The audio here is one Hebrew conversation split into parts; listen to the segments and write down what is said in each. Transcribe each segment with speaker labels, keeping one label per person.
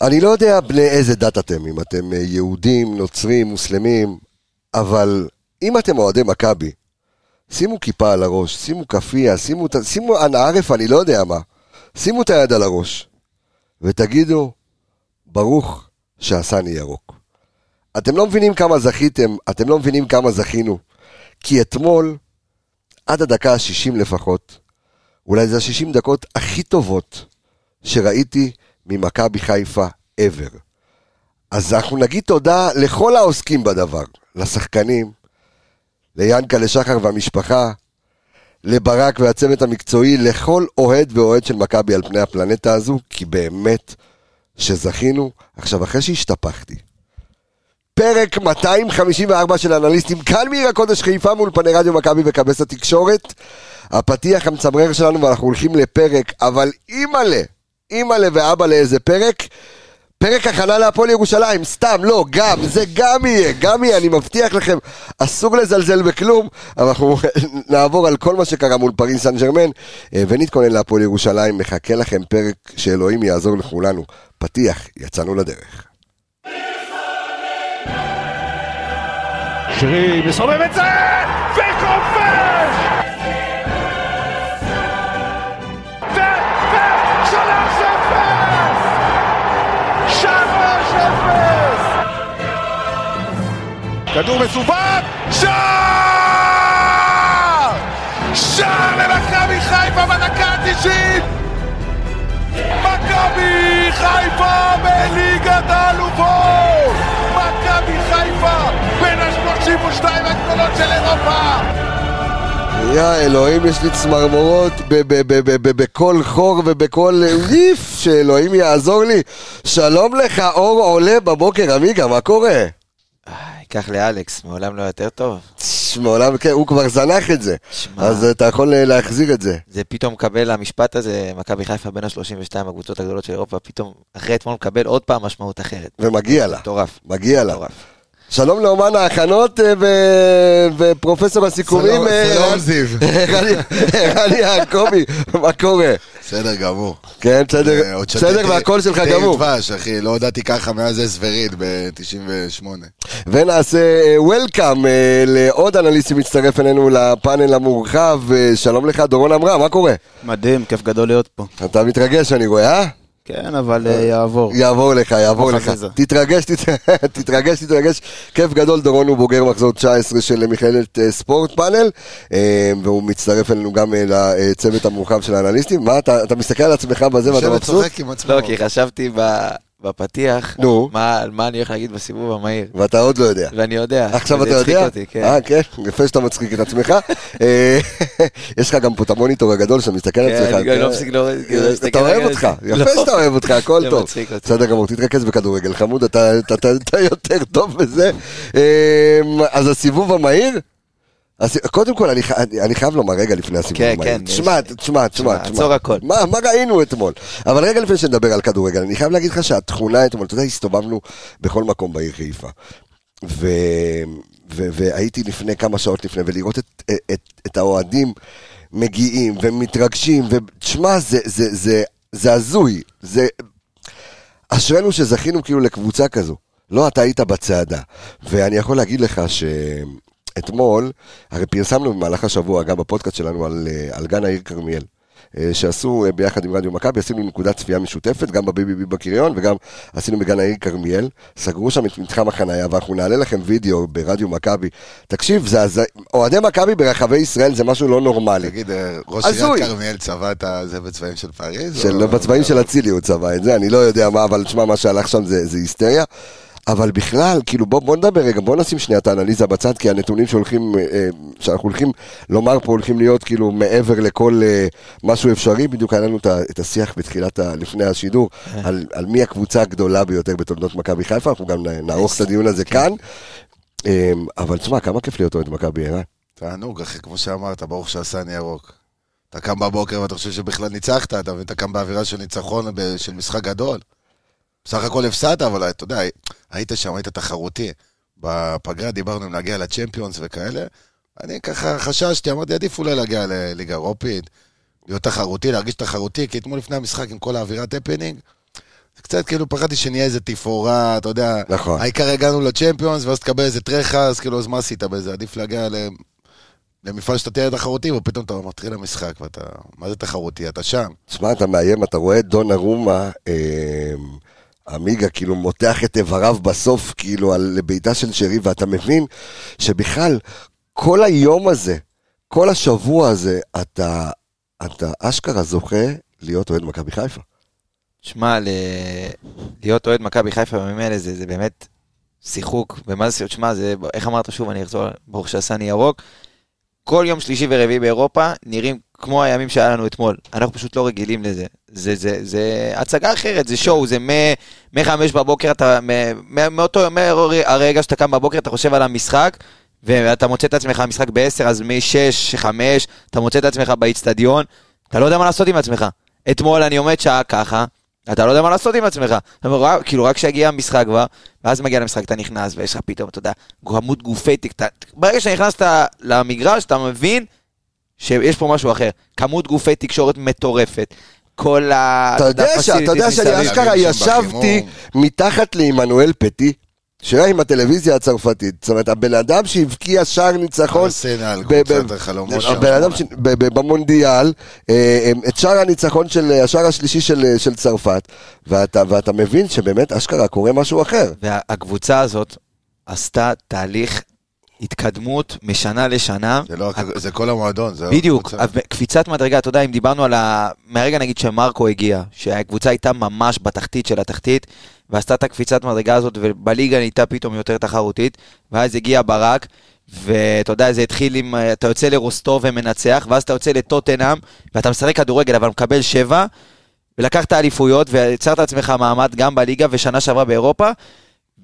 Speaker 1: אני לא יודע בני איזה דת אתם, אם אתם אה, יהודים, נוצרים, מוסלמים, אבל אם אתם אוהדי מכבי, שימו כיפה על הראש, שימו כאפיה, שימו, את ה- שימו אנערף, אני לא יודע מה, שימו את היד על הראש, ותגידו, ברוך שעשני ירוק. אתם לא מבינים כמה זכיתם, אתם לא מבינים כמה זכינו, כי אתמול, עד הדקה ה-60 לפחות, אולי זה ה-60 דקות הכי טובות שראיתי ממכבי חיפה ever. אז אנחנו נגיד תודה לכל העוסקים בדבר, לשחקנים, ליענקלה שחר והמשפחה, לברק והצוות המקצועי, לכל אוהד ואוהד של מכבי על פני הפלנטה הזו, כי באמת שזכינו. עכשיו, אחרי שהשתפכתי, פרק 254 של אנליסטים, כאן מעיר הקודש חיפה מול פני רדיו מכבי וכבש התקשורת. הפתיח המצמרר שלנו ואנחנו הולכים לפרק, אבל אימא'לה, אימא'לה ואבא לאיזה פרק. פרק הכנה להפועל ירושלים, סתם, לא, גם, זה גם יהיה, גם יהיה, אני מבטיח לכם, אסור לזלזל בכלום, אבל אנחנו נעבור על כל מה שקרה מול פריס סן ג'רמן, אה, ונתכונן להפועל ירושלים, מחכה לכם פרק שאלוהים יעזור לכולנו. פתיח, יצאנו לדרך.
Speaker 2: שרי מסובב את זה, וכובש! ו- ו- שלוש אפס! שלוש אפס! כדור מסובב, שער! שער למכבי חיפה בדקה התשעים! מכבי חיפה בליגת האלופות! מכבי חיפה בין ה-32 הגדולות של אירופה!
Speaker 1: יא אלוהים, יש לי צמרמורות ב- ב- ב- ב- ב- בכל חור ובכל ריף, שאלוהים יעזור לי. שלום לך, אור עולה בבוקר, עמיגה, מה קורה?
Speaker 3: ייקח לאלכס, מעולם לא יותר טוב.
Speaker 1: צש, מעולם, כן, הוא כבר זנח את זה.
Speaker 3: שמע.
Speaker 1: אז אתה יכול אה, להחזיר את זה.
Speaker 3: זה פתאום מקבל, המשפט הזה, מכבי חיפה בין ה-32 הקבוצות הגדולות של אירופה, פתאום, אחרי אתמול מקבל עוד פעם משמעות אחרת.
Speaker 1: ומגיע לה.
Speaker 3: מטורף.
Speaker 1: מגיע לה.
Speaker 3: מטורף.
Speaker 1: שלום לאומן ההכנות אה, ו- ופרופסור הסיכומים.
Speaker 4: שלום,
Speaker 1: אה,
Speaker 4: שלום
Speaker 1: ערן-
Speaker 4: זיו.
Speaker 1: ערן- ערן יעקבי, מה קורה?
Speaker 4: בסדר גמור.
Speaker 1: כן, בסדר,
Speaker 4: אה, עוד אה, שתיתי
Speaker 1: אה, בסדר, והקול שלך
Speaker 4: תה עם
Speaker 1: גמור.
Speaker 4: דבש, אחי, לא הודעתי ככה מאז אסווריד ב-98.
Speaker 1: ונעשה אה, Welcome אה, לעוד אנליסט שמצטרף אלינו לפאנל המורחב. אה, שלום לך, דורון אמרה, מה קורה?
Speaker 5: מדהים, כיף גדול להיות פה.
Speaker 1: אתה מתרגש, אני רואה, אה?
Speaker 5: כן, אבל אה, יעבור.
Speaker 1: יעבור לך, יעבור
Speaker 5: כמו
Speaker 1: לך.
Speaker 5: חזיזה.
Speaker 1: תתרגש, תת- תתרגש, תתרגש. כיף גדול, דורון הוא בוגר מחזור 19 של מכללת אה, ספורט פאנל, אה, והוא מצטרף אלינו גם אה, לצוות המורחב של האנליסטים. מה, אתה אתה מסתכל על עצמך בזה ואתה
Speaker 4: יושב
Speaker 1: מבסוט?
Speaker 4: וצוחק עם עצמו.
Speaker 3: לא, כי חשבתי ב- בפתיח,
Speaker 1: נו.
Speaker 3: מה על מה אני הולך להגיד בסיבוב המהיר,
Speaker 1: ואתה עוד לא יודע.
Speaker 3: ואני יודע.
Speaker 1: עכשיו
Speaker 3: וזה
Speaker 1: אתה
Speaker 3: הצחיק
Speaker 1: יודע?
Speaker 3: אותי, כן.
Speaker 1: אה, כן, יפה שאתה מצחיק את עצמך. אה, יש לך גם פה את המוניטור הגדול שאתה מסתכל על
Speaker 3: כן,
Speaker 1: עצמך.
Speaker 3: אני לא
Speaker 1: כן.
Speaker 3: מפסיק לא- להסתכל
Speaker 1: אתה אוהב
Speaker 3: על
Speaker 1: אותך,
Speaker 3: זה.
Speaker 1: יפה
Speaker 3: לא.
Speaker 1: שאתה אוהב אותך, הכל
Speaker 3: זה
Speaker 1: טוב.
Speaker 3: מצחיק אותי.
Speaker 1: בסדר גמור, תתרכז בכדורגל, חמוד, אתה- אתה- אתה אתה יותר טוב בזה. אה, אז הסיבוב המהיר? אז קודם כל, אני, ח- אני, אני חייב לומר רגע לפני הסיבוב.
Speaker 3: כן,
Speaker 1: המהיר.
Speaker 3: כן,
Speaker 1: תשמע,
Speaker 3: יש-
Speaker 1: תשמע, תשמע,
Speaker 3: תשמע,
Speaker 1: תשמע.
Speaker 3: עצור הכל.
Speaker 1: מה, מה ראינו אתמול? אבל רגע לפני שנדבר על כדורגל, אני חייב להגיד לך שהתכונה אתמול, אתה יודע, הסתובבנו בכל מקום בעיר חיפה. ו... ו... והייתי לפני כמה שעות לפני, ולראות את, את, את האוהדים מגיעים ומתרגשים, ותשמע, זה, זה, זה, זה הזוי. זה אשרינו שזכינו כאילו לקבוצה כזו. לא, אתה היית בצעדה. ואני יכול להגיד לך שאתמול, הרי פרסמנו במהלך השבוע, גם בפודקאסט שלנו, על, אה, על גן העיר כרמיאל. אה, שעשו אה, ביחד עם רדיו מכבי, עשינו נקודת צפייה משותפת, גם בביבי בקריון וגם עשינו בגן העיר כרמיאל. סגרו שם את מתחם החנייה, ואנחנו נעלה לכם וידאו ברדיו מכבי. תקשיב, זה הז... אוהדי מכבי ברחבי ישראל זה משהו לא נורמלי.
Speaker 4: תגיד, אה, ראש
Speaker 1: הזוי.
Speaker 4: עיריית כרמיאל צבע את זה בצבעים של פריז?
Speaker 1: של,
Speaker 4: או-
Speaker 1: בצבעים של אצילי הוא צבע את זה, אני לא יודע מה, אבל תשמע, מה שהלך שם זה, זה היסטריה. אבל בכלל, כאילו, בוא, בוא נדבר רגע, בוא נשים שנייה את האנליזה בצד, כי הנתונים שהולכים, אה, אה, שאנחנו הולכים לומר פה, הולכים להיות כאילו מעבר לכל אה, משהו אפשרי. בדיוק היה לנו את ה- את השיח בתחילת, ה- לפני השידור, על, על מי הקבוצה הגדולה ביותר בתולדות מכבי חיפה, אנחנו גם נ- נערוך את הדיון הזה כאן. אה, אבל תשמע, כמה כיף להיות אוהד מכבי, אה? ערן.
Speaker 4: תענוג, אחי, כמו שאמרת, ברוך שעשני ירוק. אתה קם בבוקר ואתה חושב שבכלל ניצחת, אתה מבין? אתה קם באווירה של ניצחון, ב- של משחק גדול. בסך הכל הפסדת, אבל אתה יודע, היית שם, היית תחרותי. בפגרה דיברנו אם להגיע לצ'מפיונס וכאלה. אני ככה חששתי, אמרתי, עדיף אולי להגיע לליגה אירופית, להיות תחרותי, להרגיש תחרותי, כי אתמול לפני המשחק עם כל האווירת הפנינג, קצת כאילו פחדתי שנהיה איזה תפאורה, אתה יודע.
Speaker 1: נכון.
Speaker 4: העיקר הגענו לצ'מפיונס, ואז תקבל איזה טרחה, אז כאילו, אז מה עשית בזה? עדיף להגיע ל- למפעל שאתה תהיה תחרותי, ופתאום אתה מתחיל המשחק, ואתה... מה זה תחרותי? אתה שם.
Speaker 1: תשמע, אתה מאיים, אתה רואה את דונה רומה, אמ, עמיגה כאילו מותח את איבריו בסוף, כאילו, על בעיטה של שרי, ואתה מבין שבכלל, כל היום הזה, כל השבוע הזה, אתה, אתה אשכרה זוכה להיות אוהד מכבי חיפה.
Speaker 3: שמע, ל... להיות אוהד מכבי חיפה בימים האלה זה, זה באמת שיחוק, ומה זה, שמע, זה, איך אמרת שוב, אני אחזור, ברוך שעשני ירוק, כל יום שלישי ורביעי באירופה נראים כמו הימים שהיה לנו אתמול, אנחנו פשוט לא רגילים לזה, זה, זה, זה הצגה אחרת, זה שואו, זה מ-5 בבוקר, אתה, מ- מ- מאותו יום, מהרגע שאתה קם בבוקר, אתה חושב על המשחק, ואתה מוצא את עצמך, המשחק ב-10, אז מ-6, 5, אתה מוצא את עצמך באיצטדיון, אתה לא יודע מה לעשות עם עצמך. אתמול אני עומד שעה ככה, אתה לא יודע מה לעשות עם עצמך. אתה אומר, "רק- כאילו, רק כשיגיע המשחק כבר, ואז מגיע למשחק, אתה נכנס, ויש לך פתאום, אתה יודע, כמות גופי תיק. אתה- ברגע שנכנסת למגרש, אתה מבין שיש פה משהו אחר. כמות גופי תקשורת מטורפת. כל ה...
Speaker 1: אתה יודע, ש... אתה יודע
Speaker 3: facilities
Speaker 1: שאני
Speaker 3: מסביב.
Speaker 1: אשכרה
Speaker 4: להבין
Speaker 1: ישבתי
Speaker 4: שבחימום.
Speaker 1: מתחת לעמנואל פטי, שהיה עם הטלוויזיה הצרפתית. זאת אומרת, הבן אדם שהבקיע שער ניצחון
Speaker 4: ארסנל,
Speaker 1: ב- ב-
Speaker 4: קבוצת החלומות שם.
Speaker 1: הבן אדם ש- ב- ב- במונדיאל, אה, אה, את שער הניצחון של, אה, השער השלישי של, אה, של צרפת, ואתה, ואתה מבין שבאמת אשכרה קורה משהו אחר.
Speaker 3: והקבוצה הזאת עשתה תהליך התקדמות משנה לשנה.
Speaker 4: זה לא- זה כל המועדון, זה...
Speaker 3: בדיוק,
Speaker 4: הקבוצה.
Speaker 3: אבל קפיצת מדרגה, אתה יודע, אם דיברנו על ה... מהרגע נגיד שמרקו הגיע, שהקבוצה הייתה ממש בתחתית של התחתית, ועשתה את הקפיצת מדרגה הזאת, ובליגה נהייתה פתאום יותר תחרותית, ואז הגיע ברק, ואתה יודע, זה התחיל עם... אה, אתה יוצא לרוסטוב ומנצח, ואז אתה יוצא לטוטנאם, ואתה משחק כדורגל, אבל מקבל שבע, ולקחת אליפויות, ויצרת לעצמך מעמד גם בליגה, ושנה שעברה באירופה,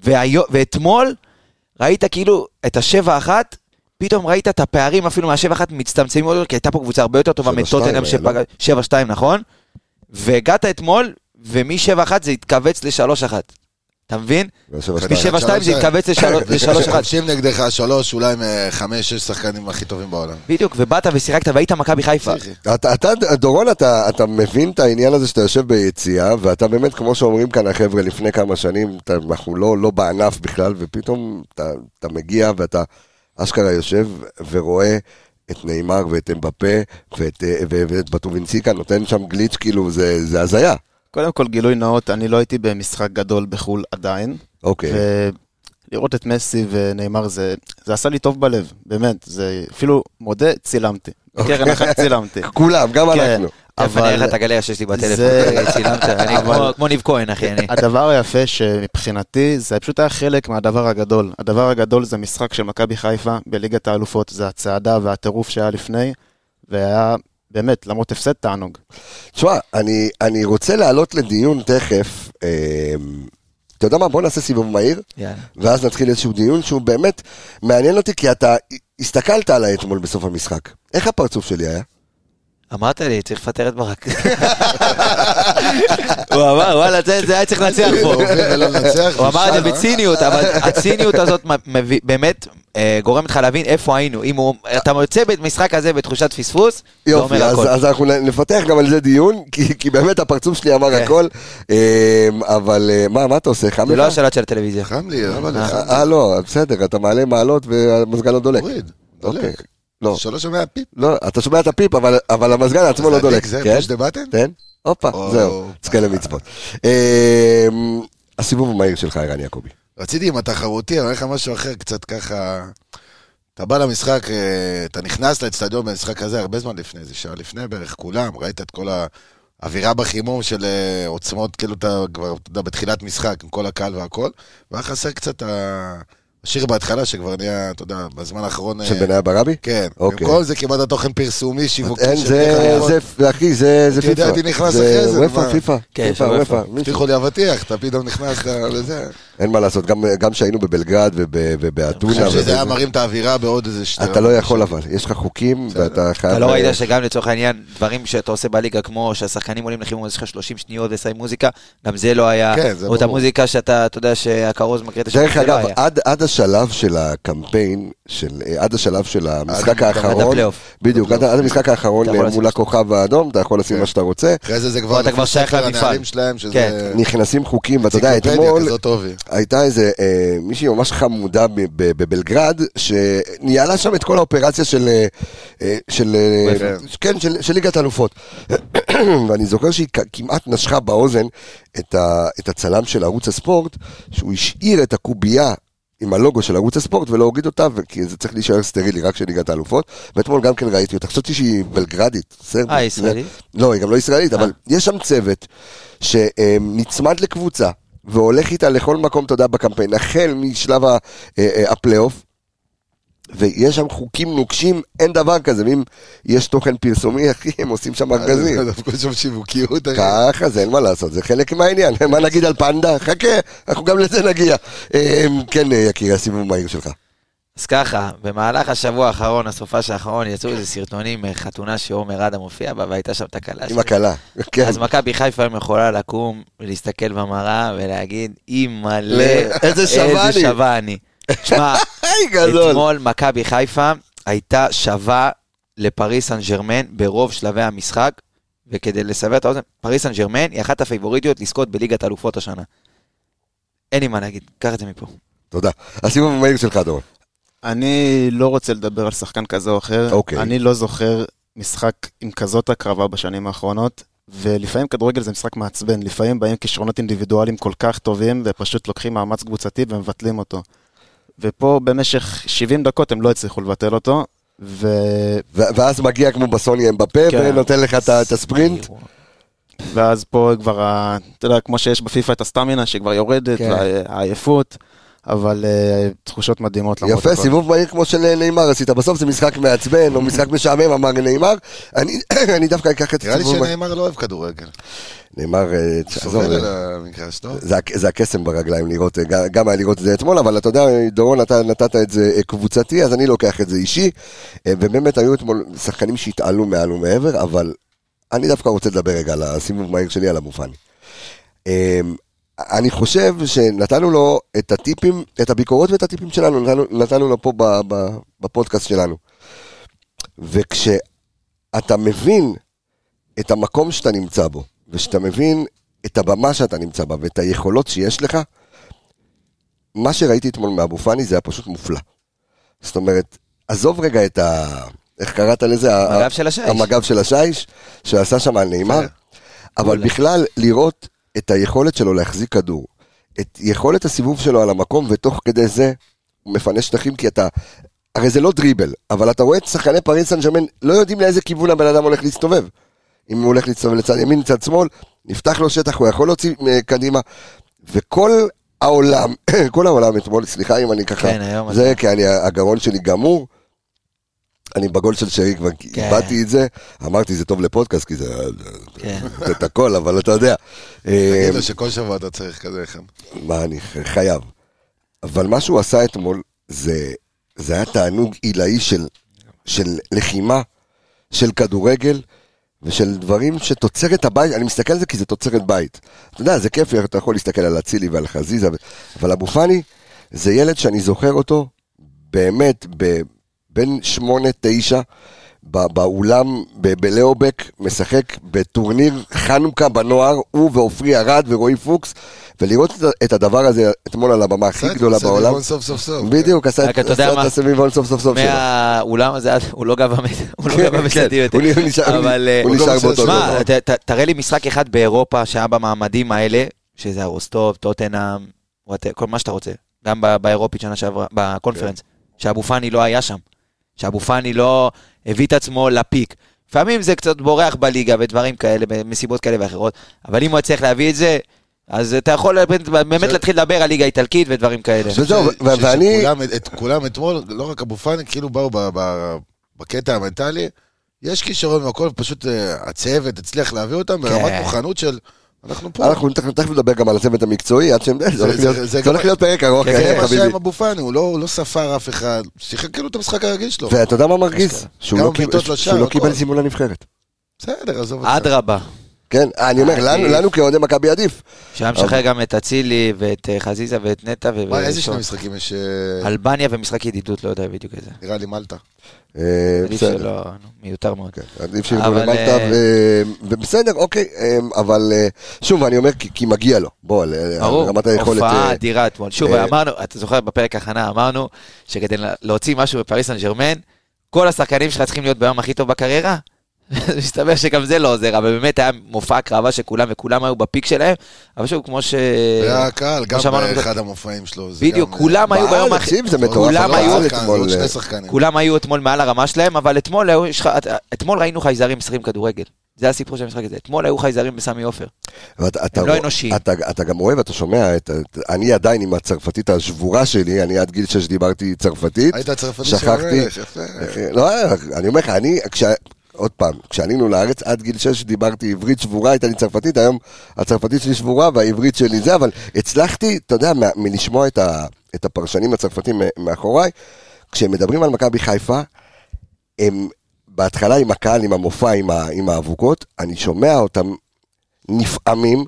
Speaker 3: והיו... ואתמול ראית כאילו את השבע אחת, פתאום ראית את הפערים אפילו מהשבע אחת מצטמצמים עוד, יותר, כי הייתה פה קבוצה הרבה יותר טובה
Speaker 1: שבע
Speaker 3: מטוטנאם,
Speaker 1: שתיים היה,
Speaker 3: שפגע... שבע שתיים, נכון? והגעת אתמול, ומשבע אחת זה התכווץ לשלוש אחת. אתה מבין?
Speaker 1: ושבע שתיים.
Speaker 4: קדימה.
Speaker 3: משבע שתיים זה התכווץ לשלוש- לשלוש אחת.
Speaker 4: שכובשים נגדך שלוש, אולי מחמש-שש שחקנים הכי טובים
Speaker 1: אה.
Speaker 4: בעולם.
Speaker 3: בדיוק, ובאת ושיחקת והיית מכבי חיפה.
Speaker 4: פסיכי.
Speaker 1: אתה, אתה, דורון, אתה, אתה מבין את העניין הזה שאתה יושב ביציאה, ואתה באמת, כמו שאומרים כאן החבר'ה לפני כמה שנים, אתה, אנחנו לא, לא בענף בכלל, ופתאום אתה, אתה מגיע ואתה אשכרה יושב ורואה את נאמר ואת אמבפה ואת, אה, ו- ואת בטובינציקה, נותן שם גליץ', כאילו, זה, זה הזיה.
Speaker 5: קודם כל, גילוי נאות, אני לא הייתי במשחק גדול בחו"ל עדיין.
Speaker 1: אוקיי.
Speaker 5: ולראות את מסי ונאמר, זה, זה עשה לי טוב בלב, באמת. זה אפילו, מודה, צילמתי. בקרן אחת צילמתי.
Speaker 1: כולם, גם אנחנו.
Speaker 3: תכף אוקיי. אני אראה לך
Speaker 5: אבל
Speaker 3: את הגלריה שיש לי בטלפון,
Speaker 5: זה-
Speaker 3: רגע, צילמת, אני
Speaker 5: אבל- אה,
Speaker 3: כמו- כמו ניב כהן, אחי, אני.
Speaker 5: הדבר היפה שמבחינתי, זה פשוט היה חלק מהדבר הגדול. הדבר הגדול זה משחק של מכבי חיפה בליגת האלופות, זה הצעדה והטירוף שהיה לפני, והיה באמת, למרות הפסד תענוג.
Speaker 1: תשמע, אני, אני רוצה להעלות לדיון תכף, אה, אתה יודע מה, בוא נעשה סיבוב מהיר.
Speaker 3: יאללה.
Speaker 1: ואז נתחיל איזשהו דיון שהוא באמת מעניין אותי, כי אתה הסתכלת עליי אתמול בסוף המשחק. איך הפרצוף שלי היה?
Speaker 3: אמרת לי, צריך לפטר את ברק. הוא אמר, וואלה, זה זה היה צריך לנצח פה.
Speaker 4: לא לנצח,
Speaker 3: הוא אמר את
Speaker 4: נשאר,
Speaker 3: זה
Speaker 4: אה?
Speaker 3: בציניות, אבל הציניות הזאת מ- מביא- באמת אה, גורמת לך להבין איפה היינו. אם הוא- אתה יוצא במשחק הזה בתחושת פספוס, זה
Speaker 1: יופי,
Speaker 3: אומר
Speaker 1: אז,
Speaker 3: הכל.
Speaker 1: אז אנחנו נ- נפתח גם על זה דיון, כי, כי באמת הפרצוף שלי אמר הכל, אמ, אבל אה, מה, מה אתה עושה? חם
Speaker 3: כן. זה לא
Speaker 1: לך?
Speaker 3: השלט של הטלוויזיה.
Speaker 4: חם לי, למה לך?
Speaker 1: אה, אה, לא, בסדר, אתה מעלה מעלות והמזגן לא דולק.
Speaker 4: תוריד,
Speaker 1: אוקיי.
Speaker 4: דולק.
Speaker 1: לא,
Speaker 4: שלוש ומאה פיפ.
Speaker 1: לא, אתה שומע את הפיפ, אבל, אבל המזגן עצמו לא
Speaker 4: זה
Speaker 1: דולק.
Speaker 4: הדק, זה
Speaker 1: כן?
Speaker 4: פוש דה בטן?
Speaker 1: תן, הופה,
Speaker 4: או.
Speaker 1: זהו, תזכה למצוות. אמ, הסיבוב המהיר שלך, ערן יעקבי.
Speaker 4: רציתי עם התחרותי, אני אומר לך משהו אחר, קצת ככה... אתה בא למשחק, אה, אתה נכנס לאצטדיון במשחק הזה הרבה זמן לפני, איזה שעה לפני בערך, כולם, ראית את כל האווירה בחימום של אה, עוצמות, כאילו אתה כבר, אתה יודע, בתחילת משחק, עם כל הקהל והכל, והיה חסר קצת ה- השיר בהתחלה, שכבר נהיה, אתה יודע, בזמן האחרון... אה,
Speaker 1: של בניה ברבי?
Speaker 4: כן.
Speaker 1: אוקיי.
Speaker 4: במקום זה קיבלת תוכן פרסומי, שיווקי.
Speaker 1: אין,
Speaker 4: של
Speaker 1: זה,
Speaker 4: חגיגות.
Speaker 1: זה, אחי, זה זה
Speaker 4: אתה יודע,
Speaker 1: פיפא.
Speaker 4: אני נכנס אחרי זה,
Speaker 1: וופא,
Speaker 4: מה?
Speaker 1: פיפא.
Speaker 3: כן,
Speaker 1: פיפא,
Speaker 3: של
Speaker 1: וופא.
Speaker 3: וופא.
Speaker 1: מישהו.
Speaker 4: הבטיחו לי אבטיח, אתה פתאום נכנס לזה.
Speaker 1: אין מה לעשות, גם- גם כשהיינו בבלגרד וב- ובאתונה,
Speaker 4: חושב שזה
Speaker 1: ובזה,
Speaker 4: היה מרים את האווירה בעוד איזה שתי...
Speaker 1: אתה לא יכול אבל, יש לך חוקים ואתה חייב...
Speaker 3: אתה לא ראית שגם לצורך העניין, דברים שאתה עושה בליגה, כמו שהשחקנים עולים לחימום, אז יש לך 30 שניות ושמים מוזיקה, גם זה לא היה.
Speaker 4: כן, זה
Speaker 3: או את
Speaker 4: ברור.
Speaker 3: המוזיקה שאתה, אתה יודע שהכרוז מקריא את השם,
Speaker 1: דרך
Speaker 3: זה לא
Speaker 1: אגב,
Speaker 3: היה.
Speaker 1: עד, עד השלב של הקמפיין, של, אה, עד השלב של המשחק
Speaker 4: עד
Speaker 1: האחרון,
Speaker 3: הפלייאוף.
Speaker 1: בדיוק, עד, עד המשחק האחרון
Speaker 3: אתה יכול
Speaker 1: אה,
Speaker 3: לשים
Speaker 1: מול
Speaker 3: מה
Speaker 1: הכוכב האדום, אתה יכול
Speaker 4: כן.
Speaker 1: לשים מה שאתה רוצה,
Speaker 4: אחרי זה זה כבר...
Speaker 3: אתה כבר שייך למפעל.
Speaker 4: הנהלים שלהם,
Speaker 3: כן.
Speaker 4: שזה...
Speaker 1: נכנסים חוקים, ואתה יודע,
Speaker 4: אנציקלופדיה
Speaker 1: אתמול
Speaker 4: כזאת טובי.
Speaker 1: הייתה איזה אה, מישהי ממש חמודה ב- ב- בבלגרד, שניהלה שם את כל האופרציה של, אה, אה, של, אה,
Speaker 4: אופ"א.
Speaker 1: כן, של, של ליגת אלופות. ואני זוכר שהיא כ- כמעט נשכה באוזן את, ה, את הצלם של ערוץ הספורט, שהוא השאיר את הקובייה. עם הלוגו של ערוץ הספורט ולא הוריד אותה, ו- כי זה צריך להישאר סטרילי רק של ליגת האלופות. ואתמול גם כן ראיתי אותה, חשבתי שהיא בלגרדית, סרבית.
Speaker 3: אה, ישראלית?
Speaker 1: לא, היא גם לא ישראלית, אבל
Speaker 3: אה.
Speaker 1: יש שם צוות שנצמד לקבוצה והולך איתה לכל מקום, אתה יודע, בקמפיין, החל משלב ה- אה, אה, הפלייאוף, ויש שם חוקים נוקשים, אין דבר כזה, ואם יש תוכן פרסומי, אחי, הם עושים שם ארגזים.
Speaker 3: אה,
Speaker 4: דווקא יש שם שיווקיות. אחי.
Speaker 1: ככה זה, אין מה לעשות, זה חלק מהעניין. מה נגיד על פנדה? חכה, אנחנו גם לזה נגיע. אה, כן, אה, יקירי, הסיבוב מהיר שלך.
Speaker 3: אז ככה, במהלך השבוע האחרון, הסופש האחרון, יצאו איזה סרטונים, אה, חתונה שעומר אדם הופיע בה, והייתה שם תקלה.
Speaker 1: עם הכלה. כן.
Speaker 3: אז מכבי חיפה היום יכולה לקום, להסתכל במראה ולהגיד, אי מלא,
Speaker 1: איזה שווה
Speaker 3: איזה
Speaker 1: אני."
Speaker 3: שווה אני. תשמע,
Speaker 1: היי, גדול.
Speaker 3: אתמול מכבי חיפה הייתה שווה לפריס סן ג'רמן ברוב שלבי המשחק, וכדי לסבר את האוזן, פריס סן ג'רמן היא אחת הפייבוריטיות לזכות בליגת אלופות השנה. אין לי מה להגיד, קח את זה מפה.
Speaker 1: תודה. הסיבוב המהיר שלך, דורון.
Speaker 5: אני לא רוצה לדבר על שחקן כזה או אחר.
Speaker 1: אוקיי.
Speaker 5: אני לא זוכר משחק עם כזאת הקרבה בשנים האחרונות, ולפעמים כדורגל זה משחק מעצבן. לפעמים באים כישרונות אינדיבידואליים כל כך טובים, ופשוט לוקחים מאמץ קבוצתי ומבטלים אותו. ופה במשך 70 דקות הם לא הצליחו לבטל אותו, ו...
Speaker 1: ו- ואז מגיע כמו בסוני אמבפה
Speaker 5: כן.
Speaker 1: ונותן לך את ה- את הספרינט.
Speaker 5: ואז פה כבר, ה- אתה יודע, כמו שיש בפיפ"א את הסטמינה שכבר יורדת,
Speaker 1: כן.
Speaker 5: והעייפות, אבל אה, תחושות מדהימות למרות
Speaker 1: יפה, סיבוב מהיר כמו של נאמר עשית. בסוף זה משחק מעצבן, או משחק משעמם, אמר נאמר. אני אני דווקא אקח את
Speaker 4: נראה לי
Speaker 1: הסיבוב... המהיר.
Speaker 4: שנאמר לא אוהב כדורגל.
Speaker 1: נאמר, אה, תעזוב,
Speaker 4: סובל על
Speaker 1: אה,
Speaker 4: המגרש, לא?
Speaker 1: זה הק- זה הקסם ברגליים לראות, אה, גם- גם היה לראות את זה אתמול, אבל אתה יודע, דורון, אתה נתת את זה אה, קבוצתי, אז אני לוקח את זה אישי. אה, ובאמת היו אתמול שחקנים שהתעלו מעל ומעבר, אבל אני דווקא רוצה לדבר רגע על הסיבוב מהיר שלי, על המופני. אמ, אני חושב שנתנו לו את הטיפים, את הביקורות ואת הטיפים שלנו, נתנו, נתנו לו פה ב, ב, בפודקאסט שלנו. וכשאתה מבין את המקום שאתה נמצא בו, וכשאתה מבין את הבמה שאתה נמצא בה ואת היכולות שיש לך, מה שראיתי אתמול מאבו פאני זה היה פשוט מופלא. זאת אומרת, עזוב רגע את ה... איך קראת לזה?
Speaker 3: המג"ב של השיש. כן.
Speaker 1: המג"ב של השיש, שעשה שם על נאמר. אבל בכלל, לראות את היכולת שלו להחזיק כדור, את יכולת הסיבוב שלו על המקום, ותוך כדי זה הוא מפנה שטחים, כי אתה... הרי זה לא דריבל, אבל אתה רואה את שחקני פריס סן ג'רמן, לא יודעים לאיזה כיוון הבן אדם הולך להסתובב. אם הוא הולך להסתובב לצד ימין, לצד שמאל, נפתח לו שטח, הוא יכול להוציא אה, קדימה. וכל העולם, כל העולם אתמול, סליחה אם אני ככה...
Speaker 3: כן, היום
Speaker 1: זה
Speaker 3: אתה-
Speaker 1: כי אני, הגרון שלי גמור. אני בגול של שרי כבר
Speaker 3: כן.
Speaker 1: איבדתי את זה, אמרתי זה טוב לפודקאסט כי זה
Speaker 3: כן.
Speaker 1: זה את הכל, אבל אתה יודע. אה,
Speaker 4: תגיד לו שכל שבוע אתה צריך כזה אחד.
Speaker 1: מה, אני ח- חייב. אבל מה שהוא עשה אתמול, זה, זה היה תענוג עילאי של, של לחימה, של כדורגל, ושל דברים שתוצרת הבית, אני מסתכל על זה כי זה תוצרת בית. אתה יודע, זה כיף, אתה יכול להסתכל על אצילי ועל חזיזה, ו- אבל אבו פאני זה ילד שאני זוכר אותו באמת ב- בין שמונה, תשע. ב- באולם ב- בלאובק, משחק בטורניר חנוכה בנוער, הוא ועופרי ארד ורועי פוקס, ולראות את- את הדבר הזה אתמול על הבמה הכי גדולה בעולם.
Speaker 4: סוף סוף סוף.
Speaker 1: בדיוק, עשה את
Speaker 3: רק אתה יודע
Speaker 1: עשה את
Speaker 3: מה?
Speaker 1: הסביבון סוף סוף סוף שלו.
Speaker 3: מהאולם הזה, הוא לא גבה מט- הוא לא
Speaker 1: כן,
Speaker 3: גבה
Speaker 1: כן.
Speaker 3: בסנטימטר.
Speaker 1: הוא נ- הוא נשאר-
Speaker 3: אבל, אה,
Speaker 1: הוא נשאר
Speaker 4: גם
Speaker 1: באותו
Speaker 4: עושה-
Speaker 1: דבר.
Speaker 3: שמע, ת- ת- תראה לי משחק אחד באירופה שהיה במעמדים האלה, שזה הרוסטוב, טוטנאם, וואט- כל מה שאתה רוצה. גם ב- באירופית שנה שעברה, בקונפרנס,
Speaker 1: כן.
Speaker 3: שאבו פאני לא היה שם. שאבו פאני לא הביא את עצמו לפיק. לפעמים זה קצת בורח בליגה ודברים כאלה, מסיבות כאלה ואחרות, אבל אם הוא יצליח להביא את זה, אז אתה יכול באמת- באמת להתחיל לדבר על ליגה איטלקית ודברים כאלה.
Speaker 1: ש- וזהו, ו- ו- ואני-
Speaker 4: שכולם- את כולם אתמול, לא רק אבו פאני, כאילו באו ב- ב- בקטע המנטלי, יש כישרון והכל, פשוט אה, הצוות הצליח להביא אותם ברמת מוכנות של... אנחנו פה.
Speaker 1: כן. אנחנו תכף תכף נדבר גם על הצוות המקצועי, עד שהם... זה הולך
Speaker 4: זה-
Speaker 1: להיות-
Speaker 4: זה- זה
Speaker 1: זה
Speaker 4: גם-
Speaker 1: הולך להיות פרק ארוך,
Speaker 3: כן,
Speaker 1: כן,
Speaker 4: זה מה שהיה
Speaker 1: חביבי.
Speaker 4: עם אבו פאני, הוא לא הוא לא ספר אף אחד, שיחק כאילו את המשחק הרגיל שלו.
Speaker 1: ואתה יודע מה מרגיז? שהוא
Speaker 4: גם
Speaker 1: לא קיב-
Speaker 4: הבעיטות לשער,
Speaker 1: שהוא לא
Speaker 4: הכל.
Speaker 1: קיבל זימון לנבחרת.
Speaker 4: בסדר, עזוב אותך.
Speaker 3: אדרבה,
Speaker 1: כן, אה, אני אומר, לנו-
Speaker 3: עדיף.
Speaker 1: לנו כאוהדי מכבי עדיף.
Speaker 3: שהיה משחרר גם את אצילי ואת אה, חזיזה ואת נטע. ו-
Speaker 4: מה, איזה
Speaker 3: ו-
Speaker 4: שני משחקים יש? אה,
Speaker 3: אלבניה ומשחק ידידות, לא יודע בדיוק איזה.
Speaker 4: נראה לי מלטה.
Speaker 1: אה,
Speaker 3: עדיף
Speaker 1: בסדר.
Speaker 3: שלא, נו, מיותר מאוד.
Speaker 1: כן, עדיף שירדו
Speaker 3: אבל,
Speaker 1: למטה,
Speaker 3: אה,
Speaker 1: ו- ובסדר, אוקיי, אה, אבל אה, שוב, אני אומר, כי כי מגיע לו, בוא, על- על
Speaker 3: ברור,
Speaker 1: אה, רמת היכולת.
Speaker 3: הופעה
Speaker 1: אה,
Speaker 3: אדירה אתמול. שוב,
Speaker 1: אה,
Speaker 3: אמרנו, אתה זוכר בפרק הכנה, אמרנו שכדי לה- להוציא משהו בפריס סן ג'רמן, כל השחקנים שלך צריכים להיות ביום הכי טוב בקריירה. מסתבר שגם זה לא עוזר, אבל באמת היה מופע הקרבה שכולם וכולם היו בפיק שלהם, אבל שוב, כמו ש...
Speaker 4: היה קהל, גם
Speaker 3: שאמרנו קודם.
Speaker 4: באחד המופעים שלו. זה
Speaker 3: בדיוק,
Speaker 4: גם, לא,
Speaker 3: כולם היו
Speaker 1: בארץ,
Speaker 3: ביום הכי...
Speaker 1: תקשיב, זה מטורף,
Speaker 3: כולם
Speaker 1: אבל
Speaker 4: אה,
Speaker 3: היו
Speaker 1: בארץ
Speaker 4: כאן,
Speaker 1: אתמול,
Speaker 4: עוד
Speaker 1: אה,
Speaker 4: שני שחקנים.
Speaker 3: כולם היו אתמול מעל הרמה שלהם, אבל אתמול היו, יש לך- את- אתמול ראינו חייזרים משחקים כדורגל. זה הסיפור של המשחק הזה. אתמול היו חייזרים בסמי עופר.
Speaker 1: ואתה- אתה
Speaker 3: הם לא
Speaker 1: רוא-
Speaker 3: אנושיים.
Speaker 1: אתה, אתה גם רואה ואתה שומע, את, את, אני עדיין עם הצרפתית השבורה שלי, אני עד גיל 6 דיברתי צרפתית.
Speaker 4: היית הצרפתי
Speaker 1: שכחתי.
Speaker 4: שהמלך, אה, יפה.
Speaker 1: לא, אני אומר לך, אני, כש... עוד פעם, כשעלינו לארץ, עד גיל 6 דיברתי עברית שבורה, הייתה לי צרפתית, היום הצרפתית שלי שבורה והעברית שלי זה, אבל הצלחתי, אתה יודע, מה- מלשמוע את, ה... את הפרשנים הצרפתים מ- מאחוריי, כשהם מדברים על מכבי חיפה, הם בהתחלה עם הקהל, עם המופע, עם, ה... עם האבוקות, אני שומע אותם נפעמים,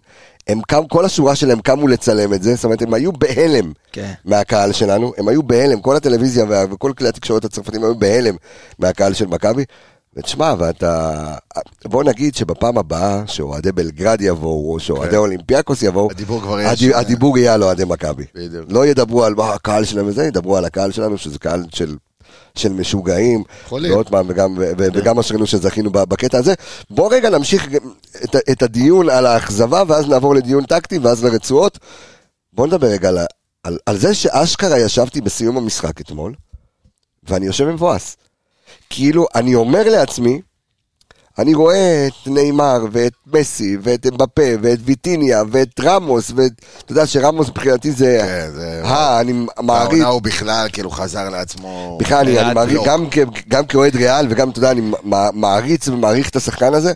Speaker 1: הם קם, כל השורה שלהם קמו לצלם את זה, זאת אומרת, הם היו בהלם.
Speaker 3: כן.
Speaker 1: מהקהל שלנו, הם היו בהלם, כל הטלוויזיה וה- וכל כלי התקשורת הצרפתים היו בהלם מהקהל של מכבי. ותשמע, ואתה... בוא נגיד שבפעם הבאה שאוהדי בלגרד יבואו, או שאוהדי אולימפיאקוס יבואו,
Speaker 4: כן. הדיבור כבר יש.
Speaker 1: הדי- הדיבור יהיה על אוהדי מכבי.
Speaker 4: בדיוק.
Speaker 1: לא ידברו על מה הקהל שלהם וזה, ידברו על הקהל שלנו, שזה קהל של... של משוגעים,
Speaker 4: חולים.
Speaker 1: ועוד פעם, וגם, ו- ו- וגם אשרינו שזכינו ב- בקטע הזה. בוא רגע נמשיך גם את, ה- את הדיון על האכזבה, ואז נעבור לדיון טקטי, ואז לרצועות. בוא נדבר רגע על, ה- על, על זה שאשכרה ישבתי בסיום המשחק אתמול, ואני יושב מבואס. כאילו, אני אומר לעצמי, אני רואה את ניימר ואת מסי ואת אמבפה ואת ויטיניה ואת רמוס ואת... אתה יודע שרמוס מבחינתי זה...
Speaker 4: כן, זה...
Speaker 1: אה, אני מעריץ.
Speaker 4: העונה הוא בכלל, כאילו, חזר לעצמו.
Speaker 1: בכלל, אני- אני
Speaker 3: ריאל
Speaker 1: מעריץ,
Speaker 4: לא.
Speaker 1: גם כ- גם כאוהד ריאל וגם, אתה יודע, אני מע- מעריץ ומעריך את השחקן הזה.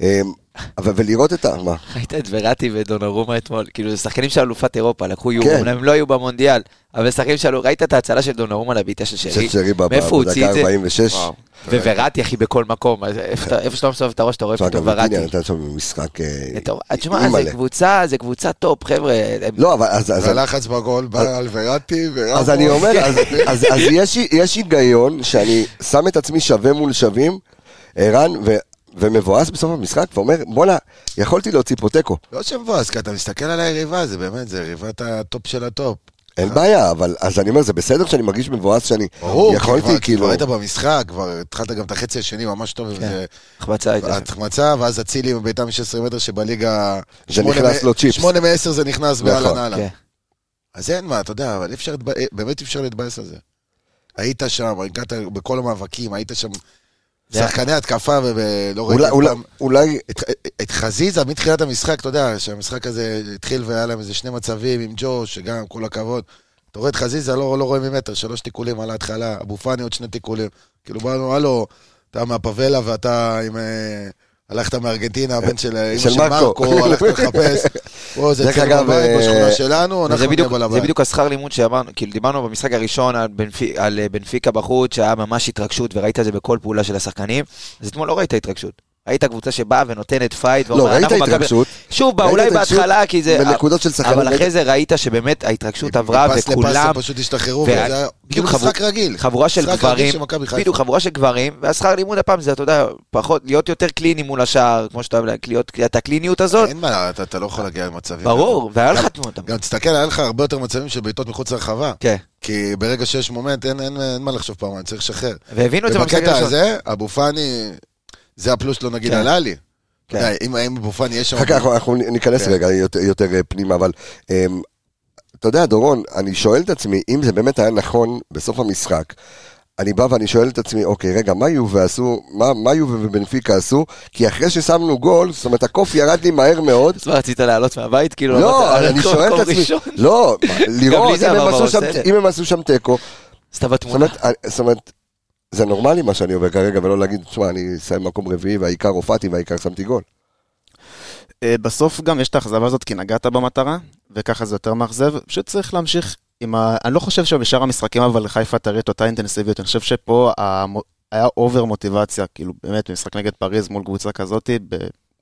Speaker 1: אמ, אבל ולראות את ה... מה?
Speaker 3: ראית את וראטי ודונרומה אתמול? כאילו, זה שחקנים של אלופת אירופה, לקחו יורו,
Speaker 1: כן.
Speaker 3: אומנם הם לא היו במונדיאל, אבל שחקנים של... ראית את ההצלה של דונרומה לבעיטה של שרי?
Speaker 1: של שרי בב-
Speaker 3: מאיפה הוא
Speaker 1: בדקה
Speaker 3: הוציא את זה?
Speaker 1: 46.
Speaker 3: וואו. ווראטי, אחי, בכל מקום. אז איפה שאתה- איפה שאתה לא מסובב את הראש, אתה רואה
Speaker 1: תשמע,
Speaker 3: פתאום
Speaker 1: גם
Speaker 3: וראטי.
Speaker 1: ויטיניה נתן שם משחק... אה,
Speaker 3: מטורף. תשמע,
Speaker 1: אימא'לה.
Speaker 3: זה קבוצה, זה קבוצה טופ, חבר'ה. הם-
Speaker 1: לא, אבל אז... אז-
Speaker 4: והלחץ בגול בא על וראטי, ורמוס.
Speaker 1: אז אני אומר,
Speaker 4: כן.
Speaker 1: אז, אז, אז יש, יש היגיון שאני שם את עצמי שווה מול שווים, ערן, ו- ומבואס בסוף המשחק, ואומר, בואנה, יכולתי להוציא פה תיקו.
Speaker 4: לא שמבואס, כי אתה מסתכל על היריבה, זה באמת, זה יריבת הטופ של הטופ.
Speaker 1: אין בעיה, אבל אז אני אומר, זה בסדר שאני מרגיש מבואס שאני
Speaker 4: ברור, כי
Speaker 1: יכולתי,
Speaker 4: כבר- כי
Speaker 1: כאילו... כן.
Speaker 4: כבר היית במשחק, כבר התחלת גם את החצי השני ממש טוב, וזה-
Speaker 3: החמצה הייתה.
Speaker 1: אה,
Speaker 4: החמצה, ואז אצילי עם בעיטה מ-16 מטר שבליגה...
Speaker 1: זה
Speaker 4: שמונה
Speaker 1: נכנס
Speaker 4: מ-
Speaker 1: לו צ'יפס.
Speaker 4: שמונה מ-10 זה נכנס
Speaker 1: נכון,
Speaker 4: באללה נאללה.
Speaker 3: כן.
Speaker 4: אז אין מה, אתה יודע, אבל אי אפשר, להתב- באמת אי אפשר להתבאס על זה. היית שם, הגעת בכל המאבקים, היית שם...
Speaker 3: זה היה-
Speaker 4: שחקני התקפה, ולא ראיתי...
Speaker 1: אולי,
Speaker 4: אף
Speaker 1: אולי,
Speaker 4: פעם-
Speaker 1: אולי,
Speaker 4: את, את חזיזה מתחילת המשחק, אתה יודע, שהמשחק הזה התחיל והיה להם איזה שני מצבים עם ג'וש, שגם, כל הכבוד. אתה רואה את חזיזה, לא, לא רואה ממטר, שלוש תיקולים על ההתחלה, אבו פאני עוד שני תיקולים. כאילו, באנו, הלו, אתה מהפבלה ואתה עם... אה, הלכת מארגנטינה, הבן של אמא
Speaker 1: של
Speaker 4: של
Speaker 1: מרקו.
Speaker 4: מרקו, הלכת לחפש. פה זה
Speaker 1: דרך
Speaker 4: אצלנו
Speaker 1: אגב,
Speaker 4: בבית,
Speaker 1: אה,
Speaker 4: בשכונה שלנו,
Speaker 3: זה
Speaker 4: אנחנו נהיה
Speaker 3: בדיוק-
Speaker 4: בעל
Speaker 3: זה
Speaker 4: הבית.
Speaker 3: בדיוק השכר לימוד שאמרנו, כאילו דיברנו במשחק הראשון על בנפי- על אה, בנפיקה בחוץ, שהיה ממש התרגשות, וראית את זה בכל פעולה של השחקנים, אז אתמול לא ראית התרגשות. ראית קבוצה שבאה ונותנת פייט,
Speaker 1: לא,
Speaker 3: ואומרת,
Speaker 1: ראית
Speaker 3: "אנחנו מכבי-"
Speaker 1: התרגשות.
Speaker 3: שוב,
Speaker 1: ראית
Speaker 3: אולי
Speaker 1: התרגשות
Speaker 3: בהתחלה, כי זה...
Speaker 1: בנקודות של שחקנים.
Speaker 3: אבל אחרי זה ראית שבאמת ההתרגשות עברה,
Speaker 4: מפס לפס
Speaker 3: וכולם...
Speaker 4: הם פשוט השתחררו,
Speaker 3: וה-
Speaker 4: וזה היה כאילו
Speaker 3: חבורה-
Speaker 4: משחק רגיל.
Speaker 3: חבורה של
Speaker 4: משחק רגיל
Speaker 3: גברים,
Speaker 4: של מכבי חיפה.
Speaker 3: בדיוק, חבורה של גברים, והשכר לימוד הפעם זה, אתה יודע, פחות, להיות יותר קליני מול השער, כמו שאתה אוהב, להיות, את הקליניות
Speaker 1: כן,
Speaker 3: הזאת,
Speaker 4: אין מה, אתה אתה לא יכול להגיע למצבים.
Speaker 3: ברור, והיה לך תמונות.
Speaker 4: גם תסתכל, היה לך הרבה יותר מצבים של בעיטות מחוץ לרחבה.
Speaker 3: כן,
Speaker 4: כי ברגע שיש מומנט, אין, אין, אין מה לחשוב פעמיים, צריך לשחרר.
Speaker 3: והבינו את זה במשחק
Speaker 4: ובקטע
Speaker 3: הראשון.
Speaker 4: הזה, אבו פאני, זה הפלוס שלו נגיד
Speaker 3: כן.
Speaker 4: עלה לי.
Speaker 3: כן.
Speaker 4: די, אם אם אבו פאני יש שם...
Speaker 1: אחר כך אנחנו- אנחנו ניכנס
Speaker 4: כן.
Speaker 1: רגע יותר- יותר אה, פנימה, אבל אמ, אתה יודע, דורון, אני שואל את עצמי, אם זה באמת היה נכון בסוף המשחק, אני בא ואני שואל את עצמי, אוקיי, רגע, מה יובה עשו, מה- מה יובה ובנפיקה עשו? כי אחרי ששמנו גול, זאת אומרת, הקוף ירד לי מהר מאוד.
Speaker 3: אז מה, רצית לעלות מהבית? כאילו,
Speaker 1: לא,
Speaker 3: אמרת,
Speaker 1: אני
Speaker 3: "הלכו
Speaker 1: שואל
Speaker 3: למקום
Speaker 1: את עצמי,
Speaker 3: ראשון?"
Speaker 1: לא, מה, לראות
Speaker 3: זה
Speaker 1: אם הם
Speaker 3: עבר
Speaker 1: עשו
Speaker 3: בראש,
Speaker 1: שם-
Speaker 3: בסדר.
Speaker 1: אם הם עשו שם תיקו,
Speaker 3: אז אתה
Speaker 1: זאת
Speaker 3: בתמונה.
Speaker 1: אומרת, אני- זאת אומרת, זה נורמלי מה שאני עובר כרגע, ולא להגיד, תשמע, אני אסיים מקום רביעי, והעיקר הופעתי והעיקר שמתי גול.
Speaker 5: אה, בסוף גם יש את האכזבה הזאת כי נגעת במטרה, וככה זה יותר מאכזב. פשוט צריך להמשיך עם ה... אני לא חושב שבשאר המשחקים אבל חיפה תראה את אותה אינטנסיביות, אני חושב שפה המו... היה אובר מוטיבציה, כאילו באמת במשחק נגד פריז מול קבוצה כזאת,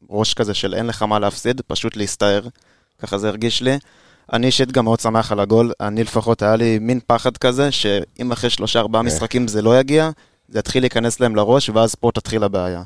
Speaker 5: בראש כזה של אין לך מה להפסיד, פשוט להסתער, ככה זה הרגיש לי. אני אישית גם מאוד שמח על הגול, אני לפחות היה לי מין פחד כזה, שאם אחרי שלושה ארבעה משחקים זה לא יגיע, זה יתחיל להיכנס להם לראש, ואז פה תתחיל הבעיה.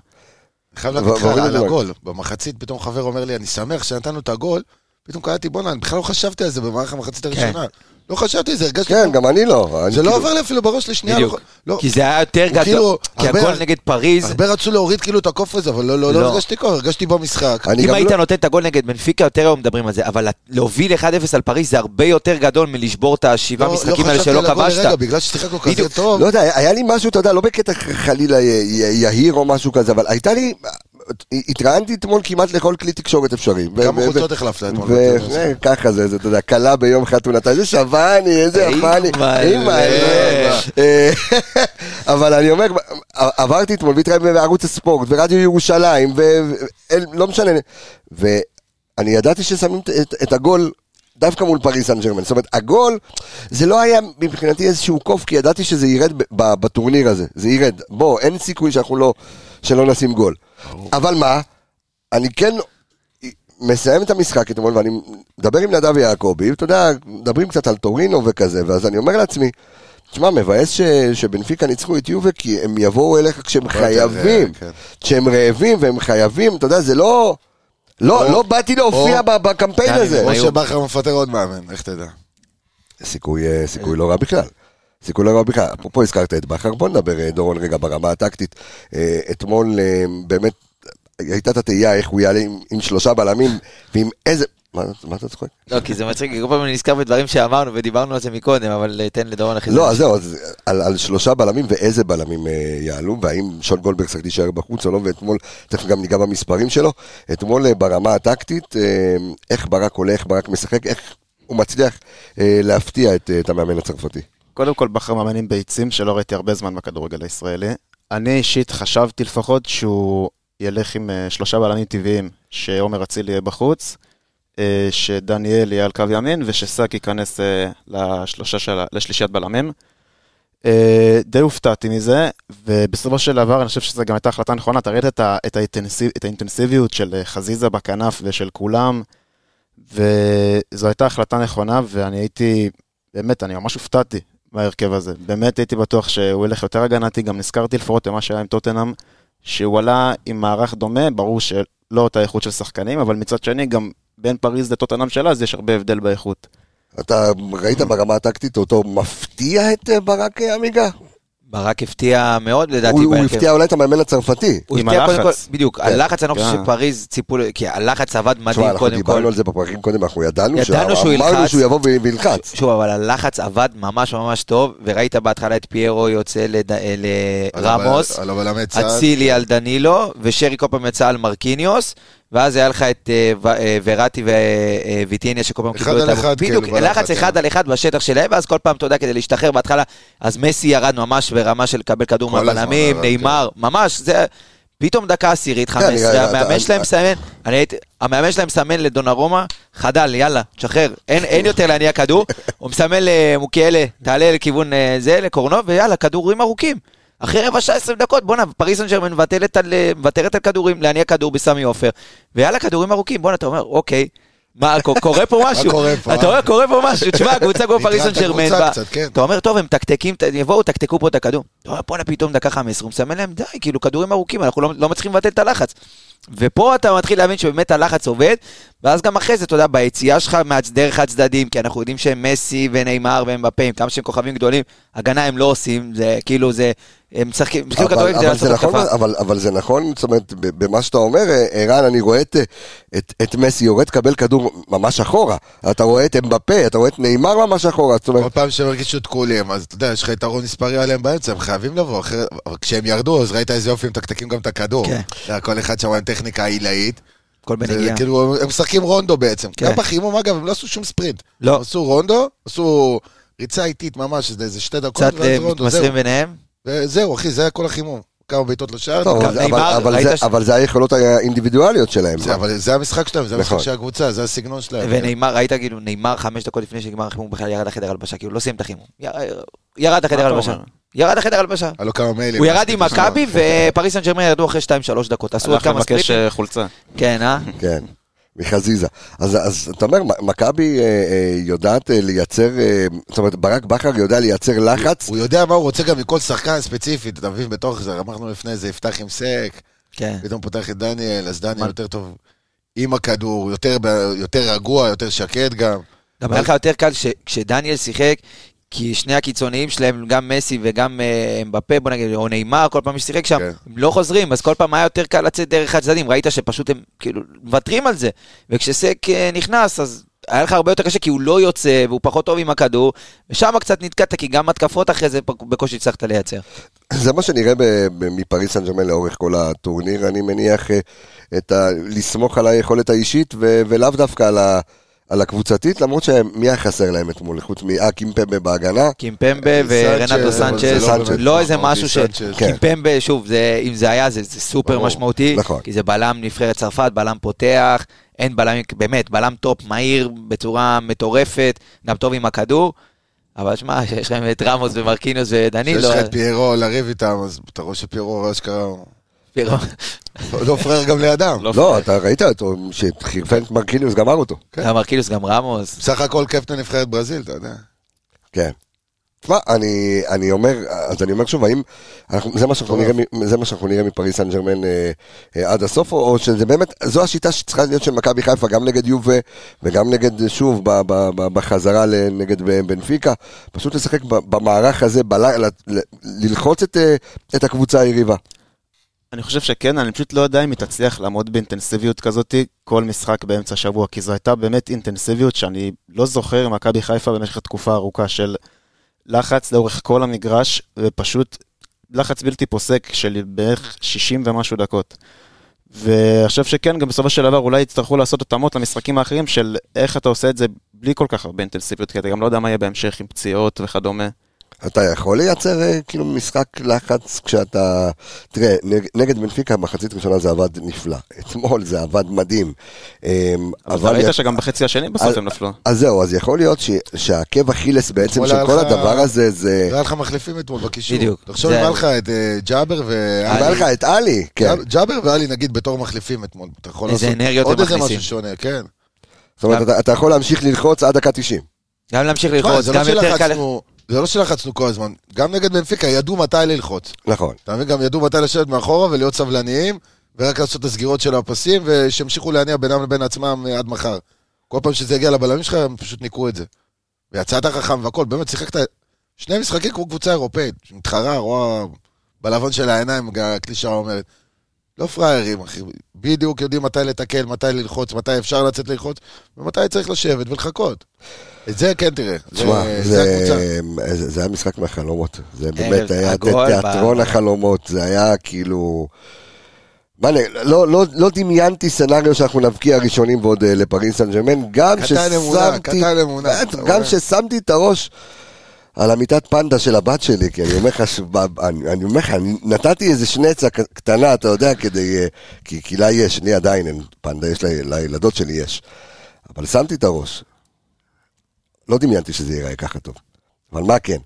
Speaker 4: אני חייב להגיד לך
Speaker 1: והורידו
Speaker 4: על
Speaker 1: את
Speaker 4: הגול. במחצית פתאום חבר אומר לי, אני שמח שנתנו את הגול. פתאום קלטתי, בואנה, אני בכלל לא חשבתי על זה במערך המחצית הראשונה. לא חשבתי על זה, הרגשתי...
Speaker 1: כן,
Speaker 4: כמו-
Speaker 1: גם אני לא. אני
Speaker 4: זה לא
Speaker 1: כאילו-
Speaker 4: עבר לי אפילו בראש לשנייה.
Speaker 3: בדיוק.
Speaker 4: לא- לא,
Speaker 3: כי זה היה יותר
Speaker 4: הוא
Speaker 3: גדול,
Speaker 4: כאילו,
Speaker 3: כי
Speaker 4: הרבה-
Speaker 3: הגול נגד פריז,
Speaker 4: הרבה רצו להוריד כאילו את הקוף הזה, אבל לא- לא לא
Speaker 3: לא.
Speaker 4: הרגשתי כוח, הרגשתי במשחק.
Speaker 1: אני
Speaker 3: אם
Speaker 1: גם
Speaker 3: היית
Speaker 1: לא-
Speaker 3: נותן את הגול נגד בנפיקה, יותר היו מדברים על זה, אבל להוביל 1-0 על פריז זה הרבה יותר גדול מלשבור את השבעה
Speaker 4: לא-
Speaker 3: משחקים
Speaker 4: לא
Speaker 3: האלה
Speaker 4: חשבתי
Speaker 3: שלא
Speaker 4: על הגול לרגע,
Speaker 3: כבשת.
Speaker 4: בגלל ששיחקנו כזה
Speaker 3: בדיוק.
Speaker 4: טוב.
Speaker 1: לא יודע, היה לי משהו, אתה יודע, לא בקטע חלילה י- י- יהיר או משהו כזה, אבל הייתה לי... אה, התראיינתי אתמול כמעט לכל כלי תקשורת אפשרי. ו-
Speaker 4: כמה
Speaker 1: ו-
Speaker 4: חולצות
Speaker 1: ו-
Speaker 4: החלפת אתמול?
Speaker 1: ו- כן, ככה זה, זה, אתה יודע, כלה ביום חתונתה, איזה שבני, איזה
Speaker 3: אימא,
Speaker 1: אחמני, אימא,
Speaker 3: אה.
Speaker 1: אה, אבל אני אומר, עברתי אתמול והתראיין בערוץ הספורט, ורדיו ירושלים, ו- ו- אל- לא משנה, ואני ידעתי ששמים את- את- את הגול. דווקא מול פריס סן ג'רמן, זאת אומרת, הגול, זה לא היה מבחינתי איזשהו קוף, כי ידעתי שזה ירד ב- ב- בטורניר הזה, זה ירד. בוא, אין סיכוי שאנחנו לא, שלא נשים גול. אבל מה, אני כן מסיים את המשחק אתמול, ואני מדבר עם נדב יעקבי, אתה יודע, מדברים קצת על טורינו וכזה, ואז אני אומר לעצמי, תשמע, מבאס ש... שבנפיקה ניצחו את יובה, כי הם יבואו אליך כשהם
Speaker 4: יותר,
Speaker 1: חייבים,
Speaker 4: אה, כן.
Speaker 1: כשהם רעבים והם חייבים, אתה יודע, זה לא... לא,
Speaker 4: או-
Speaker 1: לא באתי להופיע
Speaker 4: או-
Speaker 1: ב- בקמפיין
Speaker 3: דני,
Speaker 1: הזה.
Speaker 4: או
Speaker 3: היו-
Speaker 4: שבכר מפטר עוד מאמן, איך תדע.
Speaker 1: סיכוי, אה, סיכוי לא רע בכלל. סיכוי לא רע בכלל. אפרופו הזכרת את בכר, בוא נדבר, אה, דורון, רגע, ברמה הטקטית. אה, אתמול אה, באמת הייתה את התהייה איך הוא יעלה עם, עם שלושה בלמים, ועם איזה... מה, מה אתה צוחק?
Speaker 3: לא, כי זה מצחיק, כי כל פעם אני נזכר בדברים שאמרנו ודיברנו על זה מקודם, אבל אה, תן לדורון אחרי זה.
Speaker 1: לא, אז זהו, אז על, על שלושה בלמים ואיזה בלמים אה, יעלו, והאם שון גולדברג צריך להישאר בחוץ או לא, ואתמול, תכף גם ניגע במספרים שלו, אתמול אה, ברמה הטקטית, אה, איך ברק עולה, איך ברק משחק, איך הוא מצליח אה, להפתיע את, אה, את המאמן הצרפתי.
Speaker 5: קודם כל בחר מאמן עם ביצים, שלא ראיתי הרבה זמן בכדורגל הישראלי. אני אישית חשבתי לפחות שהוא ילך עם אה, שלושה בלמים טבעיים, שעומר אצילי יהיה בחוץ, אה, שדניאל יהיה על קו ימין, ושסק ייכנס אה, לשלושה של... ה- לשלישיית בלמים. אה, די הופתעתי מזה, ובסופו של דבר אני חושב שזו גם הייתה החלטה נכונה, אתה ראית את, ה... את, האינטנסיב... את האינטנסיביות של אה, חזיזה בכנף ושל כולם, וזו הייתה החלטה נכונה, ואני הייתי, באמת, אני ממש הופתעתי מההרכב הזה. באמת הייתי בטוח שהוא ילך יותר הגנתי, גם נזכרתי לפחות במה שהיה עם טוטנאם, שהוא עלה עם מערך דומה, ברור שלא אותה איכות של שחקנים, אבל מצד שני, גם בין פריז לטוטנאם שלה, אז יש הרבה הבדל באיכות.
Speaker 1: אתה ראית ברמה הטקטית אותו מפתיע את אה, ברק אה, עמיגה?
Speaker 3: ברק הפתיע מאוד לדעתי
Speaker 1: הוא, הוא
Speaker 3: בהרכב.
Speaker 1: הפתיע אולי את המאמן הצרפתי.
Speaker 3: הוא
Speaker 5: עם
Speaker 3: הפתיע קודם
Speaker 5: הלחץ.
Speaker 3: כל- בדיוק,
Speaker 1: כן.
Speaker 3: הלחץ אני לא חושב
Speaker 5: כן.
Speaker 3: שפריז ציפו, ל- כי הלחץ עבד
Speaker 1: תשמע,
Speaker 3: מדהים
Speaker 1: אנחנו
Speaker 3: קודם כל.
Speaker 1: דיברנו על זה בפרקים קודם, אנחנו ידענו,
Speaker 3: ידענו שהוא
Speaker 1: אמרנו
Speaker 3: ילחץ.
Speaker 1: שהוא יבוא ו- וילחץ.
Speaker 3: שוב, אבל הלחץ עבד ממש ממש טוב, וראית בהתחלה את פיירו יוצא לד- אה, לרמוס,
Speaker 4: על הבלמי צד.
Speaker 3: אצילי על דנילו, ושרי כל פעם יצא על מרקיניוס, ואז היה לך את אה, ו- אה, וראטי וויטיניה שכל פעם
Speaker 4: אחד
Speaker 3: קיבלו את
Speaker 4: על אחד,
Speaker 3: בדיוק,
Speaker 4: כאילו, בלחץ,
Speaker 3: לחץ אחד
Speaker 4: כן.
Speaker 3: על אחד בשטח שלהם, ואז כל פעם, אתה יודע, כדי להשתחרר בהתחלה, אז מסי ירד ממש ברמה של לקבל כדור
Speaker 4: כל הזמן
Speaker 3: מהבלמים,
Speaker 4: ירד, כן.
Speaker 3: נאמר, ממש, זה... פתאום דקה עשירית,
Speaker 1: אני-
Speaker 3: 15,
Speaker 1: אתה-
Speaker 3: המאמן
Speaker 1: אני-
Speaker 3: שלהם מסמן, אני הייתי, המאמן שלהם מסמן לדונרומה, חדל, יאללה, תשחרר, אין, אין יותר להניע כדור, הוא מסמן למוקיאלה, תעלה לכיוון אה, זה, לקורנו, ויאללה, כדורים ארוכים. אחרי רבע שעה 20 דקות, בואנה, פריס סן ג'רמן מוותרת על, אה, מוותרת על כדורים, להניע כדור בסמי עופר, ויאללה, כדורים ארוכים, בואנה, אתה אומר, אוקיי. מה, ק- קורה פה משהו,
Speaker 4: קורה פה,
Speaker 3: אתה
Speaker 4: אה?
Speaker 3: אומר, קורה פה משהו, תשמע, קבוצה כמו פריס סן
Speaker 4: נטרעת
Speaker 3: ג'רמן,
Speaker 4: הקבוצה
Speaker 3: בא-
Speaker 4: קצת, כן.
Speaker 3: אתה אומר, טוב, הם מתקתקים, ת- יבואו, תקתקו פה את הכדור. אתה אומר, בואנה, פתאום דקה 15, הוא מסמן להם, די, כאילו, כדורים ארוכים, אנחנו לא, לא מצליחים לבטל את הלחץ. ופה אתה מתחיל להבין שבאמת הלחץ עובד, ואז גם אחרי זה, אתה יודע, ביציאה שלך מהצ- דרך הצדדים, כי אנחנו יודעים שהם מסי ונאמר והם בפעים, כמה שהם כוכבים גדולים, הגנה הם לא עושים, זה כאילו, זה, הם משחקים, משחקים
Speaker 1: אבל,
Speaker 3: כדורגל כדי
Speaker 1: אבל, זה
Speaker 3: לעשות
Speaker 1: נכון,
Speaker 3: התקפה.
Speaker 1: אבל, אבל זה נכון, זאת אומרת, ב- במה שאתה אומר, אה, ערן, אני רואה את, אה, את, את מסי יורד, קבל כדור ממש אחורה. אתה רואה את אמבפה, אתה רואה את נאמר ממש אחורה. זאת
Speaker 4: כל
Speaker 1: אומרת,
Speaker 4: פעם שהם הרגישו תקולים, אז אתה יודע, יש לך יתרון מספרי עליהם באמצע, הם חייבים לבוא, אחרת... אבל כשהם ירדו, אז ראית איזה יופי, הם מתקתקים גם את הכדור.
Speaker 3: כן.
Speaker 4: אתה יודע, כל אחד שם עם טכניקה עילאית.
Speaker 3: כל
Speaker 4: זה
Speaker 3: בנגיעה.
Speaker 4: כאילו, הם משחקים רונדו בעצם.
Speaker 3: כן.
Speaker 4: גם בחימום, אגב, הם לא עשו שום ספרינט.
Speaker 3: לא.
Speaker 4: הם עשו רונדו, עשו ריצה איטית ממש, איזה איזה שתי דקות,
Speaker 3: קצת
Speaker 4: ואז
Speaker 3: אה,
Speaker 4: רונדו,
Speaker 3: מתמסרים ביניהם.
Speaker 4: זהו. זהו, אחי, זה היה כל החימום. כמה בעיטות לשער.
Speaker 1: טוב,
Speaker 3: גם
Speaker 1: אבל-
Speaker 3: נאמר,
Speaker 1: אבל
Speaker 3: ראית
Speaker 1: זה-
Speaker 3: ש-
Speaker 1: אבל זה היכולות האינדיבידואליות שלהם.
Speaker 4: זה- אבל זה המשחק שלהם, זה המשחק
Speaker 1: נכון.
Speaker 4: של הקבוצה, זה הסגנון שלהם.
Speaker 3: ונאמר, ראית כאילו, נאמר חמש דקות לפני שנגמר החימום בכלל ירד לחדר הלבשה, כאילו לא סיים את החימום. יר- ירד לחדר
Speaker 5: אתה
Speaker 3: הלבשה.
Speaker 5: אומר?
Speaker 3: ירד לחדר הלבשה.
Speaker 4: היה לו כמה מיילים.
Speaker 3: הוא ירד עם מכבי
Speaker 4: אוקיי.
Speaker 3: ופריס סן ג'רמן ירדו אחרי 2-3 דקות, עשו עוד
Speaker 5: הלך
Speaker 3: כמה
Speaker 5: לבקש
Speaker 3: סטריפים.
Speaker 5: אה, חולצה.
Speaker 3: כן, אה?
Speaker 1: כן, מחזיזה. אז, אז אתה אומר, מ- מכבי אה, אה, יודעת אה, לייצר, אה, זאת אומרת, ברק בכר יודע לייצר לחץ.
Speaker 4: הוא יודע מה הוא רוצה גם מכל שחקן ספציפית, אתה מבין? בתוך זה, אמרנו לפני זה, יפתח עם סק,
Speaker 3: כן.
Speaker 4: פתאום פותח את דניאל, אז דניאל
Speaker 3: מה?
Speaker 4: יותר טוב עם הכדור, יותר ב- יותר רגוע, יותר שקט גם.
Speaker 3: גם היה לך יותר קל ש- כשדניאל שיחק, כי שני הקיצוניים שלהם, גם מסי וגם אה, אמבפה, בוא נגיד, או נאמר, כל פעם ששיחק שם,
Speaker 4: כן.
Speaker 3: הם לא חוזרים, אז כל פעם היה יותר קל לצאת דרך הצדדים, ראית שפשוט הם כאילו מוותרים על זה. וכשסק אה, נכנס, אז היה לך הרבה יותר קשה, כי הוא לא יוצא, והוא פחות טוב עם הכדור, ושם קצת נתקעת, כי גם התקפות אחרי זה פק- בקושי הצלחת לייצר.
Speaker 1: זה מה שנראה ב- ב- מפריס סן ג'רמן לאורך כל הטורניר, אני מניח, אה, את ה, לסמוך על היכולת האישית ו, ולאו דווקא על, ה, על הקבוצתית, למרות שמי היה חסר להם אתמול, חוץ מאקימפמבה בהגנה.
Speaker 3: קימפמבה
Speaker 4: סנצ'ז, אה, אבל
Speaker 3: ורנטו
Speaker 4: זה
Speaker 3: סנצ'ז,
Speaker 1: לא באמת
Speaker 3: לא איזה
Speaker 4: משמעותי,
Speaker 3: משהו ש...
Speaker 4: סנצ'ז.
Speaker 1: כן.
Speaker 3: קימפמבה, שוב, זה- אם זה היה, זה זה סופר
Speaker 4: ברור.
Speaker 3: משמעותי,
Speaker 1: נכון.
Speaker 3: כי זה בלם נבחרת צרפת, בלם פותח, אין בלם, באמת, בלם טופ מהיר בצורה מטורפת, גם טוב עם הכדור, אבל שמע, שיש לכם את רמוס ומרקינוס לא- ודנילו,
Speaker 4: יש לך את פיירו לריב איתם, אז אתה רואה שפיירו אשכרה, הוא
Speaker 3: פירו-
Speaker 4: לא פרייר גם לידם.
Speaker 1: לא, אתה ראית אותו, שחירפן את מרקיניוס, גמר אותו.
Speaker 4: כן.
Speaker 3: גם מרקינוס, גם רמוס.
Speaker 4: בסך הכל קפטן נבחרת ברזיל, אתה יודע.
Speaker 1: כן. תשמע, אני, אני אומר, אז אני אומר שוב, האם אנחנו, זה, מה שאנחנו נראה, מ- זה מה שאנחנו נראה מפריס סן ג'רמן אה, אה, עד הסוף, או, או שזה באמת, זו השיטה שצריכה להיות של מכבי חיפה, גם נגד יובה וגם נגד, שוב, ב, ב, ב, בחזרה ל- נגד ב- בנפיקה, פשוט לשחק ב- במערך הזה, בל, ל, ל, ללחוץ את, אה, את הקבוצה היריבה.
Speaker 5: אני חושב שכן, אני פשוט לא יודע אם היא תצליח לעמוד באינטנסיביות כזאת כל משחק באמצע השבוע, כי זו הייתה באמת אינטנסיביות שאני לא זוכר עם מכבי חיפה במשך תקופה ארוכה של לחץ לאורך כל המגרש, ופשוט לחץ בלתי פוסק של בערך 60 ומשהו דקות. ואני חושב שכן, גם בסופו של דבר אולי יצטרכו לעשות התאמות למשחקים האחרים של איך אתה עושה את זה בלי כל כך הרבה אינטנסיביות, כי אתה גם לא יודע מה יהיה בהמשך עם פציעות וכדומה.
Speaker 1: אתה יכול לייצר אה, כאילו משחק לחץ כשאתה... תראה, נג, נגד בנפיקה מחצית ראשונה זה עבד נפלא. אתמול זה עבד מדהים. אה,
Speaker 5: אבל אתה ראית
Speaker 1: י-
Speaker 5: שגם בחצי השני בסוף הם נפלו.
Speaker 1: אז זהו, אז יכול להיות ש... שהעקב אכילס בעצם
Speaker 4: אתמול
Speaker 1: של
Speaker 4: היה
Speaker 1: כל
Speaker 4: לך-
Speaker 1: הדבר הזה זה...
Speaker 4: היה לך מחליפים אתמול בקישור.
Speaker 3: כן. בדיוק.
Speaker 4: תחשוב,
Speaker 3: זה
Speaker 4: אם היה
Speaker 3: היה-
Speaker 4: לך את אה, ג'אבר ו...
Speaker 1: היה לך את עלי, כן.
Speaker 4: ג'אב- ג'אבר ואלי נגיד בתור מחליפים אתמול, אתה יכול
Speaker 3: איזה
Speaker 4: לעשות
Speaker 3: אנרגיות
Speaker 4: עוד
Speaker 3: הם
Speaker 4: איזה
Speaker 3: מכניסים.
Speaker 4: משהו שונה, כן.
Speaker 1: זאת אומרת, אתה, אתה יכול להמשיך ללחוץ עד דקה 90.
Speaker 3: גם להמשיך
Speaker 4: תשמע,
Speaker 3: ללחוץ,
Speaker 4: זה לא
Speaker 3: גם יותר קל...
Speaker 4: שלחצנו- זה לא שלחצנו כל הזמן, גם נגד בנפיקה ידעו מתי ללחוץ.
Speaker 1: נכון.
Speaker 4: אתה מבין? גם ידעו מתי לשבת מאחורה ולהיות סבלניים, ורק לעשות את הסגירות של הפסים, ושימשיכו להניע בינם לבין עצמם אה, עד מחר. כל פעם שזה יגיע לבלמים שלך, הם פשוט ניקו את זה. ויצאת חכם והכל, באמת שיחקת שני משחקים כמו קבוצה אירופאית, מתחרה, רואה בלבן של העיניים, גם הקלישאה אומרת. לא פראיירים, אחי. בדיוק יודעים מתי לתקל, מתי ללחוץ, מתי אפשר לצאת ללחוץ, ומתי צריך לשבת ולחכות. את זה כן תראה. זה-
Speaker 1: תשמע,
Speaker 4: זה
Speaker 1: זה,
Speaker 4: הקבוצה.
Speaker 1: זה, זה היה משחק מהחלומות. זה
Speaker 3: ערב
Speaker 1: באמת היה
Speaker 3: עגול ב-
Speaker 1: תיאטרון החלומות. זה היה כאילו... מה, אני- לא, לא, לא דמיינתי סצנריו שאנחנו נבקיע ראשונים ועוד אה, לפריס סן ג'רמן, גם
Speaker 4: קטן אמונה,
Speaker 1: ששמתי...
Speaker 4: קטן אמונה.
Speaker 1: באמת,
Speaker 4: אתה
Speaker 1: גם
Speaker 4: רואה?
Speaker 1: ששמתי את הראש על המיטת פנדה של הבת שלי, כי אני אומר לך, ש- ב- אני אני אומר לך, אני נתתי איזה שנצה ק- קטנה, אתה יודע, כדי... אה, כי כי לה יש, לי עדיין אין פנדה, יש לי- לילדות שלי יש. אבל שמתי את הראש. לא דמיינתי שזה ייראה ככה טוב. אבל מה כן?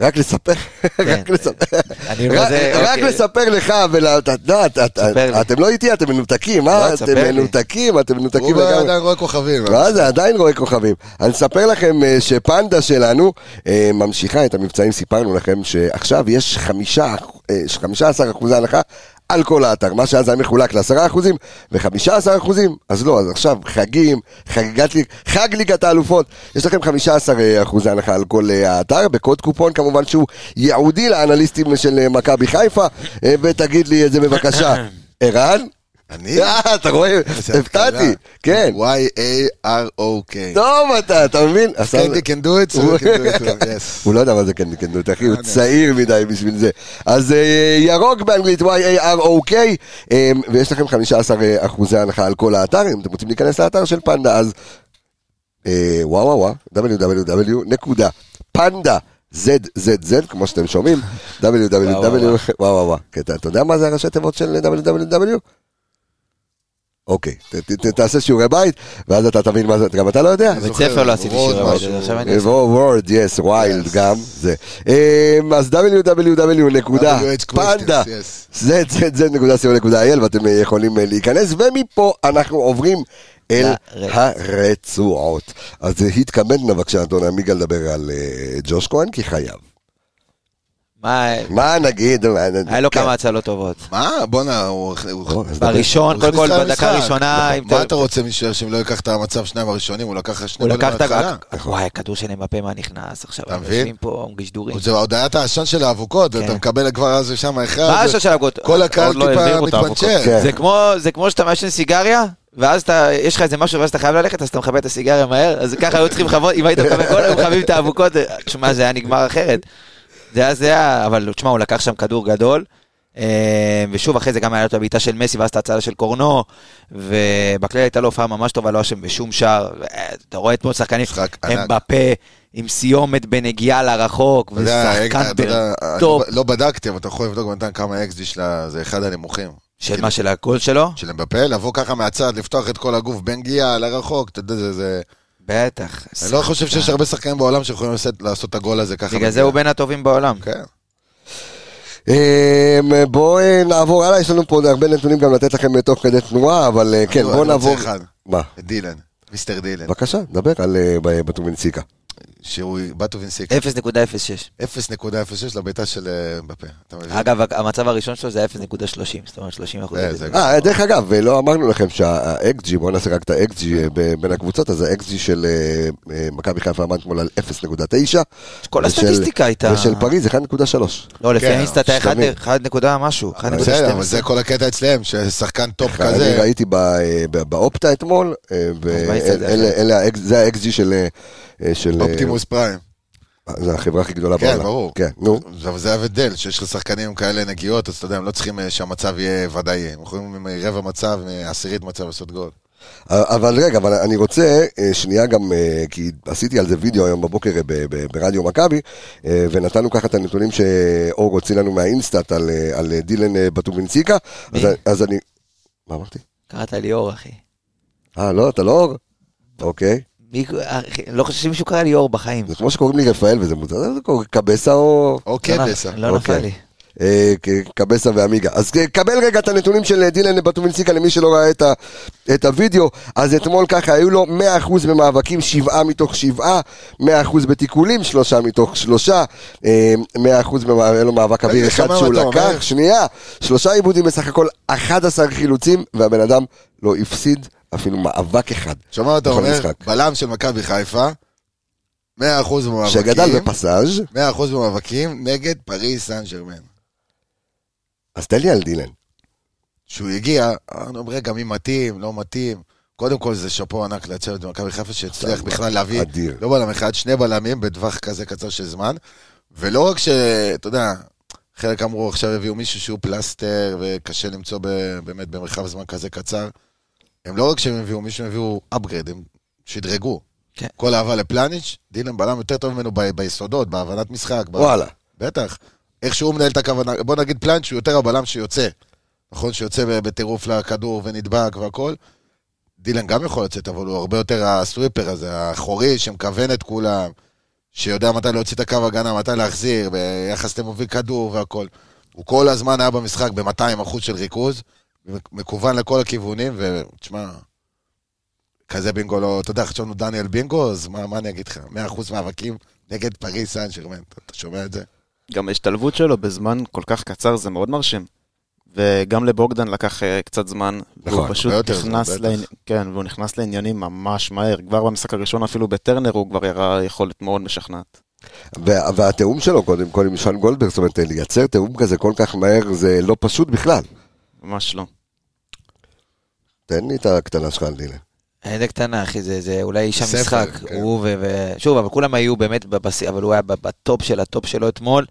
Speaker 1: רק לספר, רק לספר,
Speaker 3: אני אומר,
Speaker 1: רק-
Speaker 3: כן. זה-
Speaker 1: רק
Speaker 3: אוקיי.
Speaker 1: לספר לך ול... אתה יודע, את- את-
Speaker 3: ספר לי.
Speaker 1: אתם לא איתי, אתם מנותקים,
Speaker 3: לא,
Speaker 1: אה? אתם
Speaker 3: תספר לי.
Speaker 1: מנותקים, אתם מנותקים
Speaker 4: הוא לא
Speaker 1: לגמרי.
Speaker 4: עדיין רואה כוכבים.
Speaker 1: מה זה, עדיין רואה כוכבים. אני אספר לכם אה, שפנדה שלנו אה, ממשיכה את המבצעים, סיפרנו לכם שעכשיו יש חמישה, אה, 15 אחוזי הנחה על כל האתר, מה שאז היה מחולק לעשרה אחוזים וחמישה עשר אחוזים, אז לא, אז עכשיו חגים, חגיגת, ליג- חג ליגת האלופות, יש לכם 15 אה, אחוזי הנחה על כל אה, האתר, בקוד קופון כמובן שהוא ייעודי לאנליסטים של אה, מכבי חיפה, אה, ותגיד לי את זה בבקשה, ערן?
Speaker 4: אני?
Speaker 1: אה, אתה רואה,
Speaker 4: כן. איזה
Speaker 1: הפתעתי,
Speaker 4: התחלה.
Speaker 1: כן.
Speaker 4: Y-A-R-O-K.
Speaker 1: טוב אתה, אתה מבין? עכשיו-
Speaker 3: כן,
Speaker 4: קנדי כן, can do it, so
Speaker 1: הוא-
Speaker 4: we can do it too, yes.
Speaker 1: הוא לא יודע מה זה קנדי קנדות, אחי,
Speaker 3: אה, כן.
Speaker 1: הוא צעיר מדי בשביל זה. אז אה, ירוק באנגלית, Y-A-R-O-K, אה, ויש לכם 15 אחוזי הנחה על כל האתר, אם אתם רוצים להיכנס לאתר של אה, פנדה, אז וואו וואו, www.panda ZZZ, כמו שאתם שומעים,
Speaker 3: וואו, וואו.
Speaker 1: www, וואו וואו וואו, קטע, אתה יודע מה זה הראשי תיבות של www? אוקיי, ת- ת- ת- תעשה שיעורי בית, ואז אתה תבין מה זה, גם אתה לא יודע?
Speaker 3: בבית ספר לא עשיתי
Speaker 4: עוד
Speaker 3: שיעורי בית,
Speaker 4: משהו. אה,
Speaker 3: אז עכשיו
Speaker 1: אה,
Speaker 3: אני... עושה.
Speaker 1: וורד, יס, ויילד גם, זה. אמ, אז www.panda.
Speaker 4: questions, yes.
Speaker 1: zzz.co.il ואתם אה, יכולים אה, להיכנס, ומפה אנחנו עוברים אל
Speaker 3: לרצועות.
Speaker 1: הרצועות. אז אה, התכבדנה בבקשה, אדון עמיגה, לדבר על אה, ג'וש כהן, כי חייב.
Speaker 3: מה,
Speaker 1: מה נגיד? מה נגיד?
Speaker 3: היה לו
Speaker 1: כן.
Speaker 3: כמה הצלות טובות.
Speaker 4: מה? בואנה, הוא... הוא-
Speaker 1: בוא, נכון. אז דבר.
Speaker 3: בראשון,
Speaker 4: הוא
Speaker 3: קודם כל,
Speaker 4: הכניס לך
Speaker 3: בדקה
Speaker 4: למשחק.
Speaker 3: הראשונה... אם
Speaker 4: מה אתה רוצה מישהו שאם לא ייקח את המצב שניים הראשונים? הוא לקח לך שני
Speaker 3: הוא
Speaker 4: גולים
Speaker 3: לקח את
Speaker 4: מההתחלה.
Speaker 3: ה... וואי, הכדור של אמבפה מה נכנס עכשיו,
Speaker 4: אתה
Speaker 3: אנחנו
Speaker 4: מבין?
Speaker 3: יושבים פה, אומרים גשדורים.
Speaker 4: זה עוד היה את העשן של האבוקות,
Speaker 3: כן.
Speaker 4: ואתה מקבל כבר אז ושם אחד.
Speaker 3: מה השעה של הגוט?
Speaker 4: כל הקהל
Speaker 5: עוד לא
Speaker 4: טיפה
Speaker 5: העבירו את האבוקות.
Speaker 4: מתפנצ'ר.
Speaker 1: כן.
Speaker 3: זה כמו, זה כמו שאתה מעשן סיגריה, ואז אתה, יש לך איזה משהו ואז אתה חייב ללכת, אז אתה מכבה את הסיגריה מהר, אז ככה היו צריכים לכבות, אם היית מכבה כל היום מכבים את האבוקות, תשמע, זה היה נגמר אחרת. זה היה, זה היה, אבל תשמע, הוא לקח שם כדור גדול, אה, ושוב, אחרי זה גם היה לו את הבעיטה של מסי, ואז את ההצלה של קורנו, ובכלל הייתה לו הופעה ממש טובה, לא אשם בשום שער, אה, אתה רואה אתמול שחקנים,
Speaker 4: משחק ענק.
Speaker 3: הם בפה, עם סיומת בנגיעה לרחוק,
Speaker 4: אתה יודע,
Speaker 3: ושחקן
Speaker 4: אתה יודע,
Speaker 3: טופ,
Speaker 4: אני לא בדקתי, אבל אתה יכול לבדוק בינתיים כמה אקסג'י שלה, זה אחד הנמוכים.
Speaker 3: של מה, של הגול שלו?
Speaker 4: של אמבפה, לבוא ככה מהצד, לפתוח את כל הגוף בין גיאה לרחוק, אתה יודע, זה... זה...
Speaker 3: בטח.
Speaker 4: אני לא חושב שיש הרבה שחקנים בעולם שיכולים לעשות- לעשות את הגול הזה ככה.
Speaker 3: בגלל
Speaker 4: בגיאה.
Speaker 3: זה הוא בין הטובים בעולם.
Speaker 4: כן.
Speaker 1: אמ, בואו אה, נעבור הלאה, יש לנו פה עוד הרבה נתונים גם לתת לכם אה, תוך כדי תנועה, אבל אה, כן,
Speaker 4: אני
Speaker 1: בואו
Speaker 4: רוצה
Speaker 1: נעבור...
Speaker 4: אחד.
Speaker 1: מה?
Speaker 4: דילן, מיסטר דילן.
Speaker 1: בבקשה, דבר על אה, ב- בטובינסיקה.
Speaker 4: שהוא בטובינסיקי.
Speaker 3: 0.06.
Speaker 4: 0.06 לבעיטה של אה, אמבפה. אתה מבין?
Speaker 3: אגב, המצב הראשון שלו זה 0.30, זאת אומרת 30 אחוז.
Speaker 4: אה, זה-
Speaker 1: אה, דרך אגב, לא אמרנו לכם שהאקג'י, בואו נעשה רק את האקג'י אה, ב- בין הקבוצות, אז האקג'י של אה, אה, מכבי חיפה עמד אתמול על 0.9.
Speaker 3: כל
Speaker 1: ושל-
Speaker 3: הסטטיסטיקה הייתה.
Speaker 1: ושל פריז 1.3.
Speaker 3: לא, לפי
Speaker 4: כן,
Speaker 3: האינסטה אתה אחד-
Speaker 1: שתבין.
Speaker 3: אחד נקודה משהו. אחד נקודה
Speaker 4: בסדר,
Speaker 3: שתים
Speaker 4: אבל
Speaker 3: עשרה.
Speaker 4: זה כל הקטע אצלהם, ששחקן טופ
Speaker 1: אני
Speaker 4: כזה.
Speaker 1: ראיתי ב- אה, ב- באופטה אתמול, אה,
Speaker 3: אז מה יצא זה
Speaker 1: ואלה-
Speaker 3: אחרת?
Speaker 1: אלה האקס- זה האקג'י של... אה, אה, של, אה,
Speaker 4: אופטימוס פריים.
Speaker 1: זה החברה הכי גדולה
Speaker 4: כן,
Speaker 3: לא.
Speaker 1: בעולם.
Speaker 4: ברור.
Speaker 1: כן, נו.
Speaker 4: אבל זה ההבדל, שיש לך שחקנים עם כאלה נגיעות, אז אתה יודע, הם לא צריכים אה, שהמצב יהיה ודאי. הם יכולים מרבע מצב, מעשירית מצב לעשות גול.
Speaker 1: אבל רגע, אבל אני רוצה אה, שנייה גם, אה, כי עשיתי על זה וידאו היום בבוקר אה, ב- ב- ברדיו מכבי, אה, ונתנו ככה את הנתונים שאור הוציא לנו מהאינסטאט על, אה, על אה, דילן אה, בטובינסיקה,
Speaker 3: מי?
Speaker 1: אז, אז אני... מה אמרתי?
Speaker 3: קראת לי אור, אחי.
Speaker 1: אה, לא, אתה לא אור? אוקיי.
Speaker 3: מי- אחי, לא חושב שמישהו קרא לי אור בחיים.
Speaker 1: זה כמו שקוראים לי רפאל וזה מוזר, זה קורא קבסה או...
Speaker 4: או
Speaker 3: לא נפ-
Speaker 4: קדסה.
Speaker 3: לא נפל
Speaker 1: אוקיי.
Speaker 3: לי.
Speaker 1: אה, ק- קבסה ועמיגה. אז אה, קבל רגע את הנתונים של אה, דילן בטובינסיקה למי שלא ראה את, ה, את הוידאו. אז אתמול ככה, היו לו 100% במאבקים, 7 מתוך 7, 100% בתיקולים, 3 מתוך אה, 3, 100% במאבק, היה לו מאבק
Speaker 4: רגע,
Speaker 1: אוויר
Speaker 4: שומע
Speaker 1: אחד
Speaker 4: מה
Speaker 1: שהוא
Speaker 4: אתה
Speaker 1: לקח,
Speaker 4: אומר.
Speaker 1: שנייה, שלושה עיבודים בסך הכל, 11 חילוצים, והבן אדם לא הפסיד אפילו מאבק אחד.
Speaker 4: שומע מה אתה
Speaker 1: בכל
Speaker 4: אומר?
Speaker 1: משחק.
Speaker 4: בלם של מכבי חיפה, 100% במאבקים.
Speaker 1: שגדל בפסאז',
Speaker 4: 100% במאבקים נגד פריס סן ג'רמן.
Speaker 1: אז תן לי על דילן.
Speaker 4: שהוא הגיע, אמרנו, רגע, מי מתאים, לא מתאים. קודם כל זה שאפו ענק לצוות במכבי חיפה שהצליח בכלל להביא,
Speaker 1: אדיר.
Speaker 4: לא בלם אחד, שני בלמים בטווח כזה קצר של זמן. ולא רק ש... אתה יודע, חלק אמרו עכשיו הביאו מישהו שהוא פלסטר וקשה למצוא ב... באמת במרחב זמן כזה קצר. הם לא רק שהם הביאו מישהו, הם הביאו upgrade, הם שדרגו.
Speaker 3: כן.
Speaker 4: כל אהבה לפלניץ', דילן בלם יותר טוב ממנו ב... ביסודות, בהבנת משחק. ב...
Speaker 1: וואלה.
Speaker 4: בטח. איך שהוא מנהל את הכוונה, בוא נגיד פלנץ' שהוא יותר הבלם שיוצא. נכון, שיוצא ב- בטירוף לכדור ונדבק והכל. דילן גם יכול לצאת, אבל הוא הרבה יותר הסוויפר הזה, האחורי שמכוון את כולם, שיודע מתי להוציא את הקו הגנה, מתי להחזיר, ביחס למוביל כדור והכל. הוא כל הזמן היה במשחק ב-200 אחוז של ריכוז, מכוון לכל הכיוונים, ותשמע, כזה בינגו לא, אתה יודע, חשבנו דניאל בינגו, אז מה, מה אני אגיד לך? 100 אחוז מאבקים נגד פריס סן שרמן, אתה- אתה שומע את זה?
Speaker 5: גם ההשתלבות שלו בזמן כל כך קצר זה מאוד מרשים. וגם לבוגדן לקח אה, קצת זמן,
Speaker 1: נכון,
Speaker 5: והוא פשוט
Speaker 4: הרבה יותר זמן,
Speaker 5: נכנס,
Speaker 4: בטח.
Speaker 5: לעני... כן, והוא נכנס לעניינים ממש מהר. כבר במשחק הראשון אפילו בטרנר הוא כבר הראה יכולת מאוד משכנעת.
Speaker 1: וה- והתיאום שלו קודם כל עם שון גולדברג, זאת אומרת לייצר תיאום כזה כל כך מהר זה לא פשוט בכלל.
Speaker 5: ממש לא.
Speaker 1: תן לי את הקטנה שלך על דילן.
Speaker 3: איזה קטנה, אחי, זה, זה אולי איש
Speaker 4: ספר,
Speaker 3: המשחק.
Speaker 4: כן.
Speaker 3: הוא ו... ו... שוב, אבל כולם היו באמת בבסיס, אבל הוא היה ב- בטופ של הטופ שלו אתמול.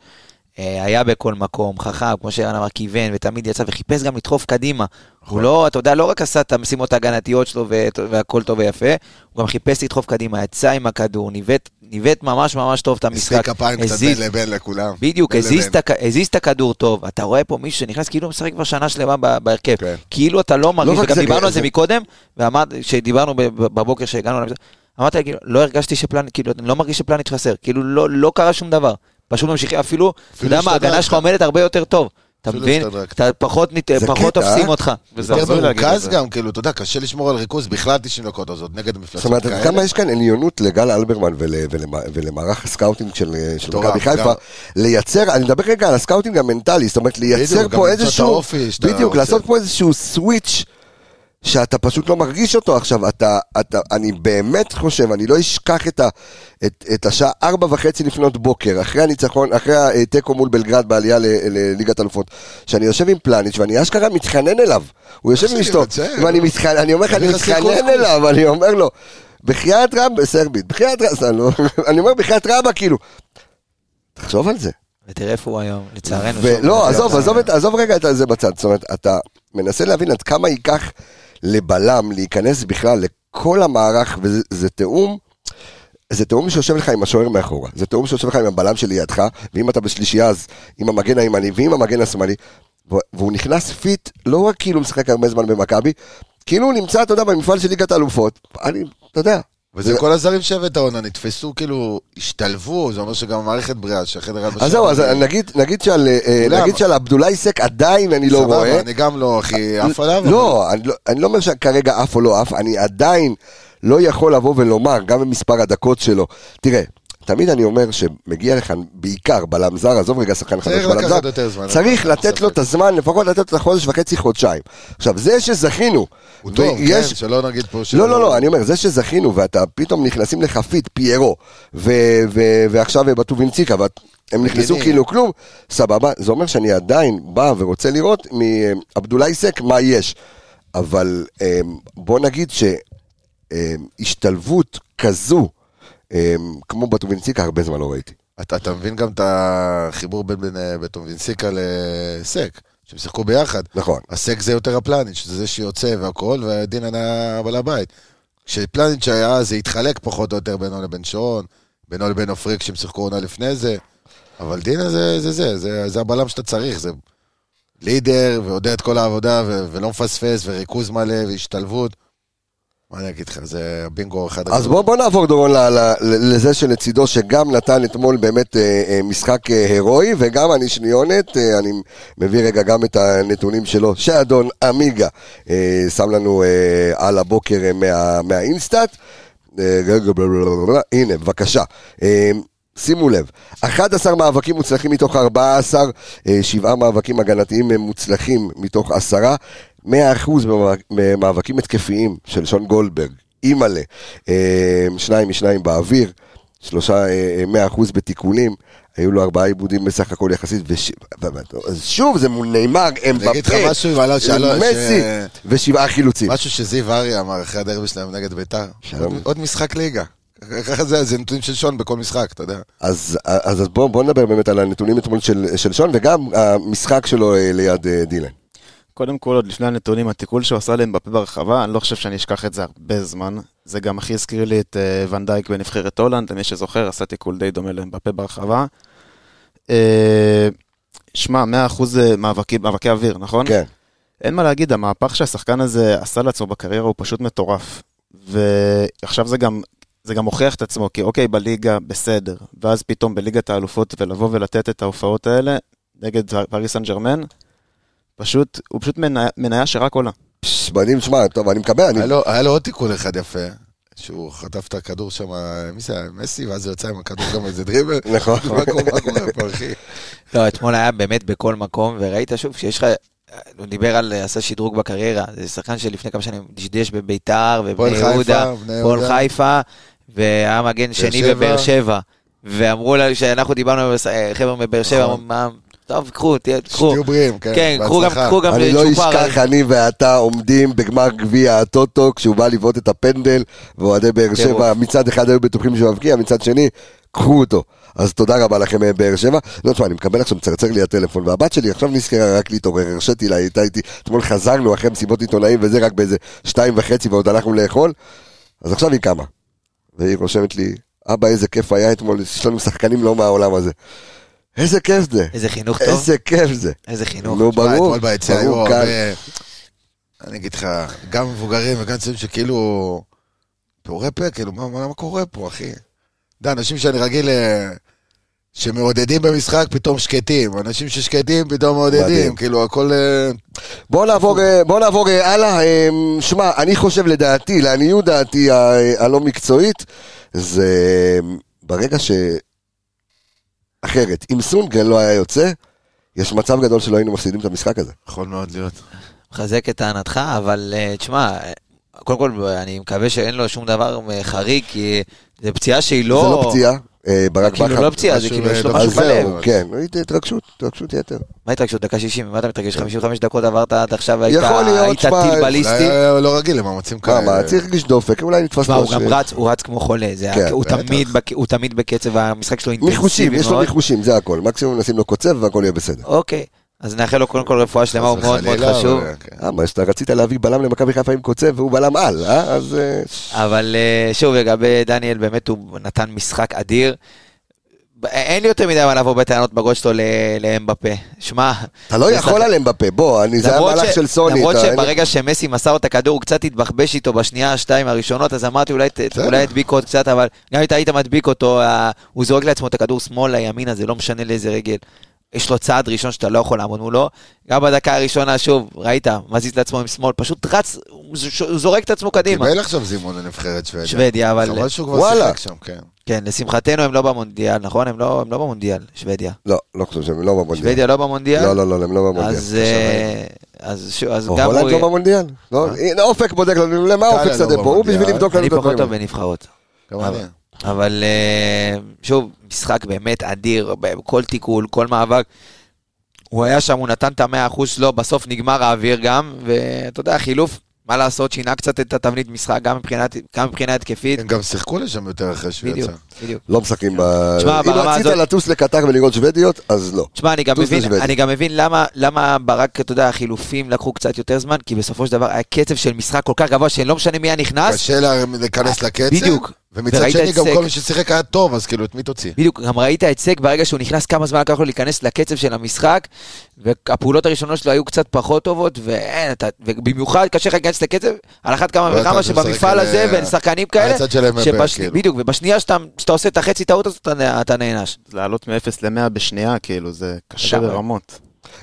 Speaker 3: אה, היה בכל מקום, חכם, כמו שערן אמר, כיוון, ותמיד יצא, וחיפש גם לדחוף קדימה. הוא לא, אתה יודע, לא רק עשה את המשימות ההגנתיות שלו, ו- והכל טוב ויפה, הוא גם חיפש לדחוף קדימה, יצא עם הכדור, ניווט, ניווט ממש ממש טוב את
Speaker 4: משחק
Speaker 3: המשחק.
Speaker 4: כפיים קצת
Speaker 3: הזיז-
Speaker 4: בין לבין לכולם.
Speaker 3: בדיוק,
Speaker 4: בין
Speaker 3: הזיז
Speaker 4: לבין.
Speaker 3: את הכ- הזיז את הכדור טוב. אתה רואה פה מישהו שנכנס, כאילו הוא משחק כבר שנה שלמה ב- בהרכב.
Speaker 4: כן.
Speaker 3: כאילו אתה לא מרגיש,
Speaker 1: רק
Speaker 3: וגם
Speaker 1: זה,
Speaker 3: דיברנו על זה
Speaker 1: זה-
Speaker 3: מקודם, ואמרת, שדיברנו ב- ב- בבוקר שהגענו למשחק, אמרת, לי, כאילו, לא הרגשתי שפלניץ', כאילו, אני לא מרגיש שפלניץ' חסר. כאילו, לא- לא קרה שום דבר. פשוט ממשיכים, אפילו, אתה יודע מה,
Speaker 4: השתדרגת.
Speaker 3: ההגנה שלך עומדת הרבה יותר טוב. אתה
Speaker 4: אפילו
Speaker 3: מבין?
Speaker 4: השתדרגת.
Speaker 3: אתה פחות נת-
Speaker 1: זה
Speaker 3: פחות
Speaker 1: קטע,
Speaker 3: תופסים
Speaker 1: אה?
Speaker 3: אותך.
Speaker 6: וזה
Speaker 4: יותר
Speaker 6: הזוי להגיד את
Speaker 4: מרוכז
Speaker 6: זה.
Speaker 4: גם, כאילו, אתה יודע, קשה לשמור על ריכוז בכלל 90 דקות הזאת, נגד
Speaker 1: זאת
Speaker 4: מפלצות
Speaker 1: אומרת, עד
Speaker 4: כאלה.
Speaker 1: כמה יש כאן עליונות לגל אלברמן ול, ולמה, ולמערך הסקאוטינג של, אה, של
Speaker 4: מטורף,
Speaker 1: מכבי חיפה,
Speaker 4: גם.
Speaker 1: לייצר, אני מדבר רגע על הסקאוטינג המנטלי, זאת אומרת, לייצר
Speaker 4: בדיוק, גם
Speaker 1: פה
Speaker 4: למצוא את
Speaker 1: איזשהו,
Speaker 4: האופי שאתה אוקיי.
Speaker 1: בדיוק,
Speaker 4: רוצה.
Speaker 1: לעשות פה איזשהו סוויץ' שאתה פשוט לא מרגיש אותו עכשיו, אתה, אתה, אני באמת חושב, אני לא אשכח את, ה, את, את השעה ארבע וחצי לפנות בוקר, אחרי הניצחון, אחרי התיקו מול בלגרד בעלייה ל- לליגת אלופות, שאני יושב עם פלניץ' ואני אשכרה מתחנן אליו, הוא יושב עם
Speaker 4: שלי,
Speaker 1: אשתו,
Speaker 4: מצער.
Speaker 1: ואני מתחנן, אני אומר לך, אני
Speaker 4: אני רציתי
Speaker 1: מתחנן
Speaker 4: קוסקוס.
Speaker 1: אליו, אני אומר לו, בחייאת רבא, סרבית, בחייאת רבא, אני לא- אני אומר בחייאת רבא, כאילו, תחשוב על זה.
Speaker 3: ותראה איפה הוא היום, לצערנו. שוב,
Speaker 1: ולא,
Speaker 3: הוא
Speaker 1: לא, עזוב,
Speaker 3: מצליח.
Speaker 1: עזוב, את- עזוב רגע את זה בצד. זאת אומרת, אתה מנסה להבין עד כמה ייקח לבלם להיכנס בכלל לכל המערך, וזה זה תיאום. זה תיאום שיושב לך עם השוער מאחורה, זה תיאום שיושב לך עם הבלם שלידך, ואם אתה בשלישייה אז עם המגן הימני ועם המגן השמאלי, ו- והוא נכנס פיט, לא רק כאילו משחק הרבה זמן במכבי, כאילו הוא נמצא, אתה יודע, במפעל של ליגת האלופות, אני, אתה יודע,
Speaker 4: וזה כל הזרים שהבאת עונה, נתפסו, כאילו, השתלבו, זה אומר שגם המערכת בריאה, שהחדר הלבשה...
Speaker 1: אז זהו, אז נגיד, נגיד שעל, אה,
Speaker 4: כולם.
Speaker 1: נגיד שעל עבדולאי סק עדיין אני לא
Speaker 4: סבבה,
Speaker 1: רואה,
Speaker 4: אני גם לא הכי עף עליו. אבל-
Speaker 1: לא, אני לא- אני לא אומר שכרגע עף או לא עף, אני עדיין לא יכול לבוא ולומר, גם במספר הדקות שלו. תראה, תמיד אני אומר שמגיע לכאן בעיקר בלם זר, עזוב רגע שחקן חדש
Speaker 4: צריך
Speaker 1: בלם זר,
Speaker 4: לקחת יותר זמן.
Speaker 1: צריך לתת לו את הזמן, לפחות לתת לו את החודש וחצי, חודשיים. עכשיו, זה שזכינו,
Speaker 4: הוא טוב, כן,
Speaker 1: ויש-
Speaker 4: שלא נגיד פה
Speaker 1: לא, לא, לא, אני אומר, זה שזכינו, ואתה פתאום נכנסים לחפית, פיירו, ו- ו- ועכשיו בטובינציקה, והם נכנסו
Speaker 4: מגינים.
Speaker 1: כאילו כלום, סבבה, זה אומר שאני עדיין בא ורוצה לראות מעבדולאי סק מה יש. אבל אמ, בוא נגיד שהשתלבות כזו, אמ, כמו בטובינציקה, הרבה זמן לא ראיתי.
Speaker 4: אתה, אתה מבין גם את החיבור בין, בין, אה, בטובינסיקה לסק, שהם שיחקו ביחד.
Speaker 1: נכון.
Speaker 4: הסק זה יותר הפלניץ', זה זה שיוצא והכל, והדין היה בעל הבית. כשפלניץ' היה, זה התחלק פחות או יותר בינו לבין שרון, בינו לבין עופרי כשהם שיחקו עונה לפני זה, אבל דינה זה זה, זה, זה, זה הבלם שאתה צריך, זה לידר, ויודע את כל העבודה, ו- ולא מפספס, וריכוז מלא, והשתלבות. מה אני אגיד לך, זה הבינגו אחד
Speaker 1: אז בוא, בוא נעבור דורון ל, ל, ל, לזה שלצידו, שגם נתן אתמול באמת אה, אה, משחק אה, הירואי, וגם אני שניונת, אה, אני מביא רגע גם את הנתונים שלו, שאדון עמיגה אה, שם לנו אה, על הבוקר אה, מה, מהאינסטאט. אה, רגע, בלה, בלה, בלה, בלה. הנה, בבקשה. אה, שימו לב, 11 מאבקים מוצלחים מתוך 14, 7 מאבקים הגנתיים הם מוצלחים מתוך 10, 100% במאבק- במאבקים התקפיים של שון גולדברג, אימא'לה, אה, שניים משניים באוויר, שלושה אה, אה, 100% בתיקולים, היו לו ארבעה עיבודים בסך הכל יחסית, וש... אז שוב זה מול נאמר, הם
Speaker 4: אני אגיד לך משהו, אבל
Speaker 1: זה
Speaker 4: שאלה-
Speaker 1: מסי,
Speaker 4: ש-
Speaker 1: ושבעה חילוצים.
Speaker 4: משהו שזיו אריה אמר אחרי הדרבי שלהם נגד ביתר.
Speaker 1: שלום.
Speaker 4: עוד- עוד משחק ליגה. ככה זה, זה נתונים של שון בכל משחק, אתה יודע.
Speaker 1: אז, אז, אז בואו בוא נדבר באמת על הנתונים אתמול של, של שון, וגם המשחק שלו אה, ליד אה, דילן.
Speaker 5: קודם כל, עוד לפני הנתונים, התיקול שהוא עשה להם בפה ברחבה, אני לא חושב שאני אשכח את זה הרבה זמן. זה גם הכי הזכיר לי את אה, ונדייק בנבחרת הולנד, למי שזוכר, עשה תיקול די דומה להם בפה ברחבה. אה, שמע, 100% מאבקי, מאבקי אוויר, נכון?
Speaker 1: כן.
Speaker 5: אין מה להגיד, המהפך שהשחקן הזה עשה לעצמו בקריירה הוא פשוט מטורף. ועכשיו זה גם, זה גם הוכיח את עצמו, כי אוקיי, בליגה, בסדר. ואז פתאום בליגת האלופות, ולבוא ולתת את ההופעות האלה נגד פריס סן ג'רמן, פשוט, הוא פשוט מניה, מניה שרק עולה.
Speaker 1: פש, מדהים, שמע, טוב, אני מקבל, אני...
Speaker 4: היה לו- היה לו עוד תיקון אחד יפה, שהוא חטף את הכדור שם, מי זה היה? מסי, ואז הוא יצא עם הכדור גם איזה דריבל.
Speaker 1: נכון.
Speaker 4: לא- מה קורה מה קורה פה, אחי?
Speaker 3: לא, אתמול היה באמת בכל מקום, וראית שוב שיש לך... הוא דיבר על עשה שדרוג בקריירה, זה שחקן שלפני כמה שנים דשדש בביתר,
Speaker 4: הפועל
Speaker 3: ובני
Speaker 4: חיפה,
Speaker 3: יהודה,
Speaker 4: בני
Speaker 3: פועל
Speaker 4: יהודה.
Speaker 3: חיפה, והיה מגן שני
Speaker 4: שבע.
Speaker 3: בבאר שבע. ואמרו לנו, שאנחנו דיברנו עם הס- אה, חבר'ה מבאר שבע, אמרו, מה, טוב, קחו, תהיה- קחו.
Speaker 4: נכון. שתהיו בריאים, כן.
Speaker 3: כן, קחו גם,
Speaker 4: בהצלחה.
Speaker 3: קחו גם אה,
Speaker 1: אני לא
Speaker 3: לצ'ופר.
Speaker 1: אשכח, אני ואתה עומדים בגמר גביע הטוטו כשהוא בא לבעוט את הפנדל, ואוהדי באר
Speaker 3: טירוף.
Speaker 1: שבע מצד אחד היו בטוחים שהוא יבקיע, מצד שני, קחו אותו. אז תודה רבה לכם אה, באר שבע. לא, תשמע, אני מקבל עכשיו, מצרצר לי הטלפון, והבת שלי עכשיו נזכרה רק להתעורר, הרשיתי לה, היא הייתה איתי, אתמול חזרנו אחרי מסיבות עיתונאים וזה רק באיזה שתיים וחצי ועוד הלכנו לאכול, אז עכשיו היא קמה. והיא רושמת לי, אבא, איזה כיף היה אתמול, יש לנו שחקנים לא מהעולם הזה. איזה כיף זה,
Speaker 3: איזה חינוך טוב,
Speaker 1: איזה כיף זה.
Speaker 3: איזה חינוך.
Speaker 1: נו,
Speaker 4: לא, תשמע,
Speaker 1: לא ברור,
Speaker 4: אתמול ביציאה היו
Speaker 1: ברור,
Speaker 4: הרבה...
Speaker 1: קל.
Speaker 4: אני אגיד לך, גם מבוגרים וגם צעירים שכאילו... פעורי פה, כאילו, מה, מה, מה קורה פה, אחי? אתה יודע, אנשים שאני רגיל... אה, שמעודדים במשחק, פתאום שקטים. אנשים ששקטים, פתאום מעודדים.
Speaker 1: מדהים.
Speaker 4: כאילו, הכל... אה,
Speaker 1: בוא נעבור, אה, בוא נעבור אה, הלאה. אה, שמע, אני חושב לדעתי, לעניות דעתי ה- אה, הלא מקצועית, זה אה, ברגע ש... אחרת, אם סונגרן לא היה יוצא, יש מצב גדול שלא היינו מפסידים את המשחק הזה.
Speaker 4: יכול מאוד להיות.
Speaker 3: מחזק את טענתך, אבל אה, תשמע, אה, קודם כל אני מקווה שאין לו שום דבר אה, חריג, כי זו פציעה שהיא לא...
Speaker 1: זה לא פציעה, אה, ברק בכר.
Speaker 3: כאילו לא פציעה, זה
Speaker 4: משהו,
Speaker 3: כאילו יש לו
Speaker 4: אה,
Speaker 1: אז
Speaker 3: משהו בלב. כן.
Speaker 1: זהו, כן, ראית, התרגשות, התרגשות יתר.
Speaker 3: מה התרגשות? דקה 60, ממה אתה מתרגש? 55 דקות עברת עד עכשיו, היית
Speaker 1: כן. יכול להיות,
Speaker 3: היית
Speaker 1: שמע, אה,
Speaker 3: טיל
Speaker 1: אולי-
Speaker 3: בליסטי.
Speaker 4: אולי היה לא רגיל למאמצים
Speaker 1: מה,
Speaker 4: כאלה.
Speaker 1: מה, צריך להרגיש דופק, אולי נתפס
Speaker 3: תשמע,
Speaker 1: לו
Speaker 3: הוא גם
Speaker 1: ש-
Speaker 3: רץ, הוא רץ כמו חולה, זה
Speaker 1: כן,
Speaker 3: היה- הוא
Speaker 1: בטח.
Speaker 3: תמיד בק- הוא תמיד בקצב, המשחק שלו אינטנסיבי מאוד.
Speaker 1: מחושים, יש לו מחושים, זה הכל. מקסימום נשים לו קוצב והכל יהיה בסדר.
Speaker 3: אוקיי, אז נאחל לו קודם כל רפואה שלמה,
Speaker 4: חס
Speaker 3: הוא מאוד מאוד
Speaker 4: וחלילה,
Speaker 3: חשוב.
Speaker 4: אבל, כן.
Speaker 1: אה, מה, שאתה רצית להביא בלם למכבי חיפה עם קוצב והוא בלם על, אה? אז... אה,
Speaker 3: אבל אה, שוב, לגבי דניאל, באמת הוא נתן משחק אדיר. ב- אין לי יותר מדי מה לבוא בטענות בגול שלו ל- לאמבפה. שמע,
Speaker 1: אתה לא
Speaker 3: זה
Speaker 1: יכול
Speaker 3: שחק-
Speaker 1: עליהם בפה, בוא, אני, זה
Speaker 3: למרות
Speaker 1: המהלך
Speaker 3: ש-
Speaker 1: של סוני.
Speaker 3: למרות
Speaker 1: אתה-
Speaker 3: שברגע שמסי מסר לו את הכדור, הוא קצת התבחבש איתו בשנייה, שתיים הראשונות, אז אמרתי אולי ת-
Speaker 4: בסדר.
Speaker 3: אולי ידביק עוד קצת, אבל גם אם אתה היית מדביק אותו, ה- הוא זורק לעצמו את הכדור שמאלה, ימינה, זה לא משנה לאיזה רגל. יש לו צעד ראשון שאתה לא יכול לעמוד מולו. גם בדקה הראשונה, שוב, ראית, מזיז לעצמו עם שמאל, פשוט רץ, הוא ז- הוא זורק את עצמו קדימה.
Speaker 4: קיבל עכשיו זימון לנבחרת שוודיה.
Speaker 3: שוודיה, אבל...
Speaker 4: חבל שהוא
Speaker 1: וואלה.
Speaker 4: כבר שיחק שם, כן.
Speaker 3: כן, לשמחתנו הם לא במונדיאל, נכון? הם לא, הם לא במונדיאל, שוודיה.
Speaker 1: לא, לא חושב שהם לא במונדיאל.
Speaker 3: שוודיה לא במונדיאל?
Speaker 1: לא, לא, לא, הם לא במונדיאל.
Speaker 3: אז, אה, אז, ש... אז
Speaker 1: או,
Speaker 3: גם
Speaker 1: הולנד
Speaker 3: הוא... אה?
Speaker 1: לא במונדיאל. לא, הנה, אופק בודק לנו, למה
Speaker 4: טליה
Speaker 1: אופק
Speaker 4: לא
Speaker 1: שדה פה? הוא
Speaker 4: במונדיאל.
Speaker 1: בשביל לבדוק לנו
Speaker 3: אני
Speaker 1: את
Speaker 3: פחות
Speaker 1: הדברים.
Speaker 3: טוב בנבחרות.
Speaker 4: גם
Speaker 3: אבל-
Speaker 4: אני.
Speaker 3: אבל אה, שוב, משחק באמת אדיר, כל תיקול, כל מאבק. הוא היה שם, הוא נתן את המאה אחוז שלו, בסוף נגמר האוויר גם, ואתה יודע, חילוף, מה לעשות, שינה קצת את התבנית משחק, גם מבחינת- גם מבחינה התקפית.
Speaker 4: הם גם שיחקו לשם יותר אחרי שהוא
Speaker 3: בדיוק,
Speaker 4: יצא.
Speaker 3: בדיוק.
Speaker 1: לא משחקים ב...
Speaker 3: תשמע,
Speaker 1: אם
Speaker 3: ברמה
Speaker 1: רצית
Speaker 3: הזאת-
Speaker 1: לטוס לקטר ולראות שוודיות, אז לא.
Speaker 3: תשמע, אני גם
Speaker 1: טוס
Speaker 3: מבין,
Speaker 1: לשוודיה.
Speaker 3: אני גם מבין למה, למה ברק, אתה יודע, החילופים לקחו קצת יותר זמן, כי בסופו של דבר היה קצב של משחק כל כך גבוה, שלא משנה מי היה נכנס,
Speaker 4: קשה לה- להיכנס
Speaker 3: אה,
Speaker 4: לקצב.
Speaker 3: בדיוק.
Speaker 4: ומצד
Speaker 3: וראית
Speaker 4: שני,
Speaker 3: את
Speaker 4: גם
Speaker 3: סק.
Speaker 4: כל מי ששיחק היה טוב, אז כאילו, את מי תוציא?
Speaker 3: בדיוק, גם ראית את סק ברגע שהוא נכנס, כמה זמן לקח לו להיכנס לקצב של המשחק, והפעולות הראשונות שלו היו קצת פחות טובות, ואין, אתה, ובמיוחד קשה לך להיכנס לקצב, על אחת כמה
Speaker 4: לא
Speaker 3: וכמה
Speaker 4: אתה משחק
Speaker 3: שבמפעל
Speaker 4: על- אה,
Speaker 3: הזה, בין שחקנים כאלה,
Speaker 4: הצד שלהם מפה,
Speaker 3: שבש...
Speaker 4: כאילו.
Speaker 3: בדיוק, ובשנייה שאתה, שאתה עושה את החצי טעות הזאת, אתה, אתה נענש.
Speaker 5: זה לעלות מ-0 ל-100 בשנייה, כאילו, זה קשה
Speaker 3: לגמרי.
Speaker 5: ברמות.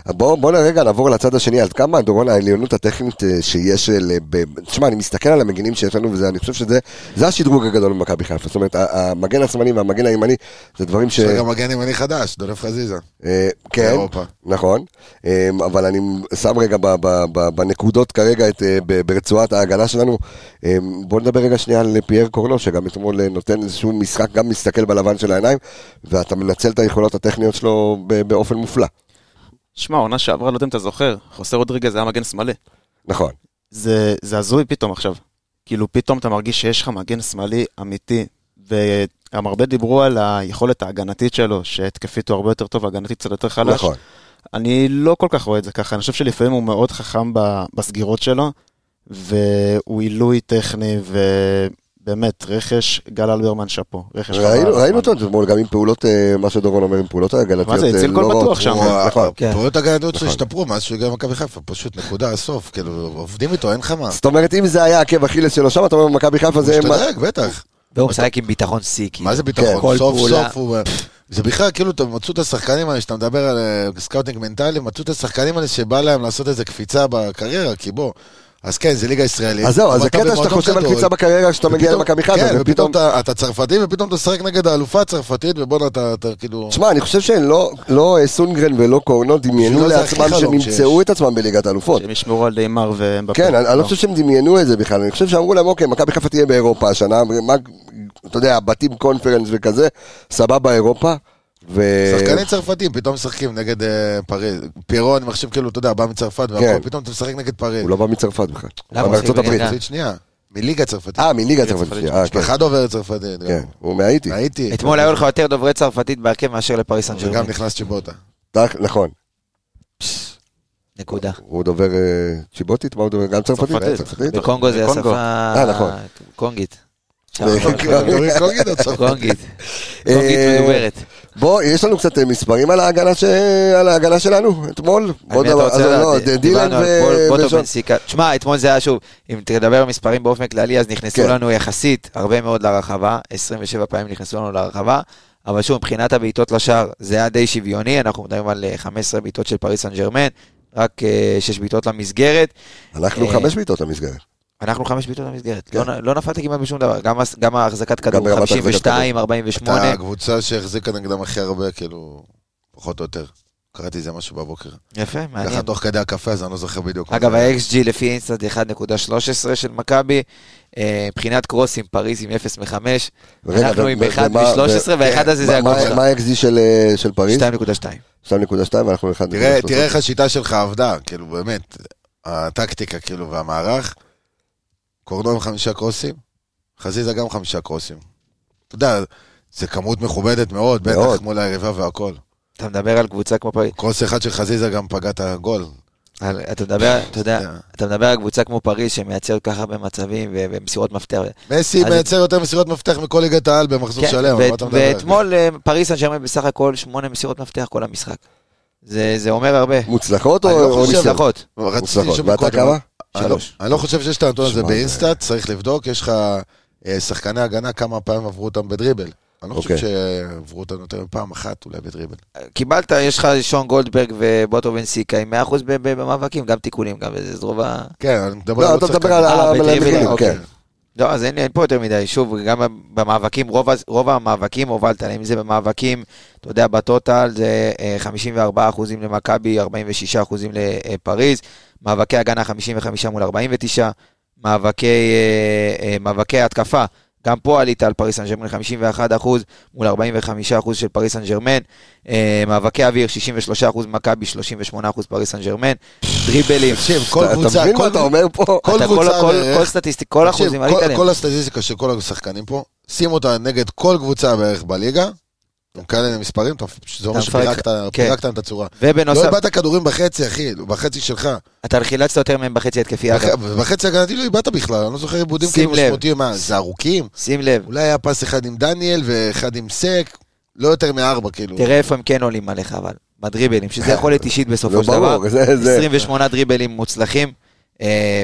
Speaker 1: בואו בוא רגע נעבור לצד השני, עד כמה דורון העליונות הטכנית אה, שיש, אה, ל- ב- תשמע, אני מסתכל על המגינים שיש לנו, ואני חושב שזה זה השדרוג הגדול במכבי חיפה. זאת אומרת, ה- המגן השמאלי והמגן הימני, זה דברים ש...
Speaker 4: יש לך גם מגן ימני חדש, דולף חזיזה.
Speaker 1: אה, כן,
Speaker 4: באירופה.
Speaker 1: נכון, אה, אבל אני שם רגע ב- ב- ב- בנקודות כרגע את, אה, ב- ברצועת ההגנה שלנו. אה, בואו נדבר רגע שנייה על פייר קורנו, שגם אתמול אה, נותן איזשהו משחק, גם מסתכל בלבן של העיניים, ואתה מנצל את היכולות הטכניות שלו ב- באופן מופלא.
Speaker 5: שמע, עונה שעברה, לא יודע אם אתה זוכר, חוסר רודריגז היה מגן שמאלי.
Speaker 1: נכון,
Speaker 5: זה, זה הזוי פתאום עכשיו. כאילו, פתאום אתה מרגיש שיש לך מגן שמאלי אמיתי, וגם הרבה דיברו על היכולת ההגנתית שלו, שהתקפית הוא הרבה יותר טוב, הגנתית קצת יותר חלש.
Speaker 1: נכון.
Speaker 5: אני לא כל כך רואה את זה ככה, אני חושב שלפעמים הוא מאוד חכם ב- בסגירות שלו, והוא עילוי טכני, ובאמת, רכש, גל אלברמן שאפו. רכש חבל על
Speaker 1: ראינו
Speaker 5: הזמן.
Speaker 1: ראינו אותו אתמול גם עם פעולות, אה, מה שדורון אומר, עם פעולות ההגנתיות.
Speaker 5: מה זה, הציל
Speaker 1: אה,
Speaker 5: גול
Speaker 1: לא
Speaker 5: בטוח
Speaker 1: רעות.
Speaker 5: שם.
Speaker 1: וואו, נכון.
Speaker 3: כן.
Speaker 4: פעולות הגנדות
Speaker 1: נכון.
Speaker 4: שלו השתפרו מאז שהוא הגיע למכבי חיפה, פשוט נקודה, הסוף. כאילו, עובדים איתו, אין לך מה.
Speaker 1: זאת אומרת, אם זה היה עקב אכילס שלו שם, אתה אומר, מכבי חיפה
Speaker 4: הוא
Speaker 1: זה...
Speaker 4: משתדרג, בטח.
Speaker 3: והוא משחק עם ביטחון שיא, כאילו.
Speaker 4: מה זה
Speaker 3: כל
Speaker 4: ביטחון? כן. סוף
Speaker 3: פעולה.
Speaker 4: סוף הוא... זה בכלל, כאילו, אתה מצאו את השחקנים האלה, שאתה מדבר על אה, סקאוטינג מנטלי, מצאו את השחקנים האלה שבא להם לעשות איזה קפיצה בקריירה, כי בוא, אז כן, זה ליגה ישראלית.
Speaker 1: אז זהו,
Speaker 4: אבל
Speaker 1: אז זה
Speaker 4: אתה
Speaker 1: קטע שאתה
Speaker 4: במועדון
Speaker 1: חושב על
Speaker 4: גדול,
Speaker 1: קפיצה בקריירה כשאתה מגיע
Speaker 4: ופתאום-
Speaker 1: למכבי חיפה,
Speaker 4: כן, ופתאום אתה- אתה צרפתי, ופתאום אתה משחק נגד האלופה הצרפתית, ובואנה, אתה אתה כאילו...
Speaker 1: תשמע, אני חושב שלא לא, אה, סונגרן ולא קורנו דמיינו
Speaker 4: בשבילו לא זה הכי
Speaker 1: לעצמם שהם
Speaker 4: חלום
Speaker 1: ימצאו
Speaker 4: שיש.
Speaker 1: את עצמם בליגת האלופות.
Speaker 5: שהם ישמרו על דיימר והם...
Speaker 1: כן, אני אני לא חושב שהם דמיינו את זה בכלל, אני חושב שאמרו להם, אוקיי, מכבי חיפה תהיה באירופה השנה, מה- אתה יודע, בתים קונפרנס וכזה, סבבה אירופה. ו-
Speaker 4: שחקנים צרפתים פתאום משחקים נגד אה, פריז. פיירו, אני מחשיב כאילו, אתה יודע, בא מצרפת, והכל, פתאום אתה משחק נגד פריז.
Speaker 1: כן. הוא לא בא מצרפת בכלל, הוא
Speaker 3: למה
Speaker 1: בא
Speaker 3: הוא
Speaker 1: מארצות
Speaker 3: שיחק
Speaker 1: הברית.
Speaker 3: בליגה?
Speaker 4: צרפתית שנייה, מליגה צרפתית.
Speaker 1: אה, מליגה צרפתית, שנייה, אה, כן,
Speaker 4: משפחה דוברת צרפתית. גם.
Speaker 1: כן, הוא מהאיטי.
Speaker 4: הייתי.
Speaker 3: אתמול היו לך יותר דוברי צרפתית בהרכב מאשר לפריס סן ג'רמן.
Speaker 4: וגם נכנס צ'יבוטה.
Speaker 1: תח- נכון.
Speaker 3: נקודה.
Speaker 1: הוא דובר אה, צ'יבוטית? מה הוא דובר? גם צרפתית?
Speaker 5: צרפתית.
Speaker 1: צרפתית.
Speaker 3: בקונגו זה
Speaker 5: בקונגו.
Speaker 3: השפה...
Speaker 1: אה, נכון.
Speaker 3: קונגית. קונגית
Speaker 4: קונגיד או
Speaker 3: לא
Speaker 4: צרפתי?
Speaker 3: קונגית
Speaker 4: אה,
Speaker 3: מדוברת.
Speaker 1: בוא, יש לנו קצת אה, מספרים על ההגנה, ש... על ההגנה שלנו אתמול. בוא
Speaker 3: על מי אתה
Speaker 1: נדבר-
Speaker 3: רוצה
Speaker 1: אז לא,
Speaker 3: לדעת? אה,
Speaker 1: ד- דילן
Speaker 3: דיברנו על בול-
Speaker 1: ו...
Speaker 3: בוטו
Speaker 1: ושון.
Speaker 3: בן סיקה. תשמע, אתמול זה היה שוב, אם תדבר במספרים באופן כללי, אז נכנסו
Speaker 1: כן.
Speaker 3: לנו יחסית הרבה מאוד לרחבה, 27 פעמים נכנסו לנו לרחבה, אבל שוב, מבחינת הבעיטות לשער, זה היה די שוויוני, אנחנו מדברים על אה, 15 בעיטות של פריס סן ג'רמן, רק 6 בעיטות למסגרת.
Speaker 1: אנחנו
Speaker 3: אה,
Speaker 1: חמש בעיטות למסגרת.
Speaker 3: אנחנו חמש בעיטות למסגרת,
Speaker 1: כן.
Speaker 3: לא, נ- לא נפלת כמעט בשום דבר, גם, הס- גם ההחזקת כדור,
Speaker 1: ברמת החזקת
Speaker 3: 52, 48,
Speaker 4: אתה הקבוצה שהחזיקה נגדם הכי הרבה, כאילו, פחות או יותר. קראתי זה משהו בבוקר.
Speaker 3: יפה, מעניין.
Speaker 4: ככה תוך כדי הקפה, אז אני לא זוכר בדיוק. מה
Speaker 3: אגב,
Speaker 4: זה היה.
Speaker 3: ה-XG לפי אינסטנט 1.13 של מכבי, אה, מבחינת קרוסים, פריז עם 0 מ-5,
Speaker 1: רגע,
Speaker 3: אנחנו
Speaker 1: ו-
Speaker 3: עם
Speaker 1: ו-
Speaker 3: 1
Speaker 1: ומה-
Speaker 3: מ-13,
Speaker 1: ו-
Speaker 3: והאחד הזה זה
Speaker 1: מה-
Speaker 3: הגול
Speaker 1: מה-
Speaker 3: שלך.
Speaker 1: מה ה-XG של, אה, של פריז?
Speaker 3: 2.2.
Speaker 1: 2.2 ואנחנו 1.3.
Speaker 4: תראה- תראה איך השיטה שלך עבדה, כאילו, באמת. הטקטיקה, כאילו, והמערך. קורנו עם חמישה קרוסים, חזיזה גם חמישה קרוסים. אתה יודע, זה כמות מכובדת מאוד,
Speaker 1: מאוד.
Speaker 4: בטח מול היריבה והכל.
Speaker 3: אתה מדבר על קבוצה כמו פריז,
Speaker 4: קרוס אחד של חזיזה גם פגע את הגול.
Speaker 3: על- אתה מדבר,
Speaker 4: אה,
Speaker 3: אתה יודע,
Speaker 4: יודע.
Speaker 3: אתה מדבר על קבוצה כמו פריז שמייצרת ככה הרבה מצבים ו- ומסירות מפתח.
Speaker 4: מסי
Speaker 3: אז-
Speaker 4: מייצר יותר מסירות מפתח מכל ליגת העל במחזור
Speaker 3: כן,
Speaker 4: שלם, על
Speaker 3: ואת-
Speaker 4: מה אתה מדבר?
Speaker 3: ואתמול אה, פריז סן ג'רמן בסך הכל 8 מסירות מפתח כל המשחק. זה זה אומר הרבה.
Speaker 1: מוצלחות או
Speaker 3: אני לא
Speaker 1: או
Speaker 3: חושב,
Speaker 1: ניסיון?
Speaker 3: נכון.
Speaker 4: רציתי
Speaker 1: מוצלחות.
Speaker 4: לשאול
Speaker 1: ואתה
Speaker 4: מקודם,
Speaker 1: כמה?
Speaker 4: אני לא-
Speaker 3: שלוש.
Speaker 4: אני לא חושב שיש את הנתון הזה
Speaker 1: שמע, זה-
Speaker 4: באינסטאט, צריך לבדוק, יש לך אה, שחקני הגנה כמה פעמים עברו אותם בדריבל. אני לא חושב
Speaker 1: אוקיי.
Speaker 4: שעברו אותם יותר מפעם אחת אולי בדריבל.
Speaker 3: קיבלת, יש לך שון גולדברג ובוטו בן סיקה עם 100% ב- ב- במאבקים, גם תיקולים, גם זה זה רוב ה...
Speaker 4: כן, אני מדבר
Speaker 1: לא,
Speaker 4: על
Speaker 1: אתה
Speaker 4: עוד
Speaker 1: מדבר על
Speaker 4: שחקן.
Speaker 3: אה,
Speaker 1: על
Speaker 3: בטריבלים,
Speaker 1: המלמדים,
Speaker 3: אוקיי.
Speaker 1: כן.
Speaker 3: לא, אז אין לי אין פה יותר מדי. שוב, גם במאבקים, רוב, ה- רוב המאבקים הובלת, אם זה במאבקים, אתה יודע, בטוטל זה אה, 54% למכבי, 46% לפריז, מאבקי הגנה 55 מול 49, מאבקי, אה, אה, מאבקי התקפה, גם פה עלית על פריס סן ג'רמן 51% מול 45% של פריס סן ג'רמן, אה, מאבקי אוויר 63% מכבי, 38% פריס סן גרמן, דריבלים.
Speaker 4: תקשיב, כל
Speaker 1: אתה אתה
Speaker 4: קבוצה,
Speaker 1: מבין מה
Speaker 4: כל-
Speaker 1: אתה אומר פה?
Speaker 4: כל
Speaker 3: אתה
Speaker 4: קבוצה
Speaker 3: כל,
Speaker 4: בערך-
Speaker 3: כל סטטיסטיק, כל
Speaker 4: תקשיב,
Speaker 3: אחוזים,
Speaker 4: כל-
Speaker 3: עלית עליהם.
Speaker 4: כל הסטטיסטיקה של כל השחקנים פה, שים אותה נגד כל קבוצה בערך בליגה, עם כאלה מספרים, אתה- זה אומר
Speaker 3: אתה מפרק-
Speaker 4: שפירקת
Speaker 3: כן.
Speaker 4: פירקת את הצורה. לא
Speaker 3: ובנוסף,
Speaker 4: איבדת כדורים בחצי, אחי, בחצי שלך.
Speaker 3: אתה חילצת יותר מהם בחצי התקפי אגב.
Speaker 4: בח- בחצי הגנתי לא איבדת בכלל, אני לא זוכר עיבודים
Speaker 3: שים
Speaker 4: כאילו
Speaker 3: לב.
Speaker 4: משמעותיים, מה, זה ארוכים?
Speaker 3: שים לב,
Speaker 4: אולי היה פס אחד עם דניאל ואחד עם סק, לא יותר מארבע, כאילו.
Speaker 3: תראה איפה הם כן עולים עליך אבל, בדריבלים, שזה יכולת אישית
Speaker 1: נו,
Speaker 3: בסופו של דבר.
Speaker 1: לא ברור, זה... זה-
Speaker 3: 28 דריבלים מוצלחים.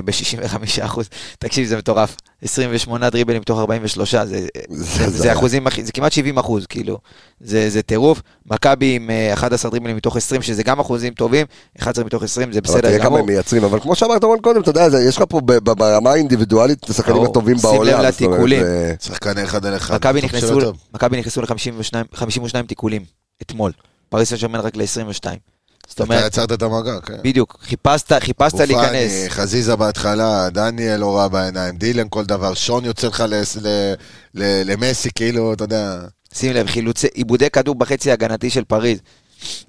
Speaker 3: ב-65 אחוז, תקשיב זה מטורף, 28 דריבלים מתוך 43, זה, זה,
Speaker 1: זה-
Speaker 3: זה אחוזים, הכי- זה כמעט 70 אחוז, כאילו, זה, זה טירוף, מכבי עם אה, 11 דריבלים מתוך 20, שזה גם אחוזים טובים, 11 מתוך 20 זה
Speaker 1: אבל
Speaker 3: בסדר
Speaker 1: תראה כמה
Speaker 3: גמור,
Speaker 1: הם מייצרים, אבל כמו שאמרת רון קודם, אתה יודע, זה- יש לך פה ב- ב- ברמה האינדיבידואלית את השחקנים
Speaker 3: ברור.
Speaker 1: הטובים
Speaker 3: שים לב
Speaker 1: בעולם. זאת אומרת, אה,
Speaker 3: לתיקולים.
Speaker 1: זה-
Speaker 4: שחקן אחד על אחד.
Speaker 3: מכבי
Speaker 4: טוב
Speaker 3: נכנסו-
Speaker 4: שלא טוב.
Speaker 3: מכבי נכנסו ל-52 תיקולים אתמול, פריס סן ג'רמן רק ל-22, זאת
Speaker 4: אתה
Speaker 3: אומרת,
Speaker 4: יצרת את המגע, כן.
Speaker 3: בדיוק, חיפשת, חיפשת
Speaker 4: גופני,
Speaker 3: להיכנס.
Speaker 4: חזיזה בהתחלה, דניאל לא ראה בעיניים, דילן כל דבר, שון יוצא לך לס- ל- ל- למסי, כאילו, אתה יודע,
Speaker 3: שים לב, חילוצי, עיבודי כדור בחצי ההגנתי של פריז.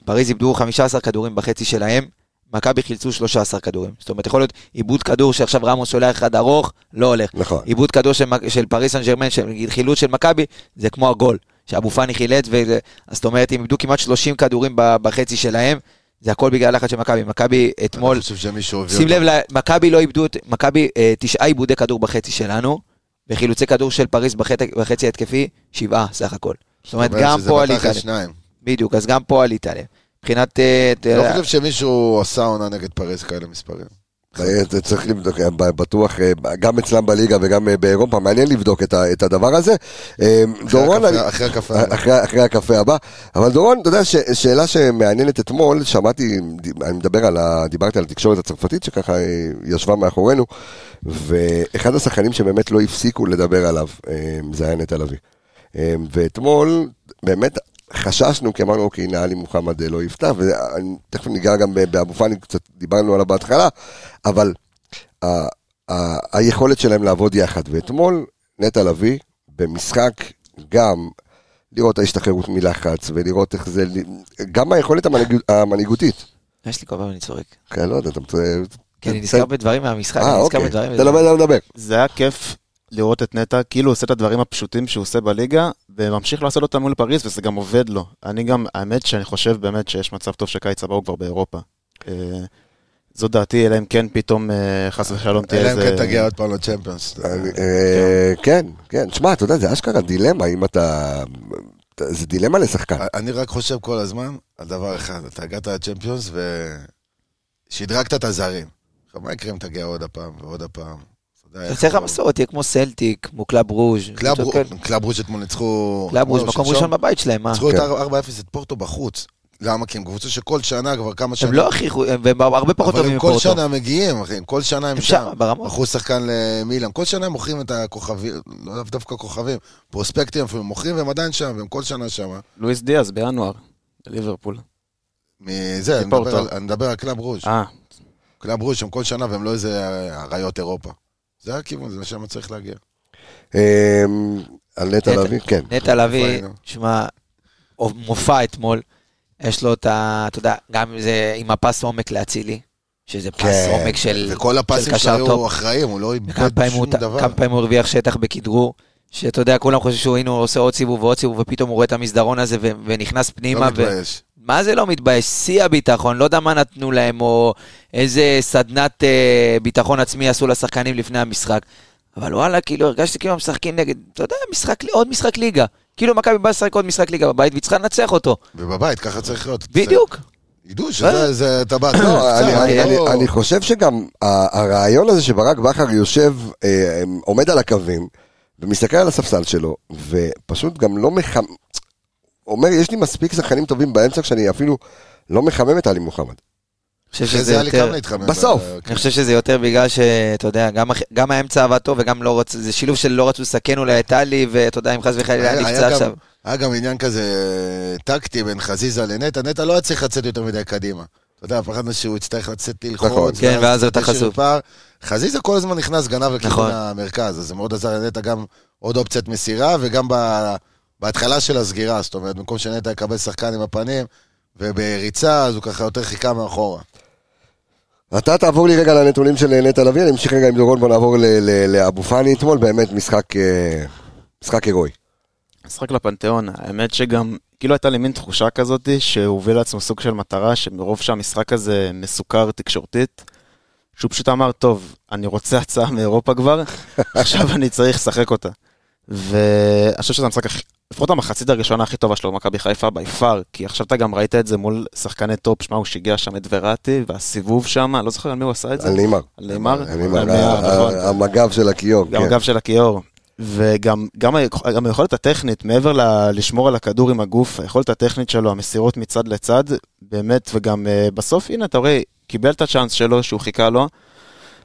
Speaker 3: פריז איבדו 15 כדורים בחצי שלהם, מכבי חילצו 13 כדורים. זאת אומרת, יכול להיות עיבוד כדור שעכשיו רמוס שולח אחד ארוך, לא הולך.
Speaker 1: נכון.
Speaker 3: עיבוד כדור של, מק- של פריס סן ג'רמן, של חילוץ של מכבי, זה כמו הגול, שאבו פאני חילץ, וזה- אז זאת אומרת, הם איבדו כמעט 30 כדורים ב- בחצי שלהם, זה הכל בגלל לחץ של מכבי. מכבי
Speaker 4: אני
Speaker 3: אתמול,
Speaker 4: חושב שמישהו הביא
Speaker 3: שים לב, ל- מכבי לא איבדו, את- מכבי אה, תשעה עיבודי כדור בחצי שלנו, וחילוצי כדור של פריז בחצי- בחצי התקפי, שבעה סך הכל. זאת אומרת, גם פה עלית
Speaker 4: על
Speaker 3: עליהם.
Speaker 4: שניים.
Speaker 3: בדיוק, אז גם פה עלית עליהם. מבחינת... אה, אתה
Speaker 4: לא
Speaker 3: יודע,
Speaker 4: חושב שמישהו עשה עונה נגד פריז כאלה מספרים.
Speaker 1: זה- זה צריך לבדוק, ב- בטוח, אה, גם אצלם בליגה וגם אה, באירופה, מעניין לבדוק את ה- את הדבר הזה. אה,
Speaker 4: אחרי
Speaker 1: דורון,
Speaker 4: הקפה-
Speaker 1: אני-
Speaker 4: אחרי הקפה.
Speaker 1: אחרי, אחרי הקפה הבא. אבל דורון, אתה יודע, ש, שאלה שמעניינת אתמול, שמעתי, ד- אני מדבר על ה... דיברתי על התקשורת הצרפתית שככה אה, ישבה מאחורינו, ואחד השחקנים שבאמת לא הפסיקו לדבר עליו, אה, זה היה נטע לביא. אה, ואתמול, באמת... חששנו, כי אמרנו, אוקיי, נעלי מוחמד אה, לא יפתח, ותכף ניגע גם ב- באבו פאני, קצת דיברנו עליו בהתחלה, אבל ה- ה- היכולת שלהם לעבוד יחד. ואתמול, נטע לביא, במשחק, גם לראות ההשתחררות מלחץ, ולראות איך זה, גם היכולת המנהיג- המנהיגותית.
Speaker 3: אה, יש לי כל פעם אני צועק.
Speaker 1: כן, לא יודע, אתה...
Speaker 4: כן,
Speaker 1: כן,
Speaker 3: כי אני נזכר בדברים
Speaker 4: אה,
Speaker 3: מהמשחק, אני נזכר
Speaker 4: אוקיי.
Speaker 3: בדברים.
Speaker 1: אתה לא יודע לדבר.
Speaker 5: זה היה כיף לראות את נטע, כאילו הוא עושה את הדברים הפשוטים שהוא עושה בליגה, וממשיך לעשות אותם מול פריז, וזה גם עובד לו. אני גם, האמת שאני חושב באמת שיש מצב טוב שקיץ הבא הוא כבר באירופה. אה, זו דעתי, אלא אם כן פתאום, אה, חס ושלום, תהיה
Speaker 4: אלא אם
Speaker 5: איזה...
Speaker 4: כן תגיע עוד פעם לצ'מפיונס.
Speaker 1: אה, כן, כן. שמע, אתה יודע, זה אשכרה דילמה, אם אתה... זה דילמה לשחקן.
Speaker 3: אה,
Speaker 4: אני רק חושב כל הזמן על דבר אחד, אתה הגעת לצ'מפיונס ושדרגת את הזרים. עכשיו, מה יקרה אם תגיע עוד הפעם ועוד הפעם? אתה יודע,
Speaker 3: אתה
Speaker 4: איך
Speaker 3: צריך
Speaker 4: הוא-
Speaker 3: המסורת, תהיה כמו סלטיק, כמו קלאב רוז'.
Speaker 4: קלאב
Speaker 3: קבוצות
Speaker 4: רו-
Speaker 3: כאלה.
Speaker 4: קלאב רוז' אתמול ניצחו...
Speaker 3: קלאב רוז',
Speaker 4: לא,
Speaker 3: מקום
Speaker 4: שלשום.
Speaker 3: ראשון בבית שלהם, מה?
Speaker 4: ניצחו את
Speaker 1: כן.
Speaker 4: 4-0 את פורטו בחוץ. למה? כי הם קבוצה שכל שנה כבר כמה שנים...
Speaker 3: הם לא הכי, חו- הם הם הרבה פחות
Speaker 4: אבל
Speaker 3: טובים
Speaker 4: הם כל
Speaker 3: מפורטו.
Speaker 4: שנה מגיעים, אחי, הם כל שנה הם
Speaker 3: הם
Speaker 4: שם.
Speaker 3: שם, ברמות.
Speaker 4: מכרו שחקן למילאן, כל שנה הם מוכרים את הכוכבים, לא דווקא כוכבים, פרוספקטים אפילו, הם מוכרים והם עדיין שם, והם כל שנה שם.
Speaker 5: לואיס דיאז בינואר, ליברפול.
Speaker 4: מזה, אני מדבר
Speaker 5: מפורטו.
Speaker 4: על- אני מדבר על קלאב רוז'.
Speaker 5: אה,
Speaker 4: קלאב רוז' הם כל שנה והם לא איזה אריות אירופה. זה הכיוון, זה לשם צריך להגיע.
Speaker 1: אה, על נטע
Speaker 3: נטע.
Speaker 1: לביא, כן.
Speaker 3: נטע לביא,
Speaker 4: פיינו.
Speaker 3: שמע, מופע אתמול, יש לו את ה... אתה יודע, גם זה עם הפס עומק לאצילי, שזה פס
Speaker 1: כן,
Speaker 3: עומק של
Speaker 4: וכל הפסים
Speaker 3: של קשר
Speaker 4: שהיו
Speaker 3: טוב.
Speaker 4: אחראים, הוא לא איבד
Speaker 3: כמה פעמים, הוא,
Speaker 4: שום דבר.
Speaker 3: כמה פעמים הוא הרוויח שטח בכדרור, שאתה יודע, כולם חושבים שהוא הנה הוא עושה עוד סיבוב ועוד סיבוב, ופתאום הוא רואה את המסדרון הזה ו- ונכנס
Speaker 4: לא
Speaker 3: פנימה. ו-
Speaker 4: מתבייש.
Speaker 3: מה זה לא מתבייש? שיא הביטחון, לא יודע מה נתנו להם, או איזה סדנת אה, ביטחון עצמי עשו לשחקנים לפני המשחק. אבל וואלה, כאילו, הרגשתי כאילו הם משחקים נגד, אתה יודע, משחק, עוד משחק ליגה. כאילו מכבי באה לשחק עוד משחק ליגה בבית, והיא צריכה לנצח אותו.
Speaker 4: ובבית, ככה צריך להיות.
Speaker 3: בדיוק.
Speaker 4: ידעו שזה, זה- אתה בא,
Speaker 1: לא,
Speaker 4: קצת,
Speaker 1: אני- אני-
Speaker 4: לא-
Speaker 1: אני- אני חושב שגם ה- הרעיון הזה שברק בכר יושב, אה, עומד על הקווים, ומסתכל על הספסל שלו, ופשוט גם לא מחמם, אומר, יש לי מספיק שחקנים טובים באמצע כשאני אפילו לא מחמם את עלי מוחמד.
Speaker 3: אני חושב
Speaker 4: אחרי
Speaker 3: שזה
Speaker 4: זה היה לי
Speaker 3: יותר...
Speaker 4: כמה להתחמם. אה, כן.
Speaker 1: בסוף.
Speaker 4: ב-
Speaker 3: אני חושב שזה יותר בגלל שאתה יודע, גם, הח- גם האמצע עבד טוב וגם לא רצו, זה שילוב של לא רצו לסכן אולי את טלי, ואתה יודע, אם חס וחלילה היה
Speaker 4: היה-
Speaker 3: נפצע
Speaker 4: היה
Speaker 3: עכשיו.
Speaker 4: גם- היה גם עניין כזה אה, טקטי בין חזיזה לנטע, נטע לא היה צריך לצאת יותר מדי קדימה. אתה יודע, פחדנו שהוא יצטרך לצאת ללחוץ.
Speaker 1: נכון.
Speaker 4: ואז
Speaker 3: כן, ואז אתה
Speaker 4: איזשהו
Speaker 3: חשוף.
Speaker 4: פער. חזיזה כל הזמן נכנס, גנב לכיוון
Speaker 3: נכון.
Speaker 4: המרכז, אז זה מאוד עזר לנטע גם עוד אופציית מסירה, וגם ב- בהתחלה של הסגירה, זאת אומרת, במקום שנטע יקבל שחקן עם הפנים, ובריצה, אז הוא ככה יותר חיכה מאחורה.
Speaker 1: אתה תעבור לי רגע לנתונים של נטע לביא, אני אמשיך רגע עם דורון, בוא נעבור ל- ל- לאבו פאני אתמול, באמת משחק, אה, משחק הירואי.
Speaker 5: משחק לפנתיאון, האמת שגם, כאילו הייתה לי מין תחושה כזאת שהוביל לעצמו סוג של מטרה, שמרוב שהמשחק הזה מסוכר תקשורתית, שהוא פשוט אמר, טוב, אני רוצה הצעה מאירופה כבר, עכשיו אני צריך לשחק אותה. ואני חושב שזה המשחק, הכי- לפחות המחצית הראשונה הכי טובה שלו, מכבי חיפה בי פאר, כי עכשיו אתה גם ראית את זה מול שחקני טופ, שמע, הוא שיגע שם את וראטי, והסיבוב שם, אני לא זוכר על מי הוא עשה את זה,
Speaker 1: על נאמר.
Speaker 5: על נאמר?
Speaker 1: על נאמר,
Speaker 5: על
Speaker 1: ה-
Speaker 5: נאמר,
Speaker 1: ה-
Speaker 5: נכון.
Speaker 1: המגב של הכיור.
Speaker 5: גם
Speaker 1: כן.
Speaker 5: הגב של הכיור. וגם גם היכ- גם היכולת הטכנית, מעבר ל- לשמור על הכדור עם הגוף, היכולת הטכנית שלו, המסירות מצד לצד, באמת, וגם אה, בסוף, הנה, אתה רואה, קיבל את הצ'אנס שלו, שהוא חיכה לו,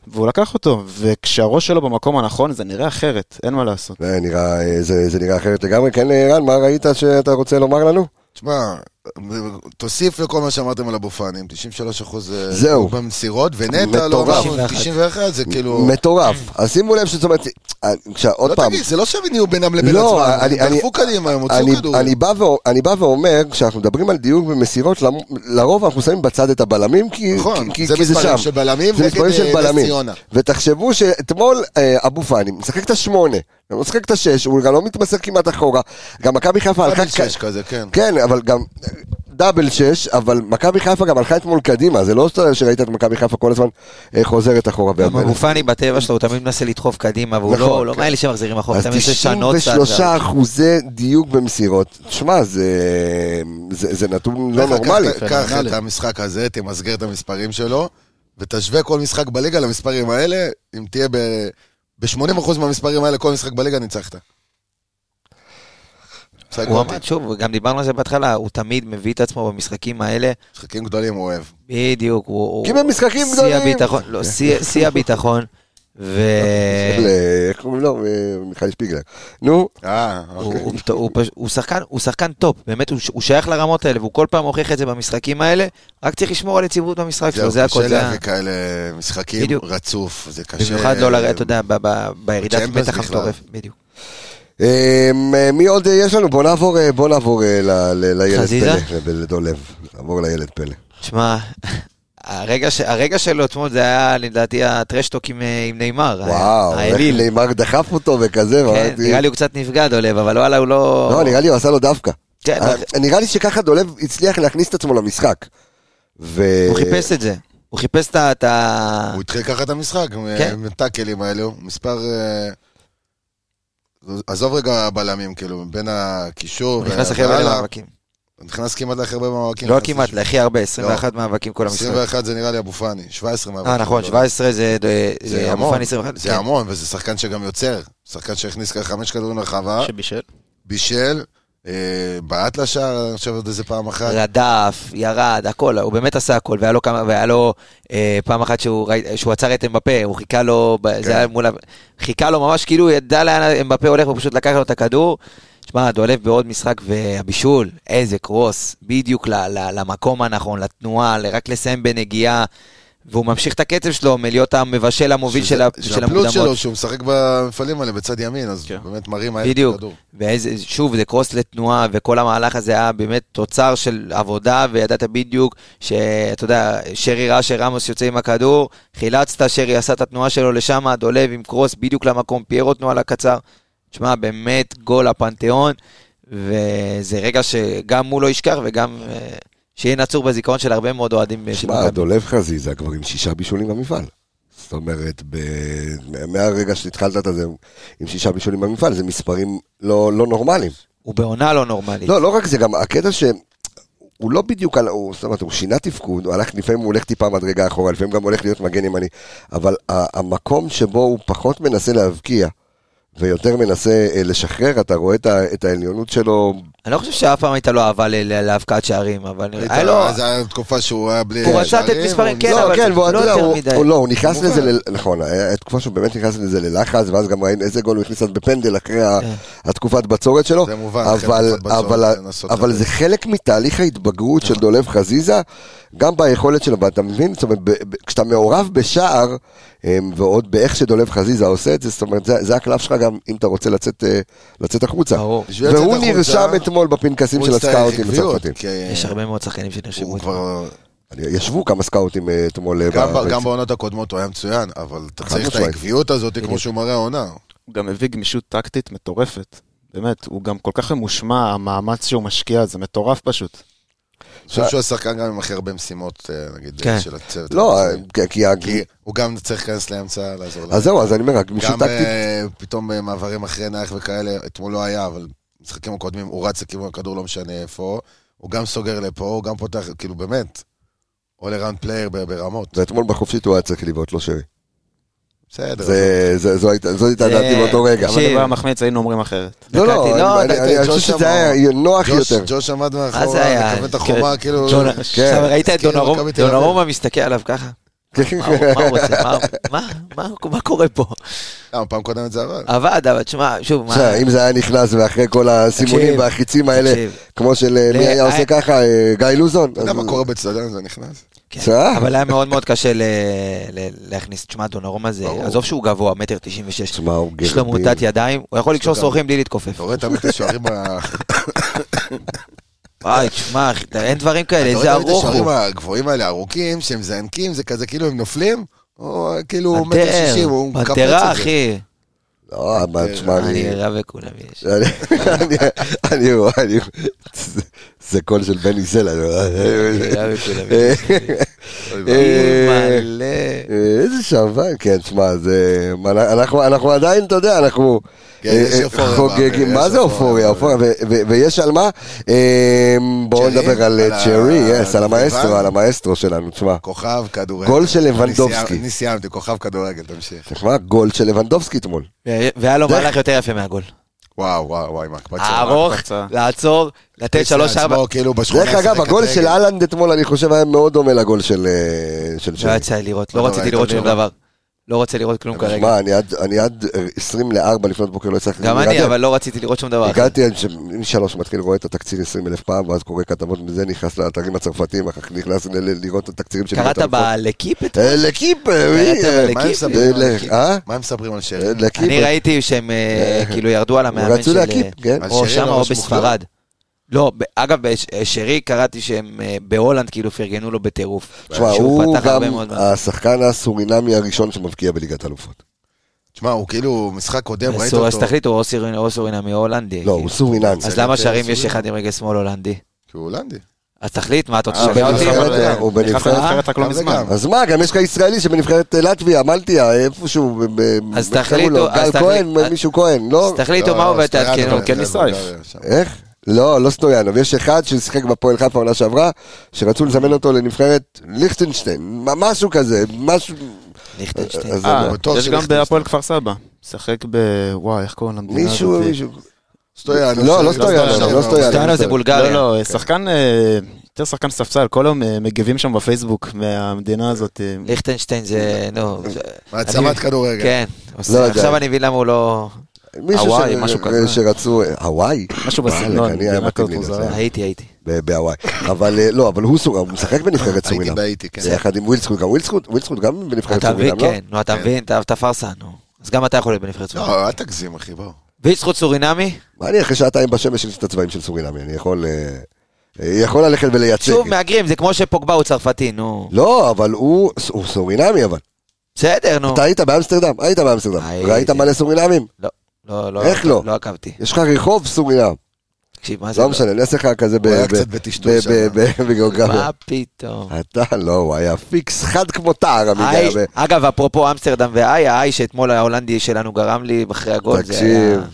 Speaker 5: והוא לקח אותו, וכשהראש שלו במקום הנכון, זה נראה אחרת, אין מה לעשות.
Speaker 1: זה נראה, אה, זה זה נראה אחרת לגמרי. כן, אה, רן, מה ראית שאתה רוצה לומר לנו?
Speaker 4: תשמע, תוסיף לכל מה שאמרתם על אבו פאנים, 93 אחוז אה,
Speaker 1: זהו.
Speaker 4: במסירות, ונטע לא
Speaker 1: מטורף.
Speaker 4: עבר 91, זה כאילו...
Speaker 1: מטורף. אז שימו לב שזאת אומרת, אה, כשה- עוד
Speaker 4: לא
Speaker 1: פעם,
Speaker 4: תגיד, זה לא שהם נהיו בינם לבין
Speaker 1: לא,
Speaker 4: עצמם,
Speaker 1: אני-
Speaker 4: הם
Speaker 1: אני-
Speaker 4: דחפו קדימה, הם
Speaker 1: אני-
Speaker 4: הוצאו כדור.
Speaker 1: אני בא ו- אני בא ואומר, כשאנחנו מדברים על דיוק ומסירות, למ- לרוב אנחנו שמים בצד את הבלמים, כי
Speaker 4: נכון,
Speaker 1: כי-
Speaker 4: זה
Speaker 1: כי זה
Speaker 4: מספרים
Speaker 1: שם.
Speaker 4: של בלמים
Speaker 1: זה
Speaker 4: נגד
Speaker 1: מספרים של
Speaker 4: אה, נס
Speaker 1: בלמים.
Speaker 4: ציונה.
Speaker 1: ותחשבו שאתמול אה, אבו פאני משחק את השמונה, גם לא משחק את השש, הוא גם לא מתמסר כמעט אחורה, גם מכבי חיפה הלכה...
Speaker 4: דאבל שש כזה, כן.
Speaker 1: כן, אבל גם דאבל שש, אבל מכבי חיפה גם הלכה אתמול קדימה, זה לא שאתה- שראית את מכבי חיפה כל הזמן אה, חוזרת אחורה.
Speaker 3: גם אבו פאני בטבע שלו, הוא תמיד מנסה לדחוף קדימה, והוא
Speaker 1: נכון,
Speaker 3: לא, הוא לא
Speaker 1: כן.
Speaker 3: מאלה שמחזירים אחורה, הוא
Speaker 1: אז
Speaker 3: תמיד מנסה לשנות צעד.
Speaker 1: 93 אחוזי דיוק במסירות. תשמע, זה, זה, זה נתון לא
Speaker 4: לך,
Speaker 1: נורמלי.
Speaker 4: קח- קח את
Speaker 5: פנומנלי.
Speaker 4: המשחק הזה, תמסגר את המספרים שלו, ותשווה כל משחק בליגה למספרים האלה, אם תהיה ב... ב-80% מהמספרים האלה, כל משחק בליגה ניצחת. משחק
Speaker 3: הוא
Speaker 4: אותי.
Speaker 3: עמד, שוב, וגם דיברנו על זה בהתחלה, הוא תמיד מביא את עצמו במשחקים האלה,
Speaker 4: משחקים גדולים הוא אוהב.
Speaker 3: בדיוק, הוא... הוא-
Speaker 1: כי במשחקים
Speaker 3: שיא
Speaker 1: גדולים.
Speaker 3: הביטחון, לא, שיא- שיא הביטחון, ו...
Speaker 1: של, אה, איך קוראים לו? אה, מיכאל שפיגלר. נו,
Speaker 4: אה,
Speaker 3: הוא-
Speaker 4: אוקיי.
Speaker 3: הוא- הוא פש- הוא שחקן, הוא שחקן טופ, באמת הוא ש- הוא שייך לרמות האלה, והוא כל פעם הוכיח את זה במשחקים האלה, רק צריך לשמור על יציבות במשחק שלו, זה הכל,
Speaker 4: קשה
Speaker 3: זה ה-
Speaker 4: להביא כאלה משחקים
Speaker 3: בדיוק.
Speaker 4: רצוף, זה קשה.
Speaker 3: במיוחד לא לרדת, אתה יודע, ב- ב- בירידת
Speaker 4: בצ'מפיונס
Speaker 3: מתח
Speaker 4: בכלל.
Speaker 3: המטורף, בדיוק.
Speaker 1: אה, אה, מי עוד אה, יש לנו? בוא נעבור, אה, בוא נעבור אה, ל- ל- לילד
Speaker 3: חזיזה?
Speaker 1: פלא, לב- לדולב. נעבור לילד פלא.
Speaker 3: שמע, הרגע ש- הרגע שלו אתמול זה היה לדעתי הטרשטוק עם אה, עם נאמר,
Speaker 1: וואו, איך
Speaker 3: האליל.
Speaker 1: לימר דחף אותו וכזה,
Speaker 3: כן,
Speaker 1: ואמרתי-
Speaker 3: נראה לי הוא קצת נפגע דולב, אבל וואלה הוא לא...
Speaker 1: לא, נראה לי הוא עשה לו דווקא.
Speaker 3: כן,
Speaker 1: אה,
Speaker 3: הוא-
Speaker 1: נראה לי שככה דולב הצליח להכניס את עצמו למשחק.
Speaker 3: הוא חיפש את זה. הוא חיפש את ה- את ה...
Speaker 4: הוא התחיל ככה את המשחק,
Speaker 3: כן.
Speaker 4: עם הטאקלים האלו, מספר... אה, עזוב רגע בלמים, כאילו, בין הקישור...
Speaker 3: הוא נכנס
Speaker 4: וה-
Speaker 3: הכי הרבה
Speaker 4: והלאה,
Speaker 3: למאבקים.
Speaker 4: הוא נכנס כמעט להכי הרבה במאבקים.
Speaker 3: לא
Speaker 4: נכנס
Speaker 3: כמעט,
Speaker 4: לשם.
Speaker 3: להכי הרבה, 21 מאבקים כל המשחק.
Speaker 4: 21 זה נראה לי אבו פאני, 17 מאבקים.
Speaker 3: אה, נכון,
Speaker 4: לא?
Speaker 3: 17 זה...
Speaker 4: זה
Speaker 3: זה
Speaker 4: המון.
Speaker 3: המופע 21.
Speaker 4: זה
Speaker 3: כן.
Speaker 4: המון, וזה שחקן שגם יוצר. שחקן שהכניס ככה חמש כדורים לרחבה,
Speaker 5: שבישל.
Speaker 4: בישל, אה, בעט לשער, אני חושב עוד איזה פעם אחת.
Speaker 3: רדף, ירד, הכל, הוא באמת עשה הכל, והיה לו כמה, והיה לו אה, פעם אחת שהוא, ראי- שהוא עצר את אמבפה, הוא חיכה לו, ב-
Speaker 4: כן.
Speaker 3: זה היה מול, ה- חיכה לו ממש כאילו, הוא ידע לאן אמבפה הולך, הוא פשוט לקח לו את הכדור. שמע, דולף בעוד משחק והבישול, איזה קרוס, בדיוק ל, ל, למקום הנכון, לתנועה, ל- רק לסיים בנגיעה, והוא ממשיך את הקצב שלו מלהיות המבשל המוביל של, ה- של
Speaker 4: שהפלוט שלו,
Speaker 3: המוקדמות.
Speaker 4: שהוא משחק במפעלים האלה בצד ימין, אז
Speaker 5: כן.
Speaker 4: באמת מרים מהר את
Speaker 3: בדיוק,
Speaker 4: הכדור.
Speaker 3: ואיזה, שוב, זה קרוס לתנועה, וכל המהלך הזה היה באמת תוצר של עבודה, וידעת בדיוק שאתה יודע, שרי ראה שרמוס יוצא עם הכדור, חילצת, שרי עשה את התנועה שלו לשם, דולב עם קרוס בדיוק למקום, פיירו תנועה לקצר. תשמע, באמת גול הפנתיאון, וזה רגע שגם הוא לא ישכח, וגם אה, שיהיה נצור בזיכרון של הרבה מאוד אוהדים. אה, של
Speaker 1: שמע,
Speaker 3: מכבי.
Speaker 1: דולב חזיזה כבר עם שישה בישולים במפעל. זאת אומרת, ב... מהרגע שהתחלת את זה עם שישה בישולים במפעל, זה מספרים לא, לא נורמליים.
Speaker 3: הוא בעונה לא נורמלית.
Speaker 1: לא, לא רק זה, גם הקטע ש... הוא לא בדיוק, על, הוא, זאת אומרת, הוא שינה תפקוד, הוא הלך, לפעמים הוא הולך טיפה מדרגה אחורה, לפעמים גם הולך להיות מגן ימני, אבל ה- המקום שבו הוא פחות מנסה להבקיע ויותר מנסה אה, לשחרר, אתה רואה את, ה- את העליונות שלו,
Speaker 3: אני לא חושב שאף פעם הייתה לו אהבה ל- ל- להבקעת שערים, אבל נראה
Speaker 4: הייתה-
Speaker 3: לו...
Speaker 4: אז הייתה תקופה שהוא היה בלי...
Speaker 3: הוא רצה לתת
Speaker 4: שערים,
Speaker 3: מספרים,
Speaker 4: הוא-
Speaker 3: כן,
Speaker 1: לא,
Speaker 3: אבל
Speaker 1: כן,
Speaker 3: זה
Speaker 1: והוא, אתה
Speaker 3: לא
Speaker 1: יודע,
Speaker 3: יותר
Speaker 1: הוא-
Speaker 3: מדי.
Speaker 1: הוא לא, הוא נכנס
Speaker 4: כמובן.
Speaker 1: לזה, ל- נכון, היה תקופה שהוא באמת נכנס לזה ללחץ, ואז גם ראינו איזה גול הוא הכניס אז בפנדל אחרי ה-
Speaker 3: כן.
Speaker 1: התקופת בצורת שלו,
Speaker 4: זה מובן, אחרי
Speaker 1: אבל-
Speaker 4: תקופת בצורת,
Speaker 1: אבל-
Speaker 4: לנסות נכון.
Speaker 1: אבל
Speaker 4: לתת.
Speaker 1: זה חלק מתהליך ההתבגרות של דולב חזיזה, גם ביכולת שלו, ואתה מבין, זאת אומרת, ב- ב- כשאתה מעורב בשער, אמ, ועוד באיך שדולב חזיזה עושה את זה, זאת אומרת, זה זה הקלף שלך גם אם אתה רוצה לצאת, אה, לצאת החוצה.
Speaker 3: ברור.
Speaker 4: בשביל לצאת
Speaker 1: והוא
Speaker 4: החוצה,
Speaker 1: נרשם אתמול בפנקסים
Speaker 4: הוא
Speaker 1: של
Speaker 4: יצטרך
Speaker 1: הסקאוטים
Speaker 4: עקביות,
Speaker 1: הצרפתים.
Speaker 4: כי
Speaker 3: יש הרבה מאוד שחקנים שנרשמו.
Speaker 4: אה, הוא כבר...
Speaker 1: ישבו כמה סקאוטים אה, אתמול. אה,
Speaker 4: גם, ב-
Speaker 1: בבית.
Speaker 4: גם בעונות הקודמות הוא היה מצוין, אבל אתה
Speaker 1: חד
Speaker 4: צריך את
Speaker 1: משמעית.
Speaker 4: העקביות הזאת, כמו
Speaker 3: בדיוק.
Speaker 4: שהוא מראה העונה.
Speaker 5: הוא גם הביא גמישות טקטית מטורפת. באמת, הוא גם כל כך ממושמע, המאמץ שהוא משקיע, זה מטורף פשוט.
Speaker 4: אני חושב שהוא השחקן גם עם הכי הרבה משימות, אה, נגיד,
Speaker 3: כן.
Speaker 4: של הצוות.
Speaker 1: לא,
Speaker 4: המקצועי.
Speaker 1: כי- כי ה-
Speaker 4: כי הוא גם צריך להיכנס לאמצע, לעזור להם.
Speaker 1: אז זהו, אז אני אומר, הגמישות
Speaker 4: גם
Speaker 1: טקטית,
Speaker 4: אה, פתאום אה, מעברים אחרי נייח וכאלה, אתמול לא היה, אבל משחקים הקודמים, הוא רץ לכיוון הכדור, לא משנה איפה. הוא גם סוגר לפה, הוא גם פותח, כאילו באמת, all around player ב- ברמות.
Speaker 1: ואתמול בחופשית הוא היה צריך לבעוט, לא שרי.
Speaker 4: בסדר.
Speaker 1: זה- זה- זו הייתה זו הייתה
Speaker 3: זה-
Speaker 1: דעתי באותו רגע.
Speaker 5: גם אני מחמיץ, היינו אומרים אחרת.
Speaker 1: לא,
Speaker 3: דקה,
Speaker 1: לא,
Speaker 3: לא,
Speaker 1: אני-
Speaker 3: דקה,
Speaker 1: אני אני
Speaker 4: ג'וש
Speaker 1: חושב שזה
Speaker 4: אמר.
Speaker 1: היה נוח
Speaker 4: ג'וש-
Speaker 1: יותר.
Speaker 4: ג'וש עמד
Speaker 3: מה זה
Speaker 4: מאחורה,
Speaker 3: היה?
Speaker 4: מכוון את החומה, כאילו...
Speaker 3: ג'ונה,
Speaker 1: כן.
Speaker 3: עכשיו ראית את
Speaker 4: כאילו,
Speaker 3: דונרום-
Speaker 4: מכבי תל אביב.
Speaker 3: דונרומה מסתכל עליו ככה? מה הוא מה הוא רוצה? מה- מה- מה- מה קורה פה?
Speaker 4: למה, לא, פעם קודמת זה עבד.
Speaker 3: עבד, אבל תשמע, שוב, מה...
Speaker 1: בסדר, אם זה היה נכנס ואחרי כל הסימונים
Speaker 3: תקשיב,
Speaker 1: והחיצים האלה,
Speaker 3: תקשיב.
Speaker 1: כמו של אה,
Speaker 3: ל-
Speaker 1: מי היה עושה
Speaker 3: אה-
Speaker 1: ככה, אה, גיא לוזון.
Speaker 4: אתה יודע
Speaker 1: אז-
Speaker 4: מה קורה בצדדן, זה נכנס?
Speaker 3: כן.
Speaker 1: בסדר.
Speaker 3: אבל היה מאוד מאוד קשה ל- ל- להכניס, תשמע, דונרומה זה,
Speaker 1: ברור.
Speaker 3: עזוב שהוא גבוה, מטר תשעים ושש,
Speaker 1: תשמע, הוא
Speaker 3: יש לו
Speaker 1: גרבים.
Speaker 3: מוטת ידיים, הוא יכול לקשור
Speaker 4: גם-
Speaker 3: שרוכים בלי להתכופף.
Speaker 4: אתה רואה תמיד את השוערים ה...
Speaker 3: וואי, תשמע, אחי, אתה- אין דברים כאלה,
Speaker 4: כן, אתה
Speaker 3: איזה
Speaker 4: רואה תמיד את
Speaker 3: ארוך
Speaker 4: השוערים
Speaker 3: הוא.
Speaker 4: הגבוהים האלה, ארוכים, שהם זנקים, זה כזה כאילו הם נופלים, או כאילו הוא מטר
Speaker 3: פנתר,
Speaker 4: שישים, הוא מקפץ את זה.
Speaker 3: פנתרה, אחי.
Speaker 1: לא, אבל תשמע, אני...
Speaker 3: אני רב לכולם יש.
Speaker 1: אני- אני רואה, אני... זה- זה קול של בני סלע.
Speaker 3: אני רב לכולם יש.
Speaker 1: אה,
Speaker 3: מלא.
Speaker 1: אה, איזה שעוון, כן, תשמע, זה... אנחנו, אנחנו עדיין, אתה יודע, אנחנו
Speaker 4: כן, יש
Speaker 1: אה, אה,
Speaker 4: אופוריה באוויר,
Speaker 1: חוגגים, מה
Speaker 4: יש
Speaker 1: זה אופוריה?
Speaker 4: אופוריה
Speaker 1: אופוריה, ו- ו- ויש על מה? אה, בואו
Speaker 4: צ'רי?
Speaker 1: נדבר על
Speaker 4: על
Speaker 1: אה,
Speaker 4: ה-
Speaker 1: צ'רי, יס, על
Speaker 4: על
Speaker 1: המאסטרו,
Speaker 4: לבן?
Speaker 1: על המאסטרו שלנו, תשמע.
Speaker 4: כוכב כדורגל.
Speaker 1: גול של
Speaker 4: אני
Speaker 1: לבנדובסקי.
Speaker 4: סיימ- אני סיימתי, כוכב כדורגל, תמשיך.
Speaker 1: תשמע, גול של לבנדובסקי אתמול.
Speaker 3: והיה לו מהלך יותר יפה מהגול.
Speaker 4: וואו, וואו, וואי, מה הקפצה.
Speaker 3: ארוך,
Speaker 5: הקפצה.
Speaker 3: לעצור, לתת שלוש ארבע.
Speaker 4: כאילו בשכונה.
Speaker 1: דרך אגב,
Speaker 4: שיחק
Speaker 1: הגול
Speaker 4: כדורגל.
Speaker 1: של אהלנד אתמול, אני חושב, היה מאוד דומה לגול של אה, של
Speaker 3: לא
Speaker 1: צ'רי.
Speaker 3: יצא לי לראות,
Speaker 4: לא
Speaker 3: לא רציתי
Speaker 4: ראית
Speaker 3: לראות שום
Speaker 4: דבר.
Speaker 3: דבר. לא רוצה לראות כלום כרגע.
Speaker 1: תשמע, אני עד- אני עד אה, 20 ל-4 לפנות בוקר לא הצלחתי.
Speaker 3: גם אני,
Speaker 1: להירדם.
Speaker 3: אבל לא רציתי לראות שום דבר. אחר.
Speaker 1: הגעתי, אני ש- משלוש מתחיל רואה את התקציר 20 אלף פעם, ואז קורא כתבות מזה, נכנס לאתרים הצרפתיים, אחר כך נכנס ל- ל- לראות את התקצירים של... אה,
Speaker 3: קראת בלקיפ את...
Speaker 1: לקיפ,
Speaker 3: קראת
Speaker 4: מה הם
Speaker 3: בלקיפ?
Speaker 4: מספרים על
Speaker 1: אה,
Speaker 4: שרי?
Speaker 1: אה? לא.
Speaker 4: מה הם מספרים על שרי?
Speaker 1: לקיפ.
Speaker 3: אני ראיתי שהם אה, כאילו ירדו על המאמן
Speaker 1: רצו
Speaker 3: של...
Speaker 1: להקיפ, כן.
Speaker 4: אז
Speaker 3: או
Speaker 4: שרי
Speaker 3: שם
Speaker 4: לא
Speaker 3: או
Speaker 4: ראש מוכלר?
Speaker 3: בספרד. לא, ב- אגב, בש- שרי קראתי שהם אה, בהולנד כאילו פרגנו לו בטירוף.
Speaker 1: תשמע,
Speaker 3: שהוא
Speaker 1: הוא
Speaker 3: פתח
Speaker 1: גם אה,
Speaker 3: הרבה מאוד-
Speaker 1: השחקן הסורינמי הראשון שמבקיע בליגת אלופות.
Speaker 4: תשמע, הוא כאילו, משחק קודם,
Speaker 3: אז
Speaker 4: ראית אותו.
Speaker 3: תחליטו, או סורינמי או הולנדי.
Speaker 1: לא,
Speaker 3: כאילו.
Speaker 1: הוא סורינמי.
Speaker 3: אז למה
Speaker 4: יותר
Speaker 3: שרים יש
Speaker 4: סורינמי.
Speaker 3: אחד עם רגל שמאל הולנדי?
Speaker 4: כי הוא הולנדי.
Speaker 3: אז תחליט, מה אתה רוצה
Speaker 4: אה,
Speaker 3: לשגע אותי?
Speaker 4: בנבחרת,
Speaker 3: אבל-
Speaker 1: הוא
Speaker 3: אני חייב
Speaker 1: בנבחרת-
Speaker 3: לומר,
Speaker 5: נבחרת רק לא
Speaker 4: גם
Speaker 5: מזמן.
Speaker 4: וגם.
Speaker 1: אז מה, גם יש לך ישראלי שבנבחרת אה, לטביה, מלטיה, איפשהו, ב- ב-
Speaker 3: אז
Speaker 1: איך קראו
Speaker 3: תחליטו-
Speaker 1: לו?
Speaker 3: אז
Speaker 1: גל
Speaker 3: תחליט- אה,
Speaker 1: כהן,
Speaker 3: אז-
Speaker 1: מישהו כהן, לא?
Speaker 3: אז תחליטו מהו ותעדכנו.
Speaker 5: כן, נשרף.
Speaker 1: איך? לא, לא סטויאנוב, יש אחד ששיחק בפועל חיפה עונה שעברה, שרצו לזמן אותו לנבחרת ליכטנשטיין, מ- משהו כזה, משהו...
Speaker 3: ליכטנשטיין.
Speaker 1: אז
Speaker 5: אה,
Speaker 1: לא.
Speaker 4: בטוח
Speaker 5: יש גם
Speaker 4: שנכנס.
Speaker 5: בהפועל כפר סבא. משחק ב... וואי, איך קוראים
Speaker 3: אה,
Speaker 5: למדינה
Speaker 1: מישהו,
Speaker 5: הזאת?
Speaker 3: אוקיי.
Speaker 1: מישהו...
Speaker 4: סטויאנוב.
Speaker 1: לא, לא
Speaker 5: סטויאנוב,
Speaker 1: סטויאנוב, לא סטויאנוב.
Speaker 3: סטויאנוב זה
Speaker 5: לא,
Speaker 3: בולגריה.
Speaker 5: לא, שחקן, אה, יותר שחקן ספסל, כל היום אה, מגיבים שם בפייסבוק מהמדינה הזאת. אה,
Speaker 3: ליכטנשטיין
Speaker 1: אה,
Speaker 3: זה, נו. זה-
Speaker 4: מעצמת
Speaker 3: אני-
Speaker 4: כדורגל.
Speaker 3: כן.
Speaker 1: לא יודע.
Speaker 3: עכשיו אני מבין למה הוא לא...
Speaker 1: מישהו
Speaker 3: הוואי,
Speaker 1: ש-
Speaker 3: משהו כזה.
Speaker 1: שרצו... הוואי?
Speaker 5: משהו
Speaker 1: וואלה,
Speaker 5: בסגנון,
Speaker 1: אני
Speaker 5: מדינת
Speaker 1: מתאים לי
Speaker 5: הטוטו,
Speaker 1: לזה.
Speaker 5: זה היה.
Speaker 3: הייתי, הייתי.
Speaker 1: ב- בהוואי. אבל אה, לא, אבל הוא סוג- הוא משחק בנבחרת
Speaker 4: הייתי
Speaker 1: סורינם.
Speaker 4: בהאיטי, כן.
Speaker 1: זה יחד עם ווילסקוט, גם ווילסקוט, ווילסקוט גם בנבחרת
Speaker 3: אתה מבין,
Speaker 1: סורינם, לא?
Speaker 3: כן. נו, אתה מבין, אתה אתה פארסה, נו. אז גם אתה יכול להיות בנבחרת סורינמי.
Speaker 4: לא, אל תגזים, אחי, בוא.
Speaker 3: ויצחוט סורינמי,
Speaker 1: מה לא? אני אחרי שעתיים בשמש יש את הצבעים של סורינמי, אני יכול... אה, אה, יכול ללכת ולייצג.
Speaker 3: שוב מהגרים, זה כמו שפוגבה הוא צרפתי, נו.
Speaker 1: לא, אבל הוא הוא סורינמי, אבל.
Speaker 3: בסדר, נו.
Speaker 1: אתה היית באמסטרדם, היית באמסטרדם.
Speaker 3: הייתי.
Speaker 1: ראית מלא סורינמים?
Speaker 3: לא, לא.
Speaker 1: איך לא?
Speaker 3: לא עקבתי.
Speaker 1: יש לך רחוב סורינם.
Speaker 3: תקשיב, מה זה?
Speaker 1: לא משנה, לא? אני אעשה לך כזה ב-
Speaker 4: הוא היה
Speaker 1: ב-
Speaker 4: קצת
Speaker 1: ב-
Speaker 4: בטשטוש
Speaker 1: ב-
Speaker 4: שם.
Speaker 1: ב- בגיאוגרפיה.
Speaker 3: מה פתאום.
Speaker 1: אתה לא, הוא היה פיקס חד כמו טער,
Speaker 3: איי,
Speaker 1: עמיגה.
Speaker 3: אגב, אפרופו אמסטרדם ואיי, האיי שאתמול ההולנדי שלנו גרם לי אחרי הגול, זה היה...
Speaker 1: תקשיב,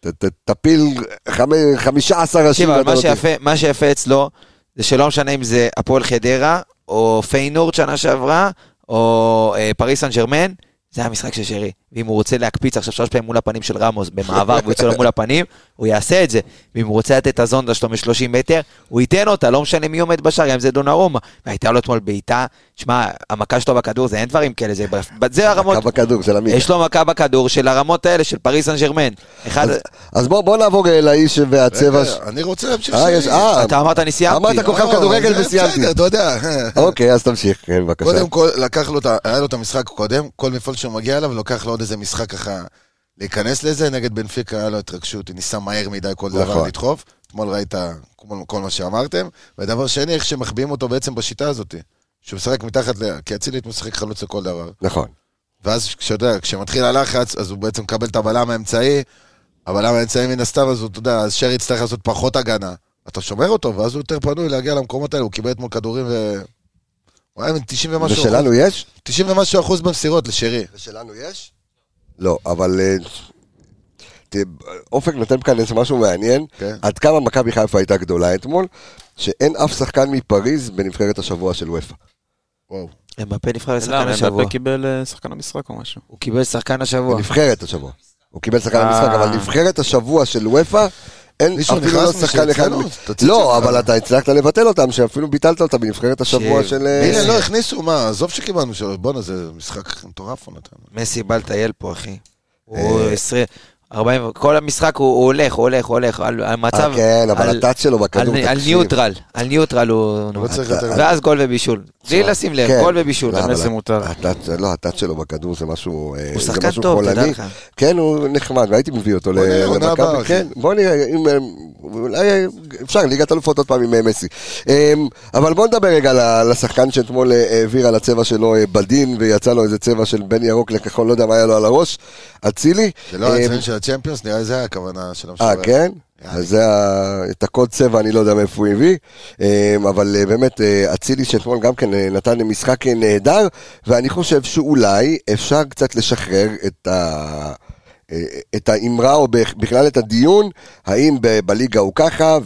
Speaker 1: ת- ת- תפיל חמי- 15 ראשים.
Speaker 3: תקשיב, אבל
Speaker 1: ואתה
Speaker 3: מה
Speaker 1: לא
Speaker 3: שיפה, מה שיפה אצלו, זה שלא משנה אם זה הפועל חדרה, או פיינורד שנה שעברה, או אה, פריס סן ג'רמן, זה המשחק של שרי. ואם הוא רוצה להקפיץ עכשיו שלוש פעמים מול הפנים של רמוס במעבר והוא יצא לו מול הפנים, הוא יעשה את זה. ואם הוא רוצה לתת את הזונדה שלו מ-30 מטר, הוא ייתן אותה, לא משנה מי עומד בשער, גם אם זה דונרומה. והייתה לו אתמול בעיטה, שמע, המכה שלו בכדור, זה אין דברים כאלה, זה, זה הרמות.
Speaker 1: קו הכדור של עמיגה.
Speaker 3: יש לו מכה בכדור של הרמות האלה, של פריס סן ג'רמן. אחד,
Speaker 1: אז- אז בוא בוא נעבור אה, לאיש והצבע. ש-
Speaker 4: רגע, אני רוצה להמשיך
Speaker 1: אה, יש,
Speaker 4: שלי.
Speaker 1: אה,
Speaker 3: אתה אמרת, אני סיימתי.
Speaker 1: אמרת כל כך
Speaker 4: לא,
Speaker 1: כדורגל
Speaker 4: זה
Speaker 1: וסיימתי.
Speaker 4: בסדר, אתה יודע.
Speaker 1: אוקיי, אז תמשיך, כן, בבקשה.
Speaker 4: קודם כל, לקח לו, את ה- היה לו את המשחק קודם, כל מפעל שהוא מגיע אליו, לוקח לו עוד איזה משחק ככה להיכנס לזה, נגד בנפיקה היה לו התרגשות, הוא ניסה מהר מדי כל דבר
Speaker 1: נכון.
Speaker 4: לדחוף. אתמול ראית כל- כל מה שאמרתם. ודבר שני, איך שמחביאים אותו בעצם בשיטה הזאת, שהוא משחק מתחת ל... כי אצילית משחק חלוץ לכל דבר.
Speaker 1: נכון.
Speaker 4: ואז כשאתה יודע, כשמתחיל הלחץ, אז הוא בעצם מקבל את הבלם האמצעי, הבלם האמצעי מן הסתם, אז הוא, אתה יודע, אז שרי יצטרך לעשות פחות הגנה. אתה שומר אותו, ואז הוא יותר פנוי להגיע למקומות האלה, הוא קיבל אתמול כדורים ו... הוא היה עם 90 ומשהו אחוז,
Speaker 1: ושלנו יש?
Speaker 4: 90 ומשהו אחוז במסירות לשרי.
Speaker 1: ושלנו יש? לא, אבל... אה, ת- אופק נותן כאן איזה משהו מעניין,
Speaker 4: כן.
Speaker 1: עד כמה מכבי חיפה הייתה גדולה אתמול, שאין אף שחקן מפריז בנבחרת השבוע של וופא.
Speaker 4: וואו.
Speaker 3: אמבפה נבחר לשחקן
Speaker 5: למה,
Speaker 3: השבוע.
Speaker 5: אמבפה קיבל אה, שחקן המשחק או משהו.
Speaker 3: הוא קיבל שחקן השבוע.
Speaker 1: בנבחרת השבוע. הוא קיבל שחקן
Speaker 5: אה.
Speaker 1: במשחק, אבל נבחרת השבוע של וופא, אין
Speaker 4: מישהו
Speaker 1: אפילו לא
Speaker 4: נכנס
Speaker 1: שחקן אחד.
Speaker 4: משלנו?
Speaker 1: מ-
Speaker 4: תוציא
Speaker 1: לא,
Speaker 4: את זה.
Speaker 1: אבל אתה הצלחת לבטל אותם, שאפילו ביטלת אותם בנבחרת השבוע
Speaker 3: ש-
Speaker 1: של... אה,
Speaker 4: הנה, לא הכניסו, מה, עזוב שקיבלנו שלוש, בואנה, זה משחק מטורף הוא נתן.
Speaker 3: מסי בא לטייל פה, אחי. הוא 20, 40, כל המשחק הוא הוא הולך, הוא הולך, הוא הולך, על על מצב...
Speaker 1: אה, כן, אבל
Speaker 3: על-
Speaker 1: הטאט שלו בכדור,
Speaker 3: על- על
Speaker 1: תקשיב.
Speaker 3: ניוטרל, על ניוטרל הוא... נו,
Speaker 4: לא צריך
Speaker 3: אתה-
Speaker 4: יותר.
Speaker 3: ואז גול ובישול. בלי לשים לב,
Speaker 1: כן.
Speaker 3: גול ובישול.
Speaker 1: לא, אבל
Speaker 5: למסי מותר.
Speaker 1: הטאט- לא, הטאט שלו בכדור זה משהו אה,
Speaker 3: הוא
Speaker 1: זה
Speaker 3: שחקן
Speaker 1: משהו
Speaker 3: טוב, תדע
Speaker 1: חולני.
Speaker 3: לך.
Speaker 1: כן, הוא נחמד, והייתי מביא אותו
Speaker 4: בוא נראה,
Speaker 1: ל-
Speaker 4: עונה הבאה,
Speaker 1: למכבי.
Speaker 4: אחי.
Speaker 1: כן, בוא נראה, אם... אה, אולי אה, אפשר, ליגת אלופות עוד פעם עם אה, מסי. אה, אבל בוא נדבר רגע ל- לשחקן שאתמול אה, העביר על הצבע שלו אה, בדין, ויצא לו איזה צבע של בין ירוק לכחול, לא יודע מה היה לו על הראש, אצילי.
Speaker 4: זה לא היה
Speaker 1: אה,
Speaker 4: הציון של הצ'מפיונס, נראה לי זה היה הכוונה של המשורר.
Speaker 1: אה, כן?
Speaker 4: יאללה.
Speaker 1: אז זה ה- את הקוד צבע, אני לא יודע מאיפה הוא הביא, אמ, אבל אה, באמת, אה, אצילי שאתמול גם כן אה, נתן משחק אה, נהדר, ואני חושב שאולי אפשר קצת לשחרר את ה... אה, את האמרה או בכ- בכלל את הדיון האם ב- בליגה הוא ככה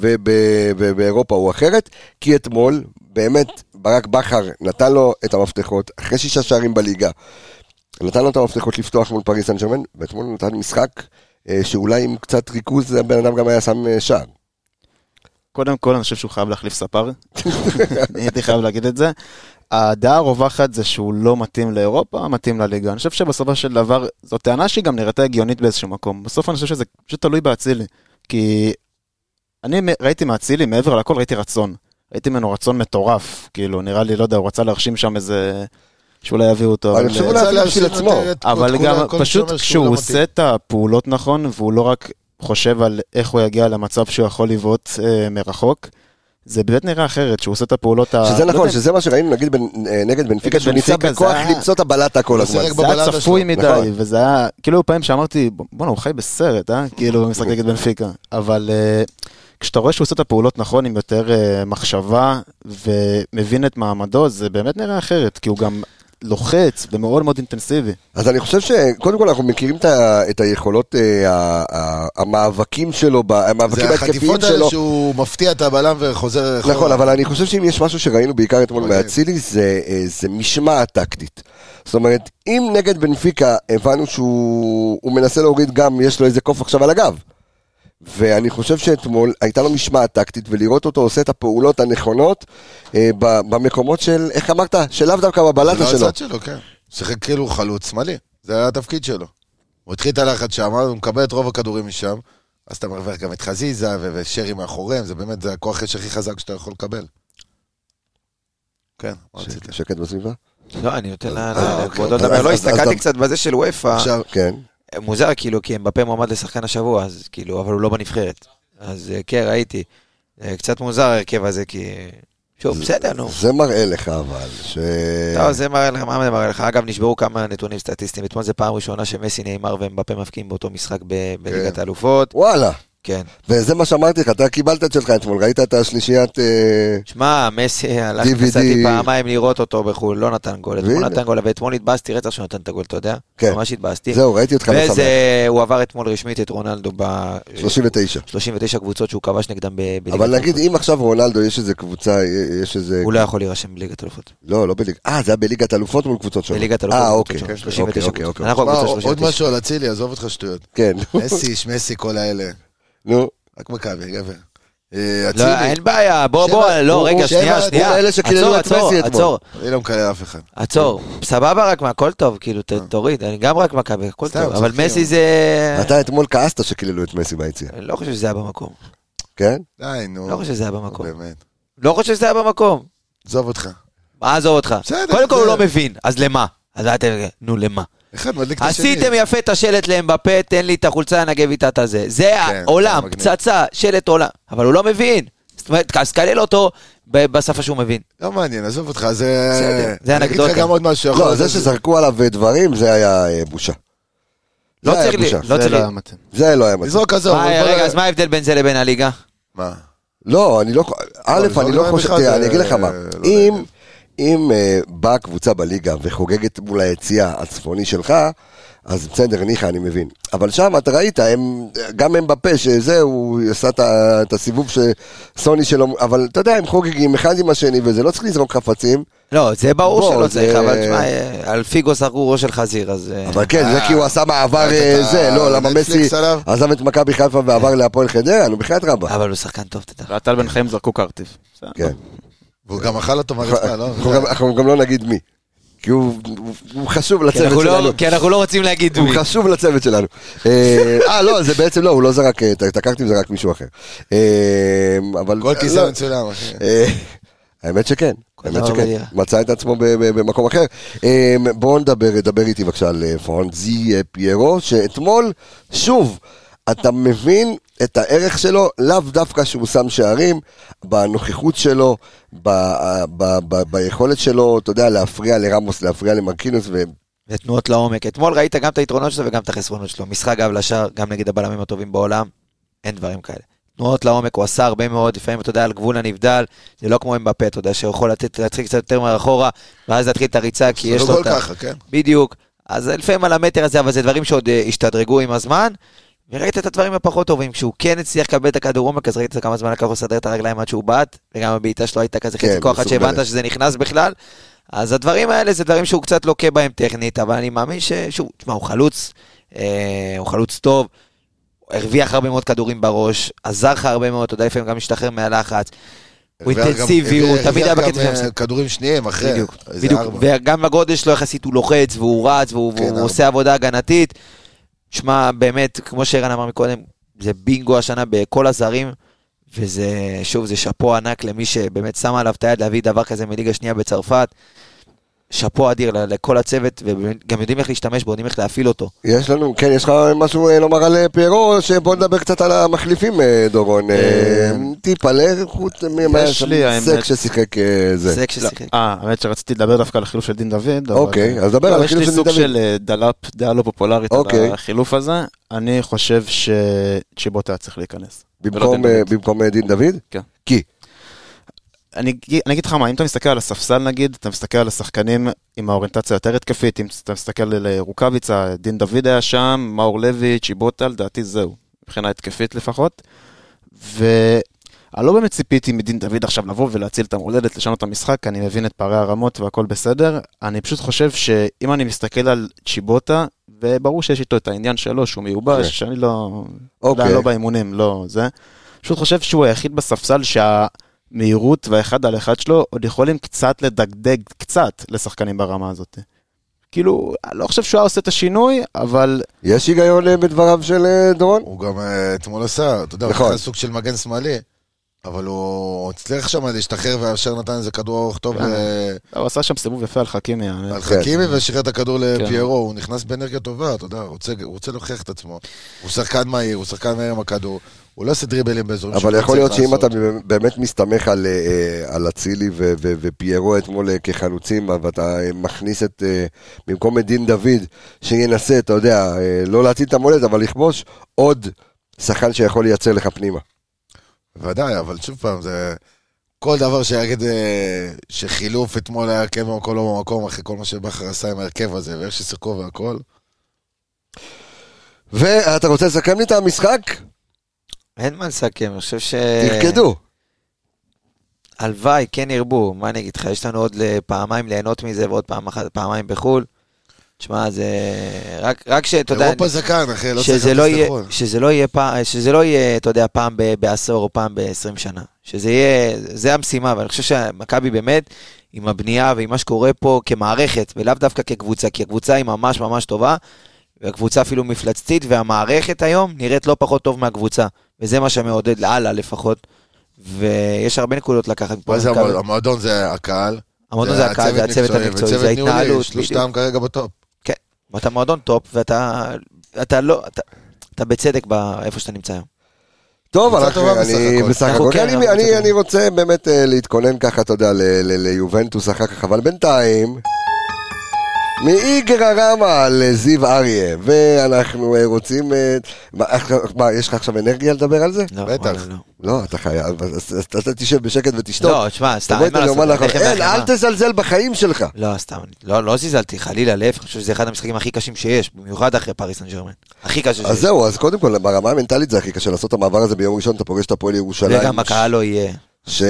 Speaker 1: ובאירופה הוא אחרת כי אתמול באמת ברק בכר נתן לו את המפתחות אחרי שישה שערים בליגה נתן לו את המפתחות לפתוח מול פריס סן ג'רמן, ואתמול הוא נתן משחק אה, שאולי עם קצת ריכוז הבן אדם גם היה שם אה, שער.
Speaker 5: קודם כל, אני חושב שהוא חייב להחליף ספר. אני הייתי חייב להגיד את זה. הדעה הרווחת זה שהוא לא מתאים לאירופה, מתאים לליגה. אני חושב שבסופו של דבר, זו טענה שהיא גם נראתה הגיונית באיזשהו מקום. בסוף אני חושב שזה פשוט תלוי באצילי. כי אני מ- ראיתי מאצילי, מעבר לכל ראיתי רצון. ראיתי ממנו רצון מטורף. כאילו, נראה לי, לא יודע, הוא רצה להרשים שם איזה... שאולי יביאו אותו.
Speaker 1: אני
Speaker 5: אבל-
Speaker 1: חושב אולי אפילו בשביל עצמו.
Speaker 5: אבל גם פשוט
Speaker 4: לא
Speaker 5: כשהוא עושה את הפעולות נכון, והוא לא רק חושב על איך הוא יגיע למצב שהוא יכול לבעוט אה, מרחוק, זה באמת נראה אחרת, שהוא עושה את הפעולות
Speaker 4: אה,
Speaker 5: ה...
Speaker 1: שזה
Speaker 5: לא
Speaker 1: נכון,
Speaker 5: יודע,
Speaker 1: שזה מה שראינו נגיד בנ- אה, נגד בנפיקה,
Speaker 5: נגד
Speaker 1: שהוא ניסה
Speaker 5: בנפיקה, זה
Speaker 1: בכוח
Speaker 5: היה-
Speaker 1: למצוא את הבלטה כל
Speaker 4: הוא
Speaker 1: הזמן.
Speaker 4: שיחק
Speaker 5: זה היה
Speaker 4: בבלדה
Speaker 5: צפוי
Speaker 4: שלו,
Speaker 5: מדי,
Speaker 1: נכון.
Speaker 5: וזה היה, כאילו היו פעמים שאמרתי, בואנה, הוא חי בסרט, אה? כאילו, במשחק נגד בנפיקה. אבל אה, כשאתה רואה שהוא עושה את הפעולות נכון עם יותר אה, מחשבה ומבין את מעמדו, זה באמת נראה אחרת, כי הוא גם לוחץ ומאוד מאוד אינטנסיבי.
Speaker 1: אז אני חושב שקודם כל אנחנו מכירים את, ה, את היכולות, אה, ה, ה, המאבקים שלו, ב- המאבקים
Speaker 4: זה
Speaker 1: ההתקפיים
Speaker 4: החטיפות האלה
Speaker 1: שלו.
Speaker 4: שהוא מפתיע את הבלם וחוזר אחורה.
Speaker 1: נכון, אבל אני חושב שאם יש משהו שראינו בעיקר אתמול
Speaker 4: מדהים.
Speaker 1: מאצילי, זה, אה, זה משמעת טקטית. זאת אומרת, אם נגד בנפיקה הבנו שהוא הוא מנסה להוריד גם, יש לו איזה קוף עכשיו על הגב. ואני חושב שאתמול הייתה לו משמעת טקטית, ולראות אותו עושה את הפעולות הנכונות אה, ב- במקומות של, איך אמרת? שלאו דווקא
Speaker 4: זה
Speaker 1: בבלטה
Speaker 4: לא
Speaker 1: שלו.
Speaker 4: הצד שלו, כן. שיחק כאילו חלוץ שמאלי, זה היה התפקיד שלו. הוא התחיל את הלחץ שם, הוא מקבל את רוב הכדורים משם, אז אתה מרוויח גם את חזיזה ו- ושרי מאחוריהם, זה באמת, זה הכוח אש הכי חזק שאתה יכול לקבל. כן, מה רצית?
Speaker 1: שקט בסביבה?
Speaker 3: לא, אני נותן לה...
Speaker 4: אה,
Speaker 3: לה-
Speaker 4: אוקיי.
Speaker 3: כבודו
Speaker 1: אז-
Speaker 3: לדבר. לא,
Speaker 1: אז- אז
Speaker 3: הסתכלתי
Speaker 1: אתה-
Speaker 3: קצת בזה של וופא.
Speaker 4: עכשיו,
Speaker 1: כן.
Speaker 3: מוזר כאילו, כי אמבפה מועמד לשחקן השבוע, אז כאילו, אבל הוא לא בנבחרת. אז אה, כן, ראיתי. אה, קצת מוזר ההרכב הזה, כי... שוב, בסדר, נו.
Speaker 1: לא. זה מראה לך אבל, ש... כן.
Speaker 3: לא, זה מראה לך, מה זה מראה לך? אגב, נשברו כמה נתונים סטטיסטיים. אתמול זו פעם ראשונה שמסי, נאמר ואמבפה מפקיעים באותו משחק ב-
Speaker 1: כן.
Speaker 3: בליגת האלופות.
Speaker 1: וואלה.
Speaker 3: כן.
Speaker 1: וזה מה שאמרתי לך, אתה קיבלת את שלך אתמול, ראית את השלישיית... אה,
Speaker 3: שמע, מסי הלך,
Speaker 1: DVD.
Speaker 3: נסעתי פעמיים לראות אותו בחו"ל, לא נתן גול. אתמול
Speaker 1: והנה.
Speaker 3: נתן גול, ואתמול התבאסתי רצח שהוא נתן את הגול, אתה יודע?
Speaker 1: כן.
Speaker 3: ממש התבאסתי.
Speaker 1: זהו, ראיתי אותך משמח.
Speaker 3: וזה, הוא עבר אתמול רשמית את רונלדו ב...
Speaker 1: 39.
Speaker 3: 39 קבוצות שהוא כבש נגדם ב- בליגת
Speaker 1: אבל נגיד,
Speaker 3: האלופות.
Speaker 1: אם עכשיו רונלדו, יש איזה קבוצה, אה, יש איזה...
Speaker 3: הוא לא יכול להירשם בליגת אלופות.
Speaker 1: לא, לא בליגת... אה, זה היה בליגת אלופות מול קבוצות שונות.
Speaker 3: בליגת אלופות.
Speaker 1: אה,
Speaker 3: קבוצות
Speaker 1: אוקיי. כן,
Speaker 3: שונות, 39
Speaker 1: אוקיי,
Speaker 3: קבוצות.
Speaker 1: אוקיי.
Speaker 3: אנחנו אה,
Speaker 4: מה,
Speaker 3: הקבוצה
Speaker 4: עוד
Speaker 3: 39.
Speaker 4: משהו על אצילי, עזוב אותך שטויות.
Speaker 1: כן.
Speaker 4: מסי, שמסי, כל האלה.
Speaker 1: נו.
Speaker 4: רק מכבי, גבר. אה,
Speaker 3: לא,
Speaker 4: אצילי,
Speaker 3: אין בעיה, בוא,
Speaker 4: שבע-
Speaker 3: בוא, לא,
Speaker 4: הוא-
Speaker 3: רגע,
Speaker 4: הוא
Speaker 3: שנייה,
Speaker 4: שבע-
Speaker 3: שנייה.
Speaker 1: הוא מאלה שקיללו
Speaker 3: עצור,
Speaker 1: את
Speaker 3: עצור,
Speaker 1: מסי אתמול.
Speaker 3: עצור,
Speaker 4: אני לא מקלל אף אחד.
Speaker 3: עצור. סבבה רק, מה, הכל טוב, כאילו, ת- תוריד, אני גם רק מכבי, הכל
Speaker 4: אה. סתם,
Speaker 3: טוב. אבל
Speaker 4: צוחקים.
Speaker 3: מסי זה...
Speaker 1: אתה אתמול כעסת שקיללו את מסי ביציאה,
Speaker 3: אני לא חושב שזה היה במקום.
Speaker 1: כן?
Speaker 4: די, נו.
Speaker 3: לא חושב שזה היה במקום.
Speaker 4: באמת.
Speaker 3: לא חושב שזה היה במקום.
Speaker 4: עזוב אותך.
Speaker 3: מה עזוב אותך?
Speaker 4: בסדר,
Speaker 3: קודם כל הוא
Speaker 4: זה-
Speaker 3: לא מבין, אז למה? אז אל ת- נו, למה?
Speaker 4: אחד מדליק את השני.
Speaker 3: עשיתם יפה את השלט להם בפה, תן לי את החולצה, נגב איתה את הזה. זה
Speaker 4: כן, זה
Speaker 3: העולם,
Speaker 4: מגניב.
Speaker 3: פצצה, שלט עולם. אבל הוא לא מבין. זאת אומרת, אז קלל אותו ב- בשפה שהוא מבין.
Speaker 4: לא מעניין, עזוב אותך, זה...
Speaker 3: בסדר, זה
Speaker 4: אני אגיד
Speaker 3: אנקדוטה.
Speaker 4: לך גם עוד משהו. יכול
Speaker 1: לא,
Speaker 4: להיות
Speaker 1: זה
Speaker 4: שזה-
Speaker 1: שזרקו עליו דברים, זה היה אה, בושה.
Speaker 3: לא
Speaker 1: זה היה
Speaker 3: צריך לי-
Speaker 1: בושה.
Speaker 3: לא
Speaker 5: זה
Speaker 3: צריך
Speaker 5: לא
Speaker 3: לי-
Speaker 5: היה מתאים.
Speaker 1: זה לא היה מצב.
Speaker 4: לזרוק עזוב.
Speaker 3: מה,
Speaker 4: אבל בוא
Speaker 3: רגע,
Speaker 4: לא-
Speaker 3: אז מה ההבדל בין זה לבין הליגה?
Speaker 4: מה?
Speaker 1: לא, אני לא... א',
Speaker 4: לזרוק
Speaker 1: אני לא
Speaker 4: מים
Speaker 1: חושב...
Speaker 4: אחד
Speaker 1: תראה,
Speaker 4: זה-
Speaker 1: אני אגיד לך מה.
Speaker 4: לא
Speaker 1: אם...
Speaker 4: לעניין.
Speaker 1: אם אה, באה קבוצה בליגה וחוגגת מול היציע הצפוני שלך, אז בסדר, ניחא, אני מבין. אבל שם, אתה ראית, הם, גם הם בפה, שזה, הוא עשה את ה- את הסיבוב שסוני שלו, אבל אתה יודע, הם חוגגים אחד עם השני, וזה לא צריך לזרוק חפצים,
Speaker 3: לא, זה ברור
Speaker 1: בוא,
Speaker 3: שלא
Speaker 1: זה-
Speaker 3: צריך, אבל תשמע, אה, על פיגו זרקו ראש של חזיר, אז... אה,
Speaker 1: אבל כן, זה כי הוא עשה מעבר אה,
Speaker 4: אתה-
Speaker 1: זה, לא, למה
Speaker 4: נטפליקס
Speaker 1: מסי
Speaker 4: עליו?
Speaker 1: עזב את מכבי חיפה ועבר להפועל חדרה, נו, בחייאת רבה.
Speaker 3: אבל הוא שחקן טוב, תדע.
Speaker 5: ועטל בן חיים זרקו קרטיב.
Speaker 1: כן.
Speaker 4: והוא גם אכל אותו מהרצפה, לא?
Speaker 1: אנחנו גם- אנחנו גם לא נגיד מי, כי הוא הוא- הוא חשוב
Speaker 3: כי
Speaker 1: לצוות
Speaker 3: אנחנו לא-
Speaker 1: שלנו.
Speaker 3: כי אנחנו לא רוצים להגיד
Speaker 1: הוא
Speaker 3: מי.
Speaker 1: חשוב לצוות שלנו. אה, אה, לא, זה בעצם לא, הוא לא זרק, אה, את הקרטיב זרק מישהו אחר. אה, אבל...
Speaker 4: כל
Speaker 1: לא.
Speaker 4: כיסא מצולם, אחי.
Speaker 1: אה, האמת שכן,
Speaker 3: כל
Speaker 1: האמת
Speaker 3: דבר
Speaker 1: שכן.
Speaker 3: בדירה.
Speaker 1: מצא את עצמו ב- ב- במקום אחר. אה, בואו נדבר, דבר איתי בבקשה על אה, פרנזי אה, פיירו, שאתמול, שוב, אתה מבין את הערך שלו, לאו דווקא שהוא שם שערים, בנוכחות שלו, ב- ב- ב- ביכולת שלו, אתה יודע, להפריע לרמוס, להפריע למרקינוס, ו...
Speaker 3: ותנועות לעומק. אתמול ראית גם את היתרונות שלו וגם את החסרונות שלו. משחק גב לשער, גם נגד הבלמים הטובים בעולם, אין דברים כאלה. תנועות לעומק, הוא עשה הרבה מאוד, לפעמים, אתה יודע, על גבול הנבדל, זה לא כמו עם בפה, אתה יודע, שיכול לתת- להתחיל קצת יותר מאחורה, ואז להתחיל את הריצה, כי יש
Speaker 4: לא
Speaker 3: לו
Speaker 4: גול
Speaker 3: את ה...
Speaker 4: ככה, כן.
Speaker 3: בדיוק. אז לפעמים על המטר הזה, אבל זה דברים שעוד אה, השתדרגו עם הזמן. וראית את הדברים הפחות טובים, כשהוא כן הצליח לקבל את הכדור עומק, אז ראית כמה זמן לקח לו לסדר את הרגליים עד שהוא בעט, וגם הבעיטה שלו הייתה כזה
Speaker 1: כן,
Speaker 3: חצי כוח עד
Speaker 1: מסורבלת.
Speaker 3: שהבנת שזה נכנס בכלל. אז הדברים האלה זה דברים שהוא קצת לוקה בהם טכנית, אבל אני מאמין ששוב, תשמע, הוא חלוץ, אה, הוא חלוץ טוב, הרוויח הרבה מאוד כדורים בראש, עזר לך הרבה מאוד, אתה יודע, לפעמים גם השתחרר מהלחץ. הוא
Speaker 4: הרוויח גם-
Speaker 3: אינטנסיבי, הוא
Speaker 4: הרוויח
Speaker 3: תמיד היה
Speaker 4: גם,
Speaker 3: בקצב של
Speaker 4: אה,
Speaker 3: המשחק.
Speaker 4: כדורים שניים אחרי.
Speaker 3: בדיוק,
Speaker 4: איזה
Speaker 3: בדיוק.
Speaker 4: ארבע.
Speaker 3: וגם בגודל שלו יחסית הוא לוחץ והוא רץ והוא,
Speaker 4: כן,
Speaker 3: והוא
Speaker 4: ארבע.
Speaker 3: עושה עבודה הגנתית. שמע, באמת, כמו שערן אמר מקודם, זה בינגו השנה בכל הזרים, וזה, שוב, זה שאפו ענק למי שבאמת שם עליו את היד להביא דבר כזה מליגה שנייה בצרפת. שאפו אדיר ל- לכל הצוות, וגם יודעים איך להשתמש בו, יודעים איך להפעיל אותו.
Speaker 1: יש לנו, כן, יש לך משהו אה, לומר על אה, פיירו, שבוא נדבר קצת על המחליפים, אה, דורון. אה,
Speaker 5: אה,
Speaker 1: טיפה לחוץ, מי מה היה
Speaker 5: יש
Speaker 1: שם?
Speaker 5: לי, האמת.
Speaker 1: סק ששיחק אה, זה.
Speaker 3: זה
Speaker 4: לא.
Speaker 3: כששיחק.
Speaker 5: אה, האמת שרציתי לדבר דווקא על החילוף של דין דוד. אבל-
Speaker 1: אוקיי, אז דבר
Speaker 5: לא,
Speaker 1: על
Speaker 5: יש
Speaker 1: החילוף
Speaker 5: לי
Speaker 1: של
Speaker 5: סוג
Speaker 1: דוד.
Speaker 5: של אה, דלאפ, דעה לא פופולרית
Speaker 1: אוקיי.
Speaker 5: על החילוף הזה. אני חושב שצ'יבוטה צריך להיכנס. ולא דין
Speaker 1: במקום,
Speaker 5: דוד.
Speaker 1: אה, במקום אה, דין דוד?
Speaker 5: כן.
Speaker 1: כי?
Speaker 5: אני אגיד- אני אגיד לך מה, אם אתה מסתכל על הספסל נגיד, אתה מסתכל על השחקנים עם האוריינטציה היותר התקפית, אם אתה מסתכל על אה, רוקאביצה, דין דוד היה שם, מאור לוי, צ'יבוטה, לדעתי זהו, מבחינה התקפית לפחות. ואני לא באמת ציפיתי מדין דוד עכשיו לבוא ולהציל את המולדת, לשנות את המשחק, אני מבין את פערי הרמות והכל בסדר. אני פשוט חושב שאם אני מסתכל על צ'יבוטה, וברור שיש איתו את העניין שלו, שהוא מיובש, שאני לא...
Speaker 1: אוקיי.
Speaker 5: לא, לא באימונים, לא זה. פשוט חושב שהוא היחיד בספסל שהמהירות והאחד על אחד שלו עוד יכולים קצת לדגדג, קצת, לשחקנים ברמה הזאת. כאילו, אני לא חושב שהוא היה עושה את השינוי, אבל
Speaker 1: יש היגיון אה, בדבריו של אה, דורון?
Speaker 4: הוא גם אה, אתמול עשה, אתה יודע, הוא
Speaker 1: נכון.
Speaker 4: עשה סוג של מגן שמאלי, אבל הוא הצליח שם להשתחרר וישר נתן איזה כדור ארוך טוב
Speaker 5: כן.
Speaker 4: ל-
Speaker 5: הוא עשה שם סיבוב יפה על חכימי. האמת.
Speaker 4: על
Speaker 3: כן.
Speaker 4: חכימי ושחרר את הכדור לפיירו,
Speaker 5: כן.
Speaker 4: הוא נכנס באנרגיה טובה, אתה יודע, הוא רוצה- הוא רוצה להוכיח את עצמו. הוא שחקן מהיר, הוא שחקן מהיר עם הכדור, הוא לא עושה דריבלים באזורים שהוא
Speaker 1: אבל
Speaker 4: לא
Speaker 1: יכול להיות
Speaker 4: צריך
Speaker 1: שאם אתה
Speaker 4: לעשות.
Speaker 1: באמת מסתמך על, אה, אה, על אצילי ו- ו- ופיירו אתמול אה, כחלוצים, ואתה אה, מכניס את, אה, במקום את דין דוד, שינסה, אתה יודע, אה, לא להציל את המולדת, אבל לכבוש עוד שחקן שיכול לייצר לך פנימה.
Speaker 4: ודאי, אבל שוב פעם, זה... כל דבר שיגיד אה, שחילוף אתמול היה כן במקום, לא במקום, אחרי כל מה שבכר עשה עם ההרכב הזה, ואיך ששיחקו והכל.
Speaker 1: ואתה רוצה לסכם לי את המשחק?
Speaker 3: אין מה לסכם, אני חושב ש...
Speaker 1: תרקדו.
Speaker 3: הלוואי, כן ירבו, מה אני אגיד לך, יש לנו עוד פעמיים ליהנות מזה ועוד פעם אחת, פעמיים בחו"ל. תשמע, זה... רק, רק שאתה יודע...
Speaker 4: אירופה זה כאן, אחי, לא צריך
Speaker 3: שזה לא,
Speaker 4: להכניס
Speaker 3: יהיה,
Speaker 4: לחול.
Speaker 3: שזה, לא יהיה פעם, שזה לא יהיה, אתה יודע, פעם ב- בעשור או פעם ב-20 שנה. שזה יהיה, זה המשימה, ואני חושב שמכבי באמת, עם הבנייה ועם מה שקורה פה כמערכת, ולאו דווקא כקבוצה, כי הקבוצה היא ממש ממש טובה, והקבוצה אפילו מפלצתית, והמערכת היום נראית לא פחות טוב מהקבוצה, וזה מה שמעודד לאללה לפחות, ויש הרבה נקודות לקחת. מפה
Speaker 4: מה זה
Speaker 3: למכבי.
Speaker 4: המועדון? המועדון זה הקהל.
Speaker 3: המועדון זה הקהל, זה הצוות
Speaker 4: מקצועי,
Speaker 3: המקצועי, זה
Speaker 4: וצוות ניהולי,
Speaker 3: ההתנהלות. בדיוק.
Speaker 4: שלושתם כרגע בטופ.
Speaker 3: כן, ואתה מועדון טופ, ואתה אתה לא, אתה, אתה בצדק ב- איפה שאתה נמצא היום.
Speaker 1: טוב,
Speaker 4: קבוצה
Speaker 1: אנחנו,
Speaker 4: טובה בסך
Speaker 1: אני
Speaker 4: הכל.
Speaker 1: בסך
Speaker 3: אנחנו
Speaker 1: הכל,
Speaker 3: כן,
Speaker 1: אני-
Speaker 3: אנחנו
Speaker 1: אני-
Speaker 3: בסך
Speaker 1: אני רוצה באמת אה, להתכונן ככה, אתה יודע, ל- ל- ליובנטוס אחר כך, אבל בינתיים, מאיגרא רמא לזיו אריה, ואנחנו אה, רוצים... אה, מה, עכשיו- מה, יש לך עכשיו אנרגיה לדבר על זה?
Speaker 3: לא,
Speaker 4: בטח.
Speaker 3: וואלה, לא.
Speaker 1: לא, אתה חייב, אז- אז אז אתה תשב בשקט ותשתוק.
Speaker 3: לא, תשמע, סתם,
Speaker 1: תבוא
Speaker 3: אין מה
Speaker 1: איתנו
Speaker 3: לעשות,
Speaker 1: יומן לאחרון.
Speaker 3: לחם
Speaker 1: אין,
Speaker 3: והחמאה.
Speaker 1: אל תזלזל בחיים שלך.
Speaker 3: לא, סתם, אני- לא, לא זלזלתי, חלילה, להפך, אני חושב שזה אחד המשחקים הכי קשים שיש, במיוחד אחרי פריס סן ג'רמן. הכי קשה
Speaker 1: אז
Speaker 3: שיש.
Speaker 1: זהו, אז קודם כל, ברמה המנטלית זה הכי קשה לעשות את המעבר הזה ביום ראשון, אתה פוגש את הפועל ירושלים.
Speaker 3: וגם הקהל לא יהיה.
Speaker 1: ש...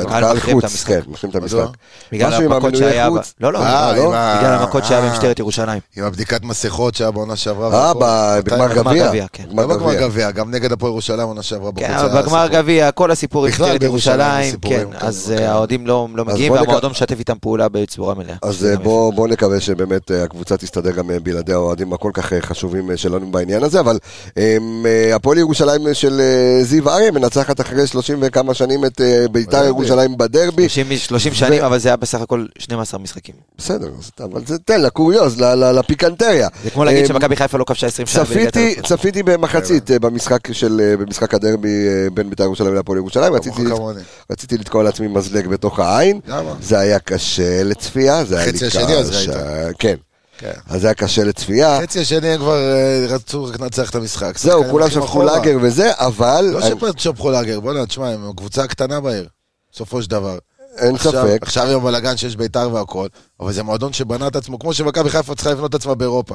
Speaker 3: הקהל
Speaker 1: הקהל
Speaker 3: מחרים את
Speaker 1: חוץ,
Speaker 3: המשחק. לא,
Speaker 1: כן, מחרים את המשחק.
Speaker 4: מדוע?
Speaker 3: בגלל
Speaker 1: משהו עם
Speaker 3: המכות
Speaker 1: המנויי
Speaker 3: שהיה... ב-
Speaker 1: חוץ.
Speaker 3: לא, לא,
Speaker 4: אה,
Speaker 3: לא,
Speaker 4: עם ה-
Speaker 3: בגלל המכות שהיה
Speaker 4: אה.
Speaker 3: במשטרת ירושלים.
Speaker 4: עם הבדיקת מסכות שהיה בעונה שעברה.
Speaker 1: אה,
Speaker 4: והכל.
Speaker 1: ב-
Speaker 4: מתי-
Speaker 1: בגמר גביע.
Speaker 3: גביע, כן.
Speaker 1: בגמר
Speaker 4: לא בגמר
Speaker 1: גביע.
Speaker 4: גביע, גם נגד הפועל ירושלים עונה שעברה בחוץ.
Speaker 3: כן,
Speaker 4: היה
Speaker 3: אבל בגמר
Speaker 4: סיפור.
Speaker 3: גביע, כל הסיפור עם
Speaker 4: בכלל,
Speaker 3: משטרת
Speaker 4: בירושלים
Speaker 3: ירושלים,
Speaker 4: הסיפורים
Speaker 3: כן,
Speaker 4: כאלה,
Speaker 3: אז
Speaker 4: אוקיי.
Speaker 3: אה, האוהדים לא לא
Speaker 1: אז
Speaker 3: מגיעים,
Speaker 1: בוא נק-
Speaker 3: והמועדון משתף איתם פעולה בצורה מלאה. לא
Speaker 1: אז
Speaker 3: שזה
Speaker 1: אה,
Speaker 3: גם
Speaker 1: בוא, בוא נקווה שבאמת אה, הקבוצה תסתדר גם אה, בלעדי האוהדים הכל כך אה, חשובים אה, שלנו בעניין הזה, אבל אמ, אה, הפועל ירושלים אה, של אה, זיו אריה מנצחת אחרי 30 וכמה שנים את אה, ביתר
Speaker 4: בדרבי.
Speaker 1: ירושלים בדרבי.
Speaker 3: 30 30 שנים, אבל זה היה בסך הכל 12 משחקים.
Speaker 1: בסדר, אז- אבל זה תן לקוריוז, ל- ל- לפיקנטריה.
Speaker 3: זה כמו להגיד
Speaker 1: אמ,
Speaker 3: שמכבי חיפה לא כבשה 20 שנה בליגת
Speaker 1: צפיתי,
Speaker 3: האלופות.
Speaker 1: צפיתי במחצית אה, במשחק של, אה, במשחק הדרבי אה, בין בית"ר ירושלים להפועל ירושלים, רציתי,
Speaker 4: כמוך כמוני.
Speaker 1: רציתי לתקוע לעצמי מזלג בתוך העין,
Speaker 4: למה?
Speaker 1: זה היה קשה לצפייה, זה היה לי
Speaker 4: חצי השני אז
Speaker 1: קשה,
Speaker 4: ראית.
Speaker 1: כן,
Speaker 4: כן.
Speaker 1: אז זה היה קשה לצפייה,
Speaker 4: חצי השני הם כבר אה, רצו רק לנצח את המשחק.
Speaker 1: זהו,
Speaker 4: שחקנים
Speaker 1: כולם
Speaker 4: הולכים
Speaker 1: שפכו
Speaker 4: אחורה.
Speaker 1: לאגר וזה, אבל
Speaker 4: לא
Speaker 1: אני-
Speaker 4: שפכו לאגר, בוא'נה, תשמע, הם הקבוצה הקטנה בעיר, בסופו של דבר.
Speaker 1: אין
Speaker 4: עכשיו-
Speaker 1: ספק,
Speaker 4: עכשיו עם הבלאגן שיש ביתר והכל, אבל זה מועדון שבנה את עצמו, כמו שמכבי חיפה צריכה לבנות את עצמה באירופה.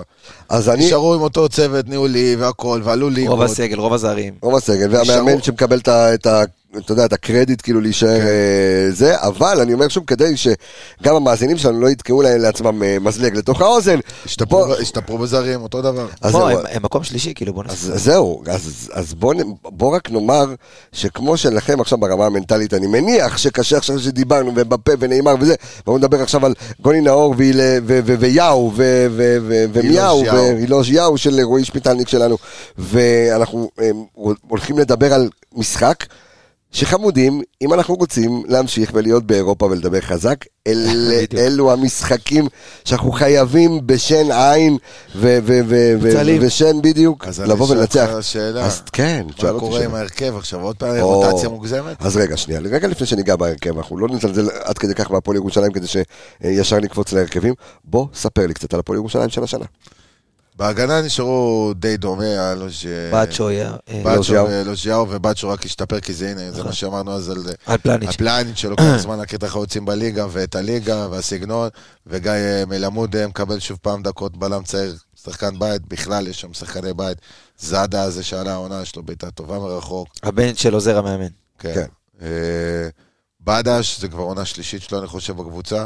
Speaker 1: אז אני,
Speaker 4: נשארו עם אותו צוות ניהולי והכל, ועלו ליגות.
Speaker 3: רוב הסגל, רוב הזרים.
Speaker 1: רוב הסגל, והמאמן
Speaker 4: נשארו- כן.
Speaker 1: שמקבל את ה- את ה... אתה יודע, את הקרדיט כאילו להישאר אה, זה, אבל אני אומר שוב, כדי שגם המאזינים שלנו לא יתקעו להם לעצמם אה, מזלג לתוך האוזן.
Speaker 4: השתפרו-
Speaker 1: בוא-
Speaker 4: השתפרו בזרים, אותו דבר.
Speaker 1: אז
Speaker 3: בוא,
Speaker 1: זהו,
Speaker 3: הם- הם מקום שלישי, כאילו, בוא נעשה.
Speaker 1: אז זהו, אז, אז בוא, נ- בוא רק נאמר שכמו שלכם עכשיו ברמה המנטלית, אני מניח שקשה עכשיו שדיברנו, ובפה ונאמר וזה, בואו נדבר עכשיו על גוני נאור והיל- ו- ו- ויאו ו- ו- ו- ומיאו,
Speaker 4: יאו.
Speaker 1: ואילוש יאו של רועי שפיטלניק שלנו, ואנחנו הם, הולכים לדבר על משחק שחמודים, אם אנחנו רוצים להמשיך ולהיות באירופה ולדבר חזק, אל,
Speaker 3: בדיוק.
Speaker 1: אלו המשחקים שאנחנו חייבים בשן עין ו- ו- ו- ו-
Speaker 5: צלים.
Speaker 1: ושן בדיוק,
Speaker 4: אז אני
Speaker 1: לבוא
Speaker 4: אשאל
Speaker 1: ולנצח.
Speaker 4: אותך שאלה.
Speaker 1: אז כן, שאל
Speaker 4: מה
Speaker 1: אותי
Speaker 4: קורה עם
Speaker 1: שאלה.
Speaker 4: ההרכב עכשיו? עוד פעם
Speaker 1: או.
Speaker 4: רוטציה מוגזמת?
Speaker 1: אז רגע, שנייה, רגע לפני שניגע בהרכב, אנחנו לא נזלזל עד כדי כך בהפועל ירושלים כדי שישר נקפוץ להרכבים. בוא, ספר לי קצת על הפועל ירושלים של השנה.
Speaker 4: בהגנה נשארו די דומה, היה לו ש...
Speaker 3: בצ'ו היה, אה,
Speaker 4: בצ'ו
Speaker 1: לוז'יאו.
Speaker 4: ולוז'יאו, ובצ'ו רק השתפר, כי זה הנה,
Speaker 1: נכון.
Speaker 4: זה מה שאמרנו אז על
Speaker 3: על פלניץ'.
Speaker 4: הפלנינג שלו
Speaker 1: אה.
Speaker 4: כל הזמן הקטע איך היוצאים בליגה, ואת הליגה, והסגנון, וגיא אה, מלמוד אה, מקבל שוב פעם דקות בלם צעיר, שחקן בית, בכלל יש שם שחקני בית. זאדה הזה שעלה העונה, יש לו בעיטה טובה מרחוק.
Speaker 3: הבן של עוזר המאמן.
Speaker 4: כן.
Speaker 1: כן.
Speaker 4: אה, בדש, זה כבר עונה שלישית שלו, אני חושב, בקבוצה.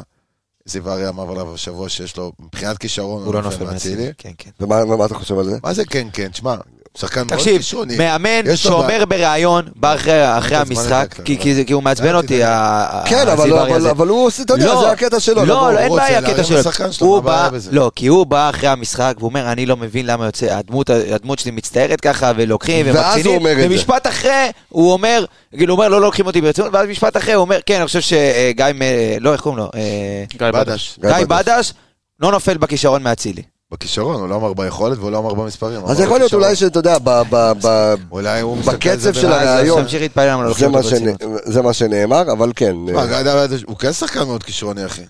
Speaker 4: זיו אריה אמר עליו השבוע שיש לו, מבחינת כישרון,
Speaker 3: הוא לא
Speaker 4: נופל
Speaker 3: נופל מהצילי. כן, כן.
Speaker 1: ומה ומה אתה חושב על זה?
Speaker 4: מה זה כן כן? תשמע, שחקן מאוד
Speaker 3: תקשיב,
Speaker 4: כישרוני.
Speaker 3: מאמן
Speaker 4: יש לו
Speaker 3: שאומר בריאיון, בא אחרי אחרי
Speaker 4: לו זמן
Speaker 3: המשחק,
Speaker 4: לדקה.
Speaker 3: כי- כי זה- כי הוא מעצבן
Speaker 4: אל
Speaker 3: אותי,
Speaker 4: תדאג.
Speaker 3: ה- ה-
Speaker 4: אה,
Speaker 1: כן, אבל-
Speaker 3: הזיו אריה
Speaker 1: אבל
Speaker 3: הזה.
Speaker 1: אבל הוא עושה, אתה יודע,
Speaker 3: לא.
Speaker 1: זה הקטע שלו. לבוא,
Speaker 3: לא, לא, אין
Speaker 4: רוצה
Speaker 3: בעיה
Speaker 4: להרים
Speaker 3: הקטע שלו.
Speaker 4: לשחקן שלו,
Speaker 3: הוא
Speaker 4: מה הבעיה
Speaker 3: בא,
Speaker 4: בזה?
Speaker 3: לא, כי הוא בא אחרי המשחק ואומר, אני לא מבין למה יוצא, הדמות- הדמות שלי מצטערת ככה, ולוקחים,
Speaker 1: ואז הוא
Speaker 3: ומקצינים.
Speaker 1: אומר את זה.
Speaker 3: ומשפט אחרי, הוא אומר, כאילו, הוא אומר, לא לא לוקחים אותי ברצינות, ואז משפט אחרי, הוא אומר, כן, אני חושב שגיא, מ- לא, איך קוראים לו? אה,
Speaker 5: גיא
Speaker 4: בדש.
Speaker 1: גיא
Speaker 3: גיא
Speaker 1: בדש.
Speaker 3: בדש, לא נופל בכישרון מאצילי.
Speaker 4: בכישרון, הוא לא אמר ביכולת והוא לא אמר במספרים. הוא
Speaker 1: אז
Speaker 4: אמר
Speaker 1: יכול להיות
Speaker 4: בכישרון.
Speaker 1: אולי שאתה יודע, ב- ב- ב-
Speaker 4: אולי הוא מסתכל על זה
Speaker 1: בקצב של
Speaker 4: בעין.
Speaker 1: הרעיון. היום.
Speaker 3: תמשיך להתפעל למה לא
Speaker 1: זה
Speaker 3: לוקחים
Speaker 1: מה
Speaker 3: אותו
Speaker 1: שנ-
Speaker 3: ברצינות.
Speaker 1: זה מה שנאמר, אבל כן.
Speaker 4: מה, גיא דוד, הוא כן שחקן מאוד כישרוני, אחי.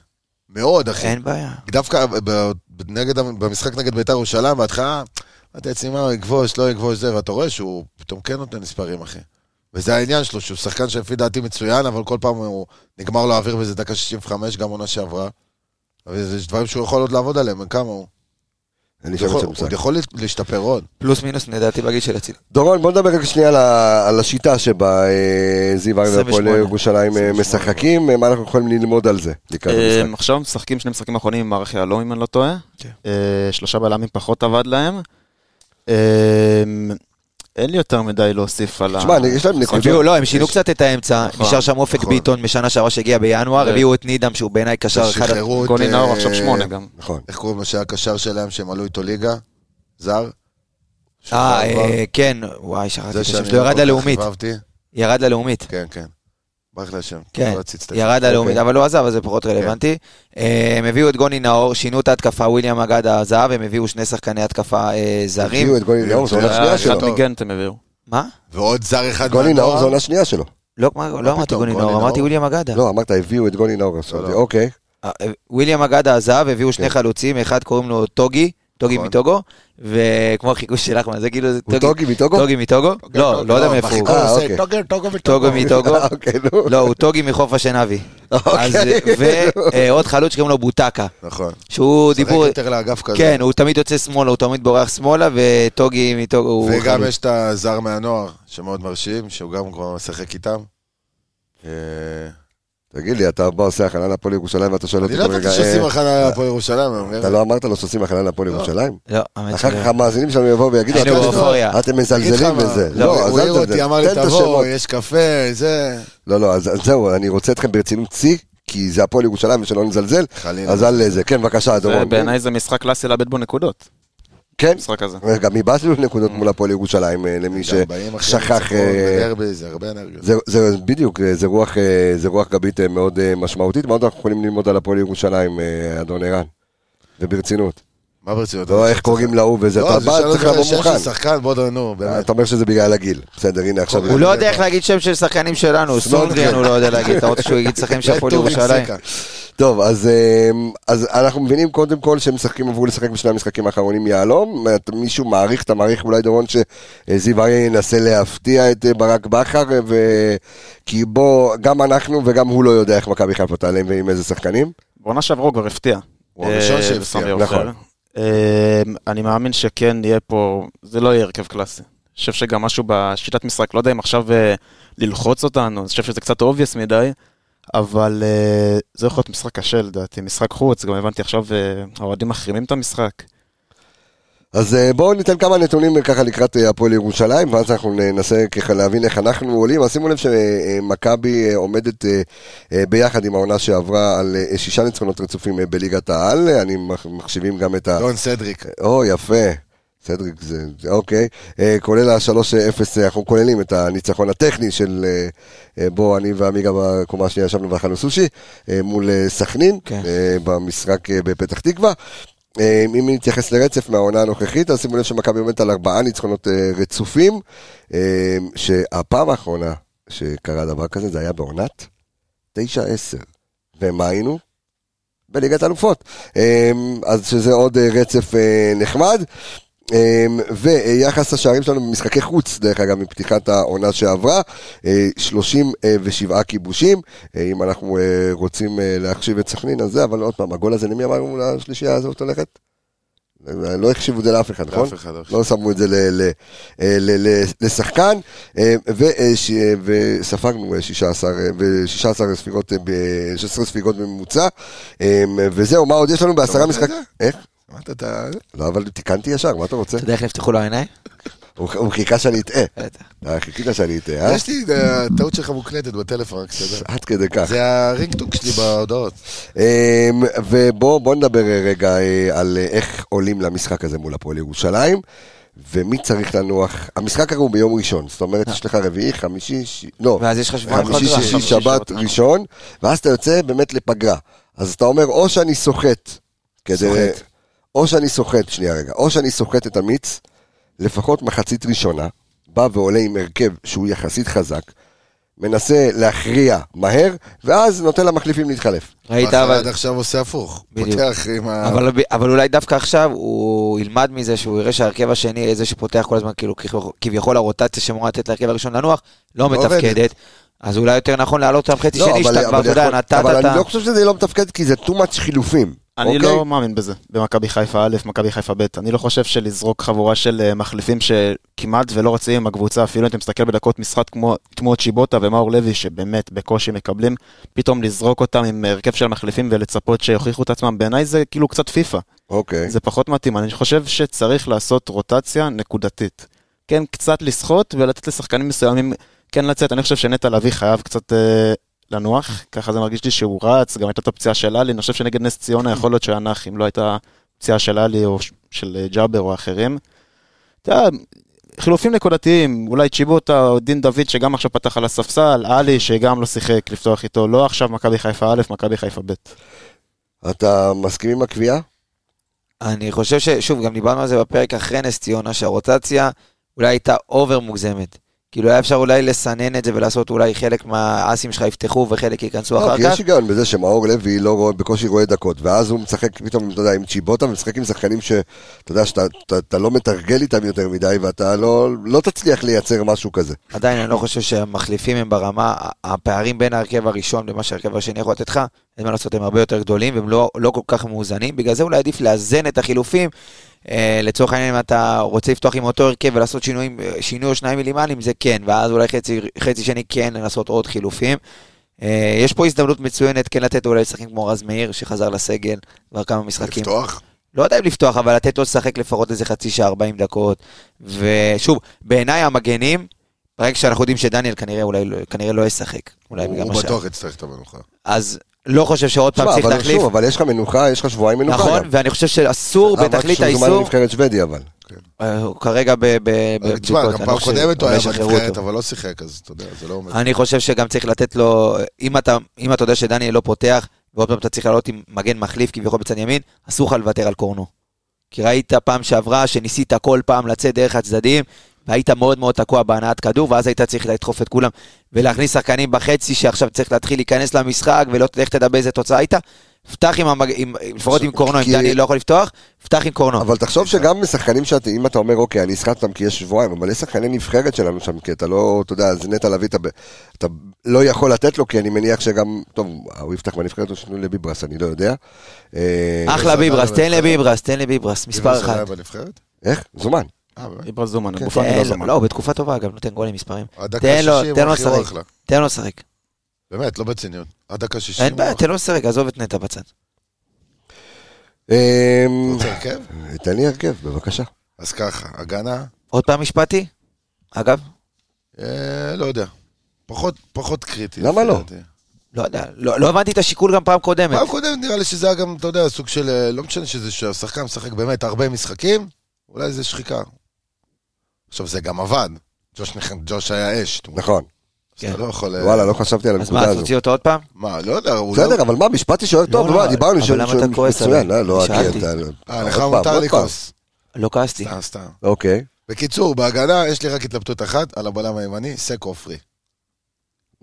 Speaker 4: מאוד, אחי.
Speaker 3: אין בעיה.
Speaker 4: דווקא ב- ב- נגד- במשחק נגד בית"ר ירושלים, בהתחלה, אמרתי לעצמי, מה, הוא יגבוש, לא יגבוש זה, ואתה רואה שהוא פתאום כן נותן מספרים, אחי. וזה העניין שלו, שהוא שחקן שלפי דעתי מצוין, אבל כל פעם הוא נגמר לו האוויר וזה דקה 65, גם עונה שעברה. אבל זה- יש דברים שהוא יכול עוד לעבוד עליהם, בן כמה הוא.
Speaker 1: אני
Speaker 4: הוא
Speaker 1: חושב
Speaker 4: יכול-
Speaker 1: שזה
Speaker 4: הוא
Speaker 1: משחק.
Speaker 4: עוד יכול להשתפר עוד.
Speaker 3: פלוס מינוס, לדעתי, בגיל של אצילי.
Speaker 1: דורון, בוא נדבר רק שנייה על ה- על השיטה שבה אה, זיו אריה והפועל
Speaker 5: 28.
Speaker 1: ירושלים אה, משחקים, אה, מה אנחנו יכולים ללמוד על זה לקראת
Speaker 5: אה,
Speaker 1: המשחק.
Speaker 5: עכשיו משחקים שני משחקים אחרונים עם מערך יהלום, אם אני לא טועה.
Speaker 3: כן.
Speaker 5: אה, שלושה בלמים פחות עבד להם. אה, אין לי יותר מדי להוסיף על ה...
Speaker 1: תשמע, אני- יש להם נקודות.
Speaker 3: הביאו, לא, הם שינו קצת את האמצע,
Speaker 5: נכון,
Speaker 3: נשאר שם אופק
Speaker 4: נכון.
Speaker 3: ביטון משנה שעברה שהגיע בינואר,
Speaker 5: כן.
Speaker 3: הביאו את נידם שהוא בעיניי קשר אחד,
Speaker 4: שחררו את...
Speaker 5: גוני נאור
Speaker 4: אה,
Speaker 5: עכשיו שמונה גם.
Speaker 1: נכון.
Speaker 4: איך קוראים לו שהיה הקשר שלהם שהם עלו איתו ליגה? זר?
Speaker 3: אה,
Speaker 4: שחררו כבר.
Speaker 3: אה, כן, וואי, שכחתי
Speaker 4: זה
Speaker 3: את השם
Speaker 4: שאני
Speaker 3: שלו,
Speaker 4: לא כל
Speaker 3: ירד
Speaker 4: כך
Speaker 3: ללאומית,
Speaker 4: חבבתי.
Speaker 3: ירד ללאומית,
Speaker 4: כן, כן. ברח לי השם.
Speaker 3: כן,
Speaker 4: לא רציתי להסתכל.
Speaker 3: ירד ללאומית, אבל הוא עזב, אז זה פחות רלוונטי. אה, הם הביאו את גוני נאור, שינו את ההתקפה, וויליאם אגד עזב, הם הביאו שני שחקני התקפה אה, זרים.
Speaker 1: הביאו את גולי נאור, זו עונה
Speaker 4: אה,
Speaker 1: שנייה
Speaker 4: אחד
Speaker 1: שלו.
Speaker 4: טוב.
Speaker 5: מגנט הם הביאו.
Speaker 3: מה?
Speaker 4: ועוד זר אחד
Speaker 1: גולי
Speaker 4: מהנוער.
Speaker 1: נאור זו עונה שנייה שלו.
Speaker 4: כן.
Speaker 3: לא מה- לא אמרתי
Speaker 4: פתאום,
Speaker 3: גוני
Speaker 4: גוני
Speaker 3: נאור, אמרתי
Speaker 4: נאור.
Speaker 3: וויליאם אגדה.
Speaker 1: לא, אמרת הביאו את גולי נאור, עשו את
Speaker 4: לא,
Speaker 1: זה.
Speaker 4: לא.
Speaker 1: אוקיי.
Speaker 3: אה, וויליאם אגדה עזב, הביאו שני
Speaker 1: כן.
Speaker 3: חלוצים, אחד קוראים לו טוגי, טוגי
Speaker 4: נכון.
Speaker 3: מטוגו, וכמו החיקוש של אחמד, זה כאילו... זה
Speaker 1: הוא טוגי מטוגו?
Speaker 3: טוגי מטוגו?
Speaker 4: אוקיי,
Speaker 3: לא, לא יודע מאיפה הוא.
Speaker 4: בחיקוי
Speaker 1: אה,
Speaker 4: עושה
Speaker 1: אוקיי.
Speaker 4: טוגו, טוגו וטוגו.
Speaker 3: טוגו מטוגו?
Speaker 1: אה, אוקיי, נו.
Speaker 3: לא, הוא טוגי מחוף השנהבי.
Speaker 1: אוקיי.
Speaker 3: ועוד חלוץ שקוראים לו בוטקה,
Speaker 4: נכון.
Speaker 3: שהוא
Speaker 4: דיבור...
Speaker 3: דיבור...
Speaker 4: יותר לאגף כזה.
Speaker 3: כן, הוא תמיד יוצא שמאלה, הוא תמיד בורח שמאלה, וטוגי מטוגו הוא...
Speaker 4: וגם
Speaker 3: חלוץ.
Speaker 4: יש את הזר מהנוער, שמאוד מרשים, שהוא גם כבר משחק איתם. אה,
Speaker 1: תגיד לי, אתה בא עושה הכנה להפועל ירושלים ואתה שואל אותי,
Speaker 4: אני לא
Speaker 1: כל רגע,
Speaker 4: ידעתי
Speaker 1: אה,
Speaker 4: שעושים לך להפועל ירושלים. אני אומר,
Speaker 1: אתה לא אמרת לו שעושים הכנה להפועל
Speaker 4: לא.
Speaker 1: ירושלים?
Speaker 3: לא, האמת
Speaker 1: אחר
Speaker 3: שלא.
Speaker 1: כך המאזינים שלנו יבואו ויגידו,
Speaker 3: היינו
Speaker 1: "אתם-
Speaker 3: באופוריה.
Speaker 1: אתם
Speaker 4: אגיד לך
Speaker 1: מזלזלים
Speaker 4: מה,
Speaker 1: בזה.
Speaker 4: הוא
Speaker 1: לא, אז
Speaker 4: העיר
Speaker 1: אל
Speaker 4: אותי,
Speaker 1: תזלזל.
Speaker 4: אמר
Speaker 1: תן את
Speaker 4: לי,
Speaker 1: השמות.
Speaker 4: תבוא, יש קפה, זה...
Speaker 1: לא, לא, אז אז זהו, אני רוצה אתכם ברצינות שיא, כי זה הפועל ירושלים ושלא נזלזל,
Speaker 4: חלילה.
Speaker 1: אז על זה. כן, בבקשה, דורון.
Speaker 5: בעיניי זה משחק קלאסי לאבד בו נקודות,
Speaker 1: כן.
Speaker 5: המשחק הזה.
Speaker 1: גם איבדת נקודות מול הפועל ירושלים, אה, למי
Speaker 4: גם באים אחרי
Speaker 1: ששכח...
Speaker 4: ניצחון
Speaker 1: אה,
Speaker 4: בדרבי, זה הרבה אנרגיות.
Speaker 1: זה, זה בדיוק, אה, זה רוח, אה, זה רוח גבית אה, מאוד אה, משמעותית, מה עוד אנחנו יכולים ללמוד על הפועל ירושלים, אה, אדון ערן? וברצינות.
Speaker 4: מה ברצינות?
Speaker 1: לא איך קוראים להוא וזה,
Speaker 4: לא,
Speaker 1: אתה
Speaker 4: זה
Speaker 1: בא,
Speaker 4: שאלות
Speaker 1: צריך
Speaker 4: כאלה
Speaker 1: לבוא
Speaker 4: שיש לי
Speaker 1: מוכן. אה,
Speaker 4: שחקן, בוא נו, באמת.
Speaker 1: אתה אומר שזה בגלל הגיל. בסדר, הנה עכשיו...
Speaker 3: הוא לא יודע איך להגיד שם של שחקנים שלנו, סונגרן הוא לא יודע להגיד, אתה רוצה שהוא יגיד שחקנים של הפועל
Speaker 4: טוריק
Speaker 3: ירושלים?
Speaker 4: זיקה.
Speaker 1: טוב, אז, אה, אז אנחנו מבינים קודם כל שהם משחקים, עברו לשחק בשני המשחקים האחרונים יהלום. אתה- מישהו מעריך, אתה מעריך אולי דורון שזיו אריה ינסה להפתיע את אה, ברק בכר, אה, ו... כי בוא, גם אנחנו וגם הוא לא יודע איך מכבי חיפה תעלה ועם איזה שחקנים.
Speaker 5: בעונה שעברה הוא כבר הפתיע.
Speaker 4: הוא הראשון
Speaker 5: אה,
Speaker 4: שהפתיע,
Speaker 5: בסמי
Speaker 1: נכון.
Speaker 5: עופר. אה, אני מאמין שכן יהיה פה, זה לא יהיה הרכב קלאסי. אני חושב שגם משהו בשיטת משחק, לא יודע אם עכשיו אה, ללחוץ אותנו, אני חושב שזה קצת obvious מדי, אבל אה, זה יכול להיות משחק קשה לדעתי, משחק חוץ, גם הבנתי עכשיו אה, האוהדים מחרימים את המשחק.
Speaker 1: אז אה, בואו ניתן כמה נתונים ככה לקראת אה, הפועל ירושלים, ואז אנחנו ננסה ככה להבין איך אנחנו עולים. אז שימו לב שמכבי אה, עומדת אה, אה, ביחד עם העונה שעברה על אה, שישה
Speaker 4: לא,
Speaker 1: ניצחונות רצופים אה, בליגת העל, אה, אני מח- מחשיבים גם את ה...
Speaker 4: דון סדריק.
Speaker 1: או, יפה. סדריק זה, זה אוקיי, אה, כולל ה-3-0, אנחנו כוללים את הניצחון הטכני של אה, אה, בו אני ועמיגה בקומה השנייה ישבנו ואכלנו סושי, אה, מול אה, סכנין,
Speaker 3: כן.
Speaker 1: אה, במשחק אה, בפתח תקווה. אה, אם נתייחס לרצף מהעונה הנוכחית, אז שימו לב שמכבי עומדת על ארבעה ניצחונות אה, רצופים, אה, שהפעם האחרונה שקרה דבר כזה זה היה בעונת 9-10. ומה היינו? בליגת האלופות. אה, אז שזה עוד אה, רצף אה, נחמד. אמ, ויחס השערים שלנו במשחקי חוץ, דרך אגב, מפתיחת העונה שעברה, אה, 37 כיבושים. אה, אם אנחנו אה, רוצים אה, להחשיב את סכנין, אז זה, אבל עוד פעם, הגול הזה, למי אמרנו לשלישייה הזאת הולכת? אה, לא החשיבו את זה לאף אחד, נכון?
Speaker 4: לאף אחד לא חושב.
Speaker 1: לא שמו את זה ל- ל- אה, ל- ל- לשחקן, אה, ו- אה, ש- אה, וספגנו אה, 16 אה, ו- 16 ספיגות, אה, ב- 16 ספיגות בממוצע, אה, וזהו, מה עוד יש לנו בעשרה
Speaker 4: אתה אומר
Speaker 1: משחק...
Speaker 4: את
Speaker 1: איך?
Speaker 4: אמרת את ה...
Speaker 1: לא, אבל תיקנתי ישר, מה אתה רוצה?
Speaker 3: אתה יודע איך נפתחו לו העיניים?
Speaker 1: הוא הוא חיכה שאני אטעה.
Speaker 3: בטח.
Speaker 1: אה, חיכית שאני אטעה, אה?
Speaker 4: יש לי, אה, הטעות שלך מוקלטת בטלפון, רק שתדע.
Speaker 1: עד כדי כך.
Speaker 4: זה הרינגטוק שלי בהודעות.
Speaker 1: אמ, ובוא בוא נדבר אה, רגע אה, על אה, איך עולים למשחק הזה מול הפועל ירושלים, ומי צריך לנוח. המשחק הרי הוא ביום ראשון, זאת אומרת, יש לך רביעי, חמישי, ש... לא,
Speaker 3: אה. ואז יש לך שבועיים
Speaker 1: חמישי,
Speaker 3: פגרה,
Speaker 1: שישי,
Speaker 3: חמישי,
Speaker 1: שבת,
Speaker 3: שבת.
Speaker 1: ראשון, ואז אתה יוצא באמת לפגרה. אז אתה אומר, או שאני סוחט, כדי...
Speaker 4: סוחט.
Speaker 1: או שאני סוחט, שנייה רגע, או שאני סוחט את המיץ, לפחות מחצית ראשונה, בא ועולה עם הרכב שהוא יחסית חזק, מנסה להכריע מהר, ואז נותן למחליפים להתחלף.
Speaker 3: ראית
Speaker 4: בכר
Speaker 3: אבל...
Speaker 4: עד עכשיו עושה הפוך.
Speaker 3: בדיוק.
Speaker 4: פותח עם ה...
Speaker 3: אבל, אבל אולי דווקא עכשיו הוא ילמד מזה שהוא יראה שההרכב השני, זה שפותח כל הזמן, כאילו כביכול- כביכול הרוטציה שאמורה לתת להרכב הראשון לנוח, לא
Speaker 4: לא
Speaker 3: מתפקדת. אז אולי יותר נכון להעלות אותם חצי שני, שאתה כבר, אתה יודע,
Speaker 1: יכול-
Speaker 3: נתת את
Speaker 1: לא, אבל
Speaker 3: ה...
Speaker 1: אני לא חושב שזה לא מתפקד, כי זה too much חילופים.
Speaker 5: אני
Speaker 1: אוקיי?
Speaker 5: לא מאמין בזה, במכבי חיפה א', מכבי חיפה ב'. אני לא חושב שלזרוק חבורה של אה, מחליפים שכמעט ולא רצים עם הקבוצה, אפילו אם אתה מסתכל בדקות משחק כמו תמורת שיבוטה ומאור לוי, שבאמת בקושי מקבלים, פתאום לזרוק אותם עם הרכב של מחליפים ולצפות שיוכיחו את עצמם, בעיניי זה כאילו קצת פיפא.
Speaker 1: אוקיי.
Speaker 5: זה פחות מתאים, אני חושב שצריך לעשות רוטציה נקודתית. כן, קצת לסחוט ולתת לשחקנים מסוימים כן לצאת. אני חושב שנטע לביא חייב קצת אה, לנוח, ככה זה מרגיש לי שהוא רץ, גם הייתה את הפציעה של עלי, אני חושב שנגד נס ציונה יכול להיות שהיה נח, אם לא הייתה פציעה של עלי או ש- של אה, ג'אבר או אחרים. אתה יודע, חילופים נקודתיים, אולי צ'יבוטה או דין דוד שגם עכשיו פתח על הספסל, עלי שגם לא שיחק לפתוח איתו, לא עכשיו מכבי חיפה א', מכבי חיפה ב'.
Speaker 1: אתה מסכים עם הקביעה?
Speaker 3: אני חושב ש... שוב, גם דיברנו על זה בפרק אחרי נס ציונה, שהרוטציה אולי הייתה אובר מוגזמת. כאילו היה אפשר אולי לסנן את זה ולעשות אולי חלק מהאסים שלך יפתחו וחלק ייכנסו
Speaker 1: לא,
Speaker 3: אחר
Speaker 1: כי
Speaker 3: כך.
Speaker 1: יש היגיון בזה שמאור לוי לא רואה, בקושי רואה דקות, ואז הוא משחק פתאום, אתה יודע, עם צ'יבוטה, ומשחק עם שחקנים שאתה יודע, שאתה אתה- אתה לא מתרגל איתם יותר מדי, ואתה לא לא תצליח לייצר משהו כזה.
Speaker 3: עדיין אני לא חושב שהמחליפים הם ברמה, הפערים בין ההרכב הראשון למה שההרכב השני יכול לתת לך, אין מה לעשות, הם הרבה יותר גדולים והם לא, לא כל כך מאוזנים, בגלל זה אולי עדיף לאזן את החילופים. אה, לצורך העניין אם אתה רוצה לפתוח עם אותו הרכב ולעשות שינויים, אה, שינוי או שניים מילימליים, זה כן, ואז אולי חצי, חצי שני כן לנסות עוד חילופים. אה, יש פה הזדמנות מצוינת כן לתת אולי לשחקים כמו רז מאיר, שחזר לסגל כבר כמה משחקים.
Speaker 4: לפתוח.
Speaker 3: לא יודע אם לפתוח, אבל לתת לו לשחק לפחות איזה חצי שעה, 40 דקות. ושוב, בעיניי המגנים, ברגע שאנחנו יודעים שדניאל כנראה, אולי, לא- כנראה לא ישחק. אולי
Speaker 4: הוא
Speaker 3: בגלל
Speaker 4: הוא
Speaker 3: מה ש...
Speaker 4: בטוח יצטרך את
Speaker 3: אה,
Speaker 4: המנוחה.
Speaker 3: אז לא חושב שעוד פעם
Speaker 1: תשמע,
Speaker 3: צריך
Speaker 1: אבל
Speaker 3: להחליף.
Speaker 1: שוב, אבל לא יש לך מנוחה, יש לך שבועיים מנוחה.
Speaker 3: נכון,
Speaker 1: גם.
Speaker 3: ואני חושב שאסור
Speaker 1: אה,
Speaker 3: בתכלית
Speaker 1: רק שהוא זומן
Speaker 3: האיסור,
Speaker 1: לנבחרת שוודיה, אבל.
Speaker 3: אה, הוא כרגע ב- ב-
Speaker 4: אבל אה, תשמע,
Speaker 3: בבדיקות,
Speaker 4: גם
Speaker 3: אני לא
Speaker 4: פעם
Speaker 3: חושב
Speaker 4: קודמת הוא
Speaker 3: שאולי
Speaker 4: היה
Speaker 3: ישחררו
Speaker 4: בנבחרת,
Speaker 3: אותו. אה,
Speaker 4: אבל לא שיחק, אז אתה יודע, זה לא אומר.
Speaker 3: אני חושב שגם צריך לתת לו, אם אתה, אם אתה יודע שדניאל לא פותח, ועוד פעם אתה צריך לעלות עם מגן מחליף כביכול בצד ימין, אסור לך לוותר על קורנו. כי ראית פעם שעברה שניסית כל פעם לצאת דרך הצדדים, והיית מאוד מאוד תקוע בהנעת כדור, ואז היית צריך לדחוף את כולם, ולהכניס שחקנים בחצי שעכשיו צריך להתחיל להיכנס למשחק, ולא איך תדע באיזה תוצאה הייתה. פתח עם, המג... עם לפחות עם קורנו,
Speaker 1: כי-
Speaker 3: אם דניאל לא יכול לפתוח, פתח עם קורנו.
Speaker 1: אבל תחשוב שגם שחקנים שאתה, אם אתה אומר, אוקיי, אני אסחט אותם כי יש שבועיים, אבל יש שחקני נבחרת שלנו שם, כי אתה לא, אתה יודע, אז נטע לביא, אתה, ב- אתה לא יכול לתת לו, כי אני מניח שגם, טוב, הוא יפתח בנבחרת או שינוי לביברס, אני לא יודע. אה,
Speaker 3: אחלה
Speaker 4: בסדר,
Speaker 3: ביברס, תן
Speaker 4: בסדר.
Speaker 3: לביברס, תן לביברס, מספר
Speaker 4: זה לא היה
Speaker 3: אחד.
Speaker 4: בנבחרת?
Speaker 1: איך? זומן.
Speaker 4: אה, באמת?
Speaker 5: איברה זומן,
Speaker 1: כן,
Speaker 5: גופני
Speaker 3: תן
Speaker 5: לא
Speaker 3: לו,
Speaker 5: זומן.
Speaker 3: לא, הוא בתקופה טובה, אגב, נותן גולים מספרים.
Speaker 4: עד דקה
Speaker 3: תן לו-
Speaker 4: 60
Speaker 3: תן לו
Speaker 4: אחי, הוא
Speaker 3: לשחק.
Speaker 4: אחלה.
Speaker 3: תן לו לשחק.
Speaker 4: באמת, לא בציניות. עד דקה 60
Speaker 3: אין בעיה,
Speaker 4: הוא אחלה.
Speaker 3: תן לו לשחק, עזוב את נטע בצד.
Speaker 1: אה,
Speaker 4: אתה רוצה הרכב?
Speaker 1: תן לי הרכב, בבקשה.
Speaker 4: אז ככה, הגנה,
Speaker 3: עוד פעם משפטי? אגב,
Speaker 4: אה, לא יודע. פחות- פחות קריטי.
Speaker 1: למה
Speaker 4: לפי
Speaker 1: לא?
Speaker 4: דעתי.
Speaker 3: לא יודע, לא לא הבנתי את השיקול גם פעם קודמת.
Speaker 4: פעם קודמת נראה לי שזה היה גם, אתה יודע, סוג של, אה, לא משנה שזה שהשחקן משחק באמת הרבה משחקים, אולי זה שחיקה. עכשיו, זה גם עבד. ג'וש, נכ... ג'וש היה אש. אתם
Speaker 1: נכון.
Speaker 4: אז אתה
Speaker 3: כן.
Speaker 4: לא יכול... אה,
Speaker 1: וואלה, לא חשבתי על
Speaker 3: אז מה,
Speaker 1: הנקודה
Speaker 3: אז
Speaker 1: הזו.
Speaker 3: תוציא אותו עוד פעם?
Speaker 4: מה, לא יודע, אולי...
Speaker 1: בסדר, אבל מה, משפטי שואל טוב,
Speaker 3: לא,
Speaker 1: מה, דיברנו
Speaker 3: אבל
Speaker 1: שהוא
Speaker 3: למה
Speaker 1: שהוא
Speaker 3: אתה כועס
Speaker 1: מצוין,
Speaker 3: עליי?
Speaker 1: לא, לא,
Speaker 3: שאלתי.
Speaker 1: כן, אתה-
Speaker 4: אה,
Speaker 1: עוד
Speaker 4: לך
Speaker 1: פעם,
Speaker 4: מותר
Speaker 1: עוד פעם.
Speaker 4: לכעוס.
Speaker 3: לא כעסתי.
Speaker 4: סתם, סתם.
Speaker 1: אוקיי,
Speaker 4: בקיצור, בהגנה יש לי רק התלבטות אחת על הבלם הימני, סק עופרי.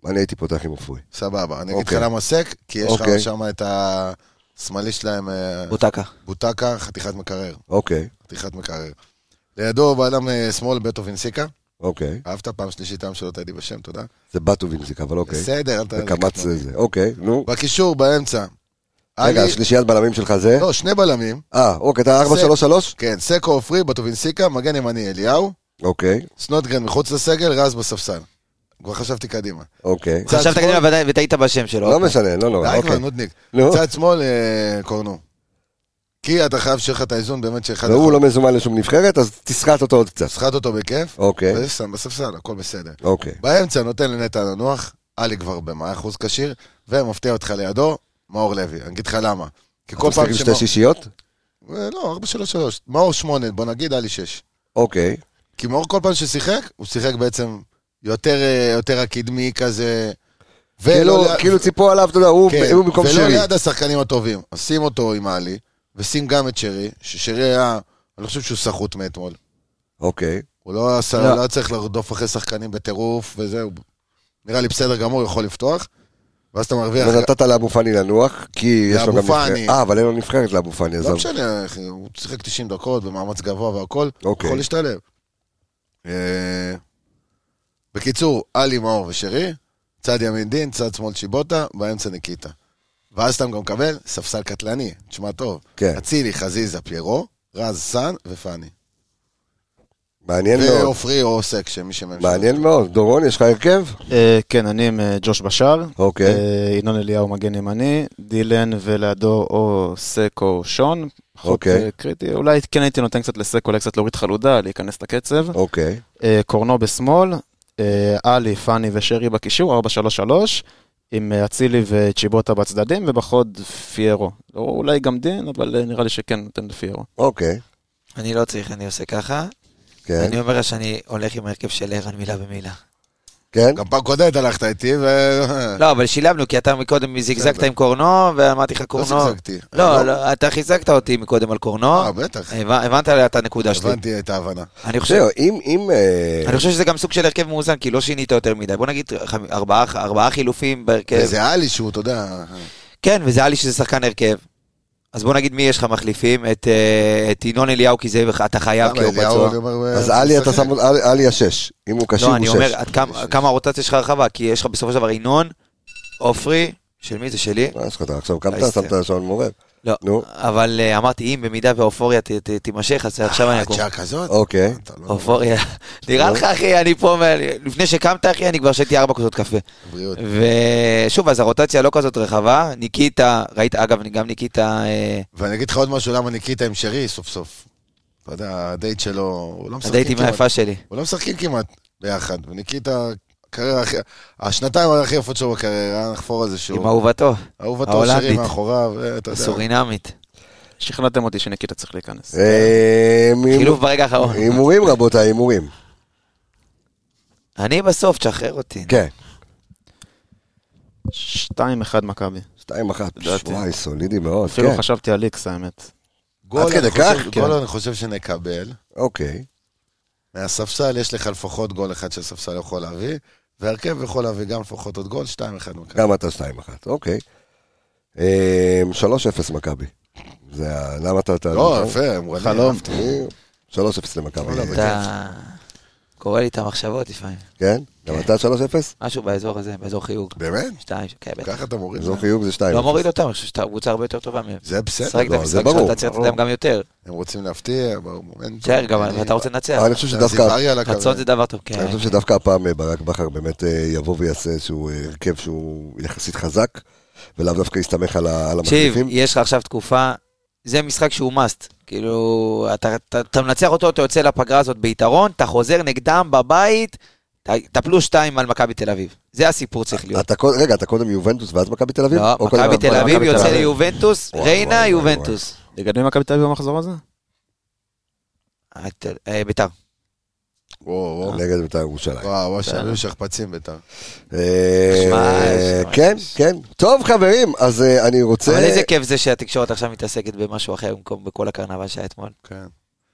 Speaker 1: אני הייתי פותח עם עופרי.
Speaker 4: סבבה, אני אגיד לך
Speaker 1: אוקיי.
Speaker 4: למה סק, כי יש לך
Speaker 1: אוקיי.
Speaker 4: שם את השמאלי שלהם, אה,
Speaker 3: בוטקה.
Speaker 4: בוטקה, חתיכת מקרר.
Speaker 1: אוקיי,
Speaker 4: חתיכת מקרר. לידו בעלם אה, שמאל בטו וינסיקה,
Speaker 1: אוקיי.
Speaker 4: אהבת פעם שלישית העם שלא תהייתי בשם, תודה.
Speaker 1: זה בטו וינזיק, אבל אוקיי.
Speaker 4: בסדר, אל ת...
Speaker 1: וקמץ זה זה. אוקיי, נו.
Speaker 4: בקישור, באמצע.
Speaker 1: רגע,
Speaker 4: עלי-
Speaker 1: השלישיית בלמים שלך זה?
Speaker 4: לא, שני בלמים.
Speaker 1: אה, אוקיי, אתה 4-3-3?
Speaker 4: כן, סקו עופרי, בטובינסיקה, מגן ימני אליהו,
Speaker 1: אוקיי,
Speaker 4: סנוטגרן מחוץ לסגל, רז בספסל. כבר חשבתי קדימה.
Speaker 1: אוקיי.
Speaker 4: צד
Speaker 3: חשבת
Speaker 4: שמאל?
Speaker 3: קדימה ודאי- וטעית בשם שלו.
Speaker 1: לא משנה, לא נורא,
Speaker 4: די כבר,
Speaker 1: אוקיי.
Speaker 4: נודניק.
Speaker 1: נו,
Speaker 4: צד שמאל, אה, קורנו. כי אתה חייב שיהיה לך את האיזון באמת שאחד...
Speaker 1: והוא
Speaker 4: יכול-
Speaker 1: לא מזומן לשום נבחרת, אז תסחט אותו עוד קצת.
Speaker 4: סחט אותו בכיף,
Speaker 1: אוקיי,
Speaker 4: ושם בספסל, הכל בסדר.
Speaker 1: אוקיי.
Speaker 4: באמצע נותן לנטע לנוח, עלי כבר במאה אחוז כשיר, ומפתיע אותך לידו, מאור לוי. אני אגיד לך למה. כי כל
Speaker 1: אתה משחק
Speaker 4: פעם
Speaker 1: עם
Speaker 4: שמאור...
Speaker 1: שתי שישיות?
Speaker 4: אה, לא, 4 3 3 מאור 8, בוא נגיד, עלי 6.
Speaker 1: אוקיי.
Speaker 4: כי מאור כל פעם ששיחק, הוא שיחק בעצם יותר, אה, יותר הקדמי כזה. ולא
Speaker 1: כאילו-
Speaker 4: ליד-
Speaker 1: כאילו ציפו עליו, אתה יודע, הוא
Speaker 4: לא- כן,
Speaker 1: הוא במקום
Speaker 4: ולא
Speaker 1: שרי.
Speaker 4: ליד השחקנים הטובים. אז שים אותו עם עלי, ושים גם את שרי, ששרי היה, אני לא חושב שהוא סחוט מאתמול.
Speaker 1: אוקיי.
Speaker 4: הוא לא, עשה,
Speaker 3: לא.
Speaker 4: לא. לא צריך לרדוף אחרי שחקנים בטירוף וזהו. נראה לי בסדר גמור, יכול לפתוח. ואז אתה מרוויח...
Speaker 1: ונתת לאבו פאני לנוח, כי יש לו גם
Speaker 4: לאבו
Speaker 1: נבחרת.
Speaker 4: פאני.
Speaker 1: אה, אבל אין לו נבחרת לאבו פאני, אז...
Speaker 4: לא משנה, אחי, הוא שיחק 90 דקות במאמץ גבוה והכל,
Speaker 1: אוקיי.
Speaker 4: יכול להשתלב. אה, בקיצור, עלי מאור ושרי, צד ימין דין, צד שמאל שיבוטה, באמצע ניקיטה. ואז אתה גם מקבל ספסל קטלני, תשמע טוב.
Speaker 1: כן.
Speaker 4: אצילי, חזיזה, פיירו, רז, סאן ופאני.
Speaker 1: מעניין מאוד.
Speaker 4: ועופרי או עוסק, שמי שממשלה.
Speaker 1: מעניין מאוד. דורון, יש לך הרכב?
Speaker 5: אה, כן, אני עם אה, ג'וש בשאר.
Speaker 1: אוקיי.
Speaker 5: אה, ינון אליהו מגן ימני, דילן ולידו או סק או שון. פחות,
Speaker 1: אוקיי.
Speaker 5: אה, קריטי, אולי כן הייתי נותן קצת לסק, אולי קצת להוריד חלודה, להיכנס לקצב.
Speaker 1: אוקיי.
Speaker 5: אה, קורנו בשמאל, אה, עלי, פאני ושרי בקישור, 4-3-3, עם אה, אצילי וצ'יבוטה בצדדים, ובחוד פיירו. לא, אולי גם דין, אבל אה, נראה לי שכן נותן לפיירו.
Speaker 1: אוקיי.
Speaker 3: אני לא צריך, אני עושה ככה.
Speaker 1: כן.
Speaker 3: אני אומר לך שאני הולך עם ההרכב של ערן מילה במילה.
Speaker 1: כן.
Speaker 4: גם פעם קודמת הלכת איתי, ו...
Speaker 3: לא, אבל שילבנו, כי אתה מקודם זיגזגת עם קורנו, ואמרתי לך
Speaker 4: לא
Speaker 3: קורנו.
Speaker 4: זגזגתי.
Speaker 3: לא, לא, אתה חיזקת אותי מקודם על קורנו.
Speaker 4: אה, בטח.
Speaker 3: הבנ- הבנת את הנקודה שלי.
Speaker 4: הבנתי את ההבנה.
Speaker 3: אני חושב...
Speaker 1: זהו, אם... אם, אה,
Speaker 3: אני חושב שזה גם סוג של הרכב מאוזן, כי לא שינית יותר מדי. בוא נגיד חמ- ארבעה, ארבעה חילופים בהרכב.
Speaker 4: וזה עלי שהוא, אתה יודע...
Speaker 3: כן, וזה היה לי שזה שחקן הרכב. אז בוא נגיד מי יש לך מחליפים? את, אה, את ינון אליהו, כי זה אתה חייב,
Speaker 4: למה,
Speaker 3: כי הוא
Speaker 4: אליהו,
Speaker 3: פצוע.
Speaker 4: אני אומר,
Speaker 1: אז
Speaker 4: אה,
Speaker 1: עלי אתה
Speaker 4: משחק.
Speaker 1: שם... עלי- עלי השש. אם הוא קשיר,
Speaker 3: לא,
Speaker 1: הוא
Speaker 3: אני
Speaker 1: שש.
Speaker 3: אומר, עד כמה, כמה הרוטציה שלך רחבה? כי יש לך בסופו של דבר ינון, עופרי, של מי זה? שלי?
Speaker 1: מה יש לך? אתה עכשיו קמת,
Speaker 3: אייסטר.
Speaker 1: שמת שעון מעורר.
Speaker 3: לא.
Speaker 1: נו.
Speaker 3: אבל אה, אמרתי, אם במידה והאופוריה ת- ת- תימשך, אז עכשיו
Speaker 1: אה,
Speaker 3: אני אקום.
Speaker 4: הצ'עה כזאת?
Speaker 1: אוקיי.
Speaker 4: אתה לא...
Speaker 3: אופוריה. נראה לך, אחי, אני פה, מ- לפני שקמת, אחי, אני כבר שתיתי ארבע כוסות קפה.
Speaker 4: בריאות.
Speaker 3: ושוב, אז הרוטציה לא כזאת רחבה. ניקיטה, ראית, אגב, גם ניקיטה... אה,
Speaker 4: ואני אגיד לך עוד משהו, למה ניקיטה עם שרי סוף סוף. אתה יודע, הדייט שלו, הוא לא משחקים
Speaker 3: הדייטים היפה
Speaker 4: כמעט.
Speaker 3: שלי.
Speaker 4: הוא לא משחקים כמעט ביחד. וניקיטה, הקריירה הכי... השנתיים הכי יפות שלו בקריירה, נחפור על זה
Speaker 3: עם
Speaker 4: שהוא...
Speaker 3: אהובתו,
Speaker 4: אהובתו שרי
Speaker 3: ההולנדית.
Speaker 4: מאחוריו, אה, אתה יודע.
Speaker 3: הסורינמית.
Speaker 5: שכנעתם אותי שניקיטה צריך להיכנס.
Speaker 1: אה,
Speaker 3: חילוף ברגע האחרון.
Speaker 1: הימורים, רבותיי, הימורים.
Speaker 3: אני בסוף, תשחרר אותי.
Speaker 1: כן.
Speaker 5: 2-1 מכבי.
Speaker 1: שתיים אחת.
Speaker 3: לא
Speaker 5: לדעתי.
Speaker 1: וואי, סולידי מאוד.
Speaker 5: אפילו
Speaker 1: כן.
Speaker 5: חשבתי על איקס, האמת.
Speaker 4: גול,
Speaker 1: עד כדי
Speaker 4: אני חושב-
Speaker 1: כך?
Speaker 4: גול
Speaker 1: כן.
Speaker 4: אני חושב שנקבל.
Speaker 1: אוקיי.
Speaker 4: מהספסל יש לך לפחות גול אחד שהספסל יכול להביא, והרכב יכול להביא גם לפחות עוד גול, 2-1 מכבי.
Speaker 1: גם אתה שתיים אחת. אוקיי. אה, 3-0 מכבי. זה ה... למה אתה... אתה-
Speaker 4: לא, יפה, אמרו לי.
Speaker 5: חלום.
Speaker 4: אהבתי.
Speaker 1: 3-0 למכבי.
Speaker 4: וואלה, בכיף.
Speaker 3: אתה קורא לי את המחשבות לפעמים.
Speaker 1: כן? גם אתה 3-0?
Speaker 3: משהו באזור הזה, באזור חיוג.
Speaker 4: באמת?
Speaker 3: שתיים, ש- כן, בטח.
Speaker 4: ככה אתה מוריד?
Speaker 1: אזור חיוג זה 2.
Speaker 3: לא מוריד אותם, אני חושב שאתה קבוצה הרבה יותר טובה מהם.
Speaker 4: זה בסדר.
Speaker 3: שחק את
Speaker 1: לא, זה
Speaker 3: המשחק
Speaker 1: ברור,
Speaker 3: שלך, אתה צריך לתת להם גם יותר.
Speaker 4: הם רוצים להפתיע, במומנטום.
Speaker 3: תשאר גם, ואתה רוצה לנצח.
Speaker 1: אני חושב שדווקא...
Speaker 3: רצון זה דבר טוב, כן.
Speaker 1: אני חושב שדווקא הפעם אה, ברק בכר באמת אה, יבוא ויעשה איזשהו אה, הרכב שהוא יחסית חזק, ולאו דווקא יסתמך על ה- על
Speaker 3: תקשיב,
Speaker 1: המחליפים.
Speaker 3: יש לך עכשיו תקופה, זה משחק שהוא must. כאילו, אתה, אתה, אתה מנצח אותו, אתה יוצא לפגרה הזאת ביתרון, אתה חוזר נגדם בבית, ת- תפלו שתיים על מכבי תל אביב. זה הסיפור צריך להיות.
Speaker 1: אתה קוד- רגע, אתה קודם יובנטוס ואז אה, אוקיי, מכבי תל אביב?
Speaker 3: לא,
Speaker 1: או קודם-
Speaker 3: מכבי תל אביב
Speaker 5: מכבי תל
Speaker 3: יוצא
Speaker 5: אביב.
Speaker 3: ליובנטוס,
Speaker 1: וואי, וואי,
Speaker 3: ריינה
Speaker 1: וואי,
Speaker 3: יובנטוס.
Speaker 5: יגדלו מכבי תל אביב במחזור הזה?
Speaker 3: את- אה, ביתר.
Speaker 4: וואו, וואו.
Speaker 1: נגד בית"ר ירושלים.
Speaker 4: וואו, וואו, שהיו שכפ"צים בית"ר.
Speaker 1: אה,
Speaker 3: לא. שמע, שמע,
Speaker 1: כן,
Speaker 3: יש.
Speaker 1: כן. טוב, חברים, אז אה, אני רוצה...
Speaker 3: אבל איזה כיף זה שהתקשורת עכשיו מתעסקת במשהו אחר במקום בכל הקרנבל שהיה אתמול.
Speaker 4: כן.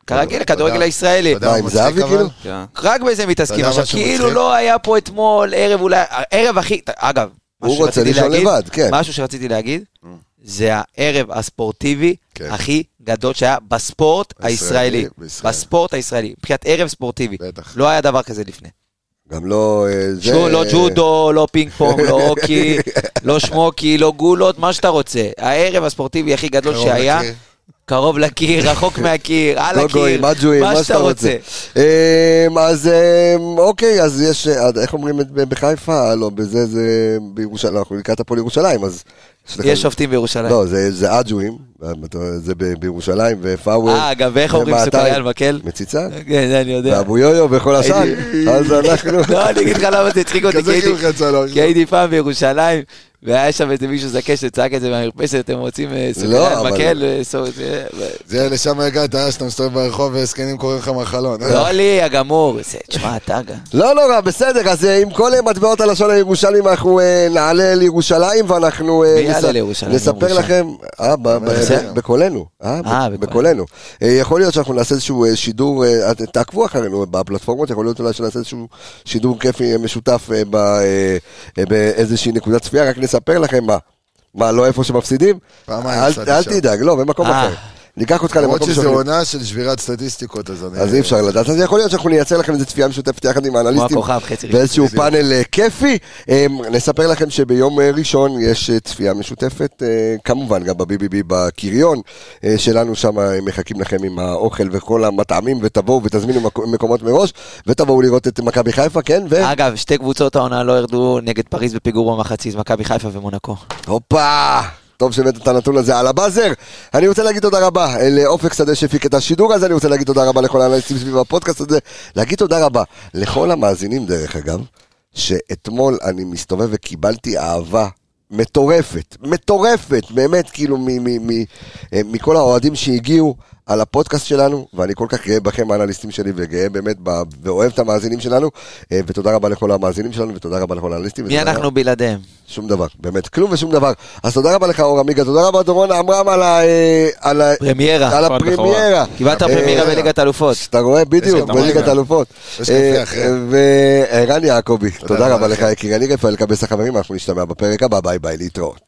Speaker 3: כרגיל,
Speaker 4: תודה.
Speaker 3: כדורגל הישראלי.
Speaker 4: אתה יודע מה
Speaker 1: עם
Speaker 4: מצחיק,
Speaker 1: זהבי,
Speaker 4: אבל?
Speaker 1: כאילו?
Speaker 5: כן.
Speaker 3: רק בזה מתעסקים
Speaker 4: אתה יודע
Speaker 3: עכשיו,
Speaker 4: משהו
Speaker 3: כאילו
Speaker 4: מצחיק?
Speaker 3: לא היה פה אתמול ערב אולי, ערב הכי, אגב, משהו
Speaker 1: הוא רוצה
Speaker 3: שרציתי
Speaker 1: לישון
Speaker 3: להגיד,
Speaker 1: לבד, כן. אה.
Speaker 3: משהו שרציתי להגיד, זה הערב הספורטיבי
Speaker 4: כן.
Speaker 3: הכי גדול שהיה בספורט
Speaker 4: הישראלי,
Speaker 3: הישראלי,
Speaker 4: בישראל.
Speaker 3: בספורט הישראלי, מבחינת ערב ספורטיבי,
Speaker 4: בטח.
Speaker 3: לא היה דבר כזה לפני.
Speaker 1: גם לא... אה, זה-
Speaker 3: שו- לא ג'ודו, לא פינג פונג, לא הוקי, לא שמוקי, לא גולות, מה שאתה רוצה. הערב הספורטיבי הכי גדול
Speaker 4: קרוב
Speaker 3: שהיה,
Speaker 4: לקיר.
Speaker 3: קרוב לקיר, רחוק מהקיר, על
Speaker 1: גוגויים,
Speaker 3: הקיר,
Speaker 1: מג'ויים, לא מה שאתה רוצה. אמ, אז אמ, אוקיי, אז יש, אה, איך אומרים את- בחיפה? לא, בזה זה בירושלים, אנחנו לקראת הפועל ירושלים, אז... לך-
Speaker 3: יש שופטים בירושלים.
Speaker 1: לא, זה- זה אג'ויים, זה ב- בירושלים, ופאוול.
Speaker 3: אה, אגב, ואיך אומרים
Speaker 1: ומעתיים.
Speaker 3: סוכריה על מקל?
Speaker 1: מציצה,
Speaker 3: כן, זה אני יודע.
Speaker 1: ואבו יויו וכל השאר, אז אנחנו...
Speaker 3: לא, אני אגיד לך למה זה הצחיק אותי, כי
Speaker 4: כזה
Speaker 3: הייתי-
Speaker 1: כאילו
Speaker 4: חיוך יצא לו.
Speaker 3: כי הייתי פעם בירושלים, והיה שם איזה מישהו זקן שצעק את זה מהמרפסת, אתם רוצים אה, סוכריה על
Speaker 1: לא, אבל-
Speaker 3: מקל? אה, סור- זה-
Speaker 4: זה לשם הגעת, אה, שאתה מסתובב ברחוב וזקנים קוראים לך מהחלון. אה?
Speaker 3: לא לי, הגמור. זה- תשמע, אתה גם.
Speaker 1: לא נורא, בסדר, אז אה, עם כל אה, מטבעות הלשון הירושלים, אנחנו אה, נעלה לירושלים, ואנחנו אה,
Speaker 3: מי יעלה
Speaker 1: נס-
Speaker 3: לירושלים?
Speaker 1: נספר
Speaker 3: ירושלים.
Speaker 1: לכם, אה, ב- ב-
Speaker 3: בסדר.
Speaker 1: בקולנו, אה,
Speaker 3: אה,
Speaker 1: ב-
Speaker 3: בקולנו.
Speaker 1: בקולנו. אה, יכול להיות שאנחנו נעשה איזשהו אה, שידור, אה, את- תעקבו אחרינו בפלטפורמות, יכול להיות אולי שנעשה איזשהו שידור כיפי אה, משותף אה, ב- אה, אה, באיזושהי נקודת צפייה, רק נספר לכם מה. מה, לא איפה שמפסידים?
Speaker 4: פעמיים
Speaker 1: אל-
Speaker 4: הפסדתי
Speaker 1: אל
Speaker 4: שם.
Speaker 1: תדאג, לא, במקום
Speaker 3: אה.
Speaker 1: אחר. ניקח אותך
Speaker 4: למרות
Speaker 1: למקום
Speaker 4: שזו
Speaker 1: שאנחנו-
Speaker 4: עונה של שבירת סטטיסטיקות, אז אני...
Speaker 1: אז אי אפשר לדעת, אז יכול להיות שאנחנו נייצר לכם איזו צפייה משותפת יחד עם האנליסטים,
Speaker 3: כמו הכוכב, חצי ראשון.
Speaker 1: ואיזשהו פאנל אה, כיפי. אה, נספר לכם שביום אה, ראשון יש אה, צפייה משותפת, אה, כמובן גם ב-BBB בקריון אה, שלנו, שם אה, מחכים לכם עם האוכל וכל המטעמים, ותבואו ותזמינו מק- מקומות מראש, ותבואו לראות את מכבי חיפה, כן? ו...
Speaker 3: אגב, שתי קבוצות העונה לא ירדו נגד פריז בפיגור במחצית, מכבי חיפה ומונקו.
Speaker 1: הופה! טוב שהבאת את הנתון הזה על הבאזר. אני רוצה להגיד תודה רבה אה, לאופק שדה שהפיק את השידור הזה, אני רוצה להגיד תודה רבה לכל האנליסטים סביב הפודקאסט הזה, להגיד תודה רבה לכל המאזינים דרך אגב, שאתמול אני מסתובב וקיבלתי אהבה מטורפת, מטורפת, באמת, כאילו מ- מ- מ- אה, מכל האוהדים שהגיעו על הפודקאסט שלנו, ואני כל כך גאה בכם האנליסטים שלי, וגאה באמת, ב- ואוהב את המאזינים שלנו, אה, ותודה רבה לכל המאזינים שלנו, ותודה רבה לכל האנליסטים.
Speaker 3: מי
Speaker 1: ותודה
Speaker 3: אנחנו בלעדיהם?
Speaker 1: שום דבר, באמת, כלום ושום דבר. אז תודה רבה לך, אור עמיגה, תודה רבה, דורון עמרם, על ה... אה, על ה- על
Speaker 3: פרמיירה.
Speaker 1: הפרמיירה.
Speaker 3: קיבלת
Speaker 1: אה,
Speaker 3: פרמיירה בליגת אלופות.
Speaker 1: אתה רואה, בדיוק,
Speaker 4: גם מים
Speaker 1: בליגת
Speaker 4: גם.
Speaker 1: אלופות.
Speaker 4: יש קפה
Speaker 1: אה,
Speaker 4: אחרי.
Speaker 1: וערן יעקבי, תודה
Speaker 4: רבה
Speaker 1: רבה לך,
Speaker 4: לכם.
Speaker 1: יקירי. אני רפאל קבס החברים, אנחנו נשתמע בפרק הבא, ביי ביי, להתראות.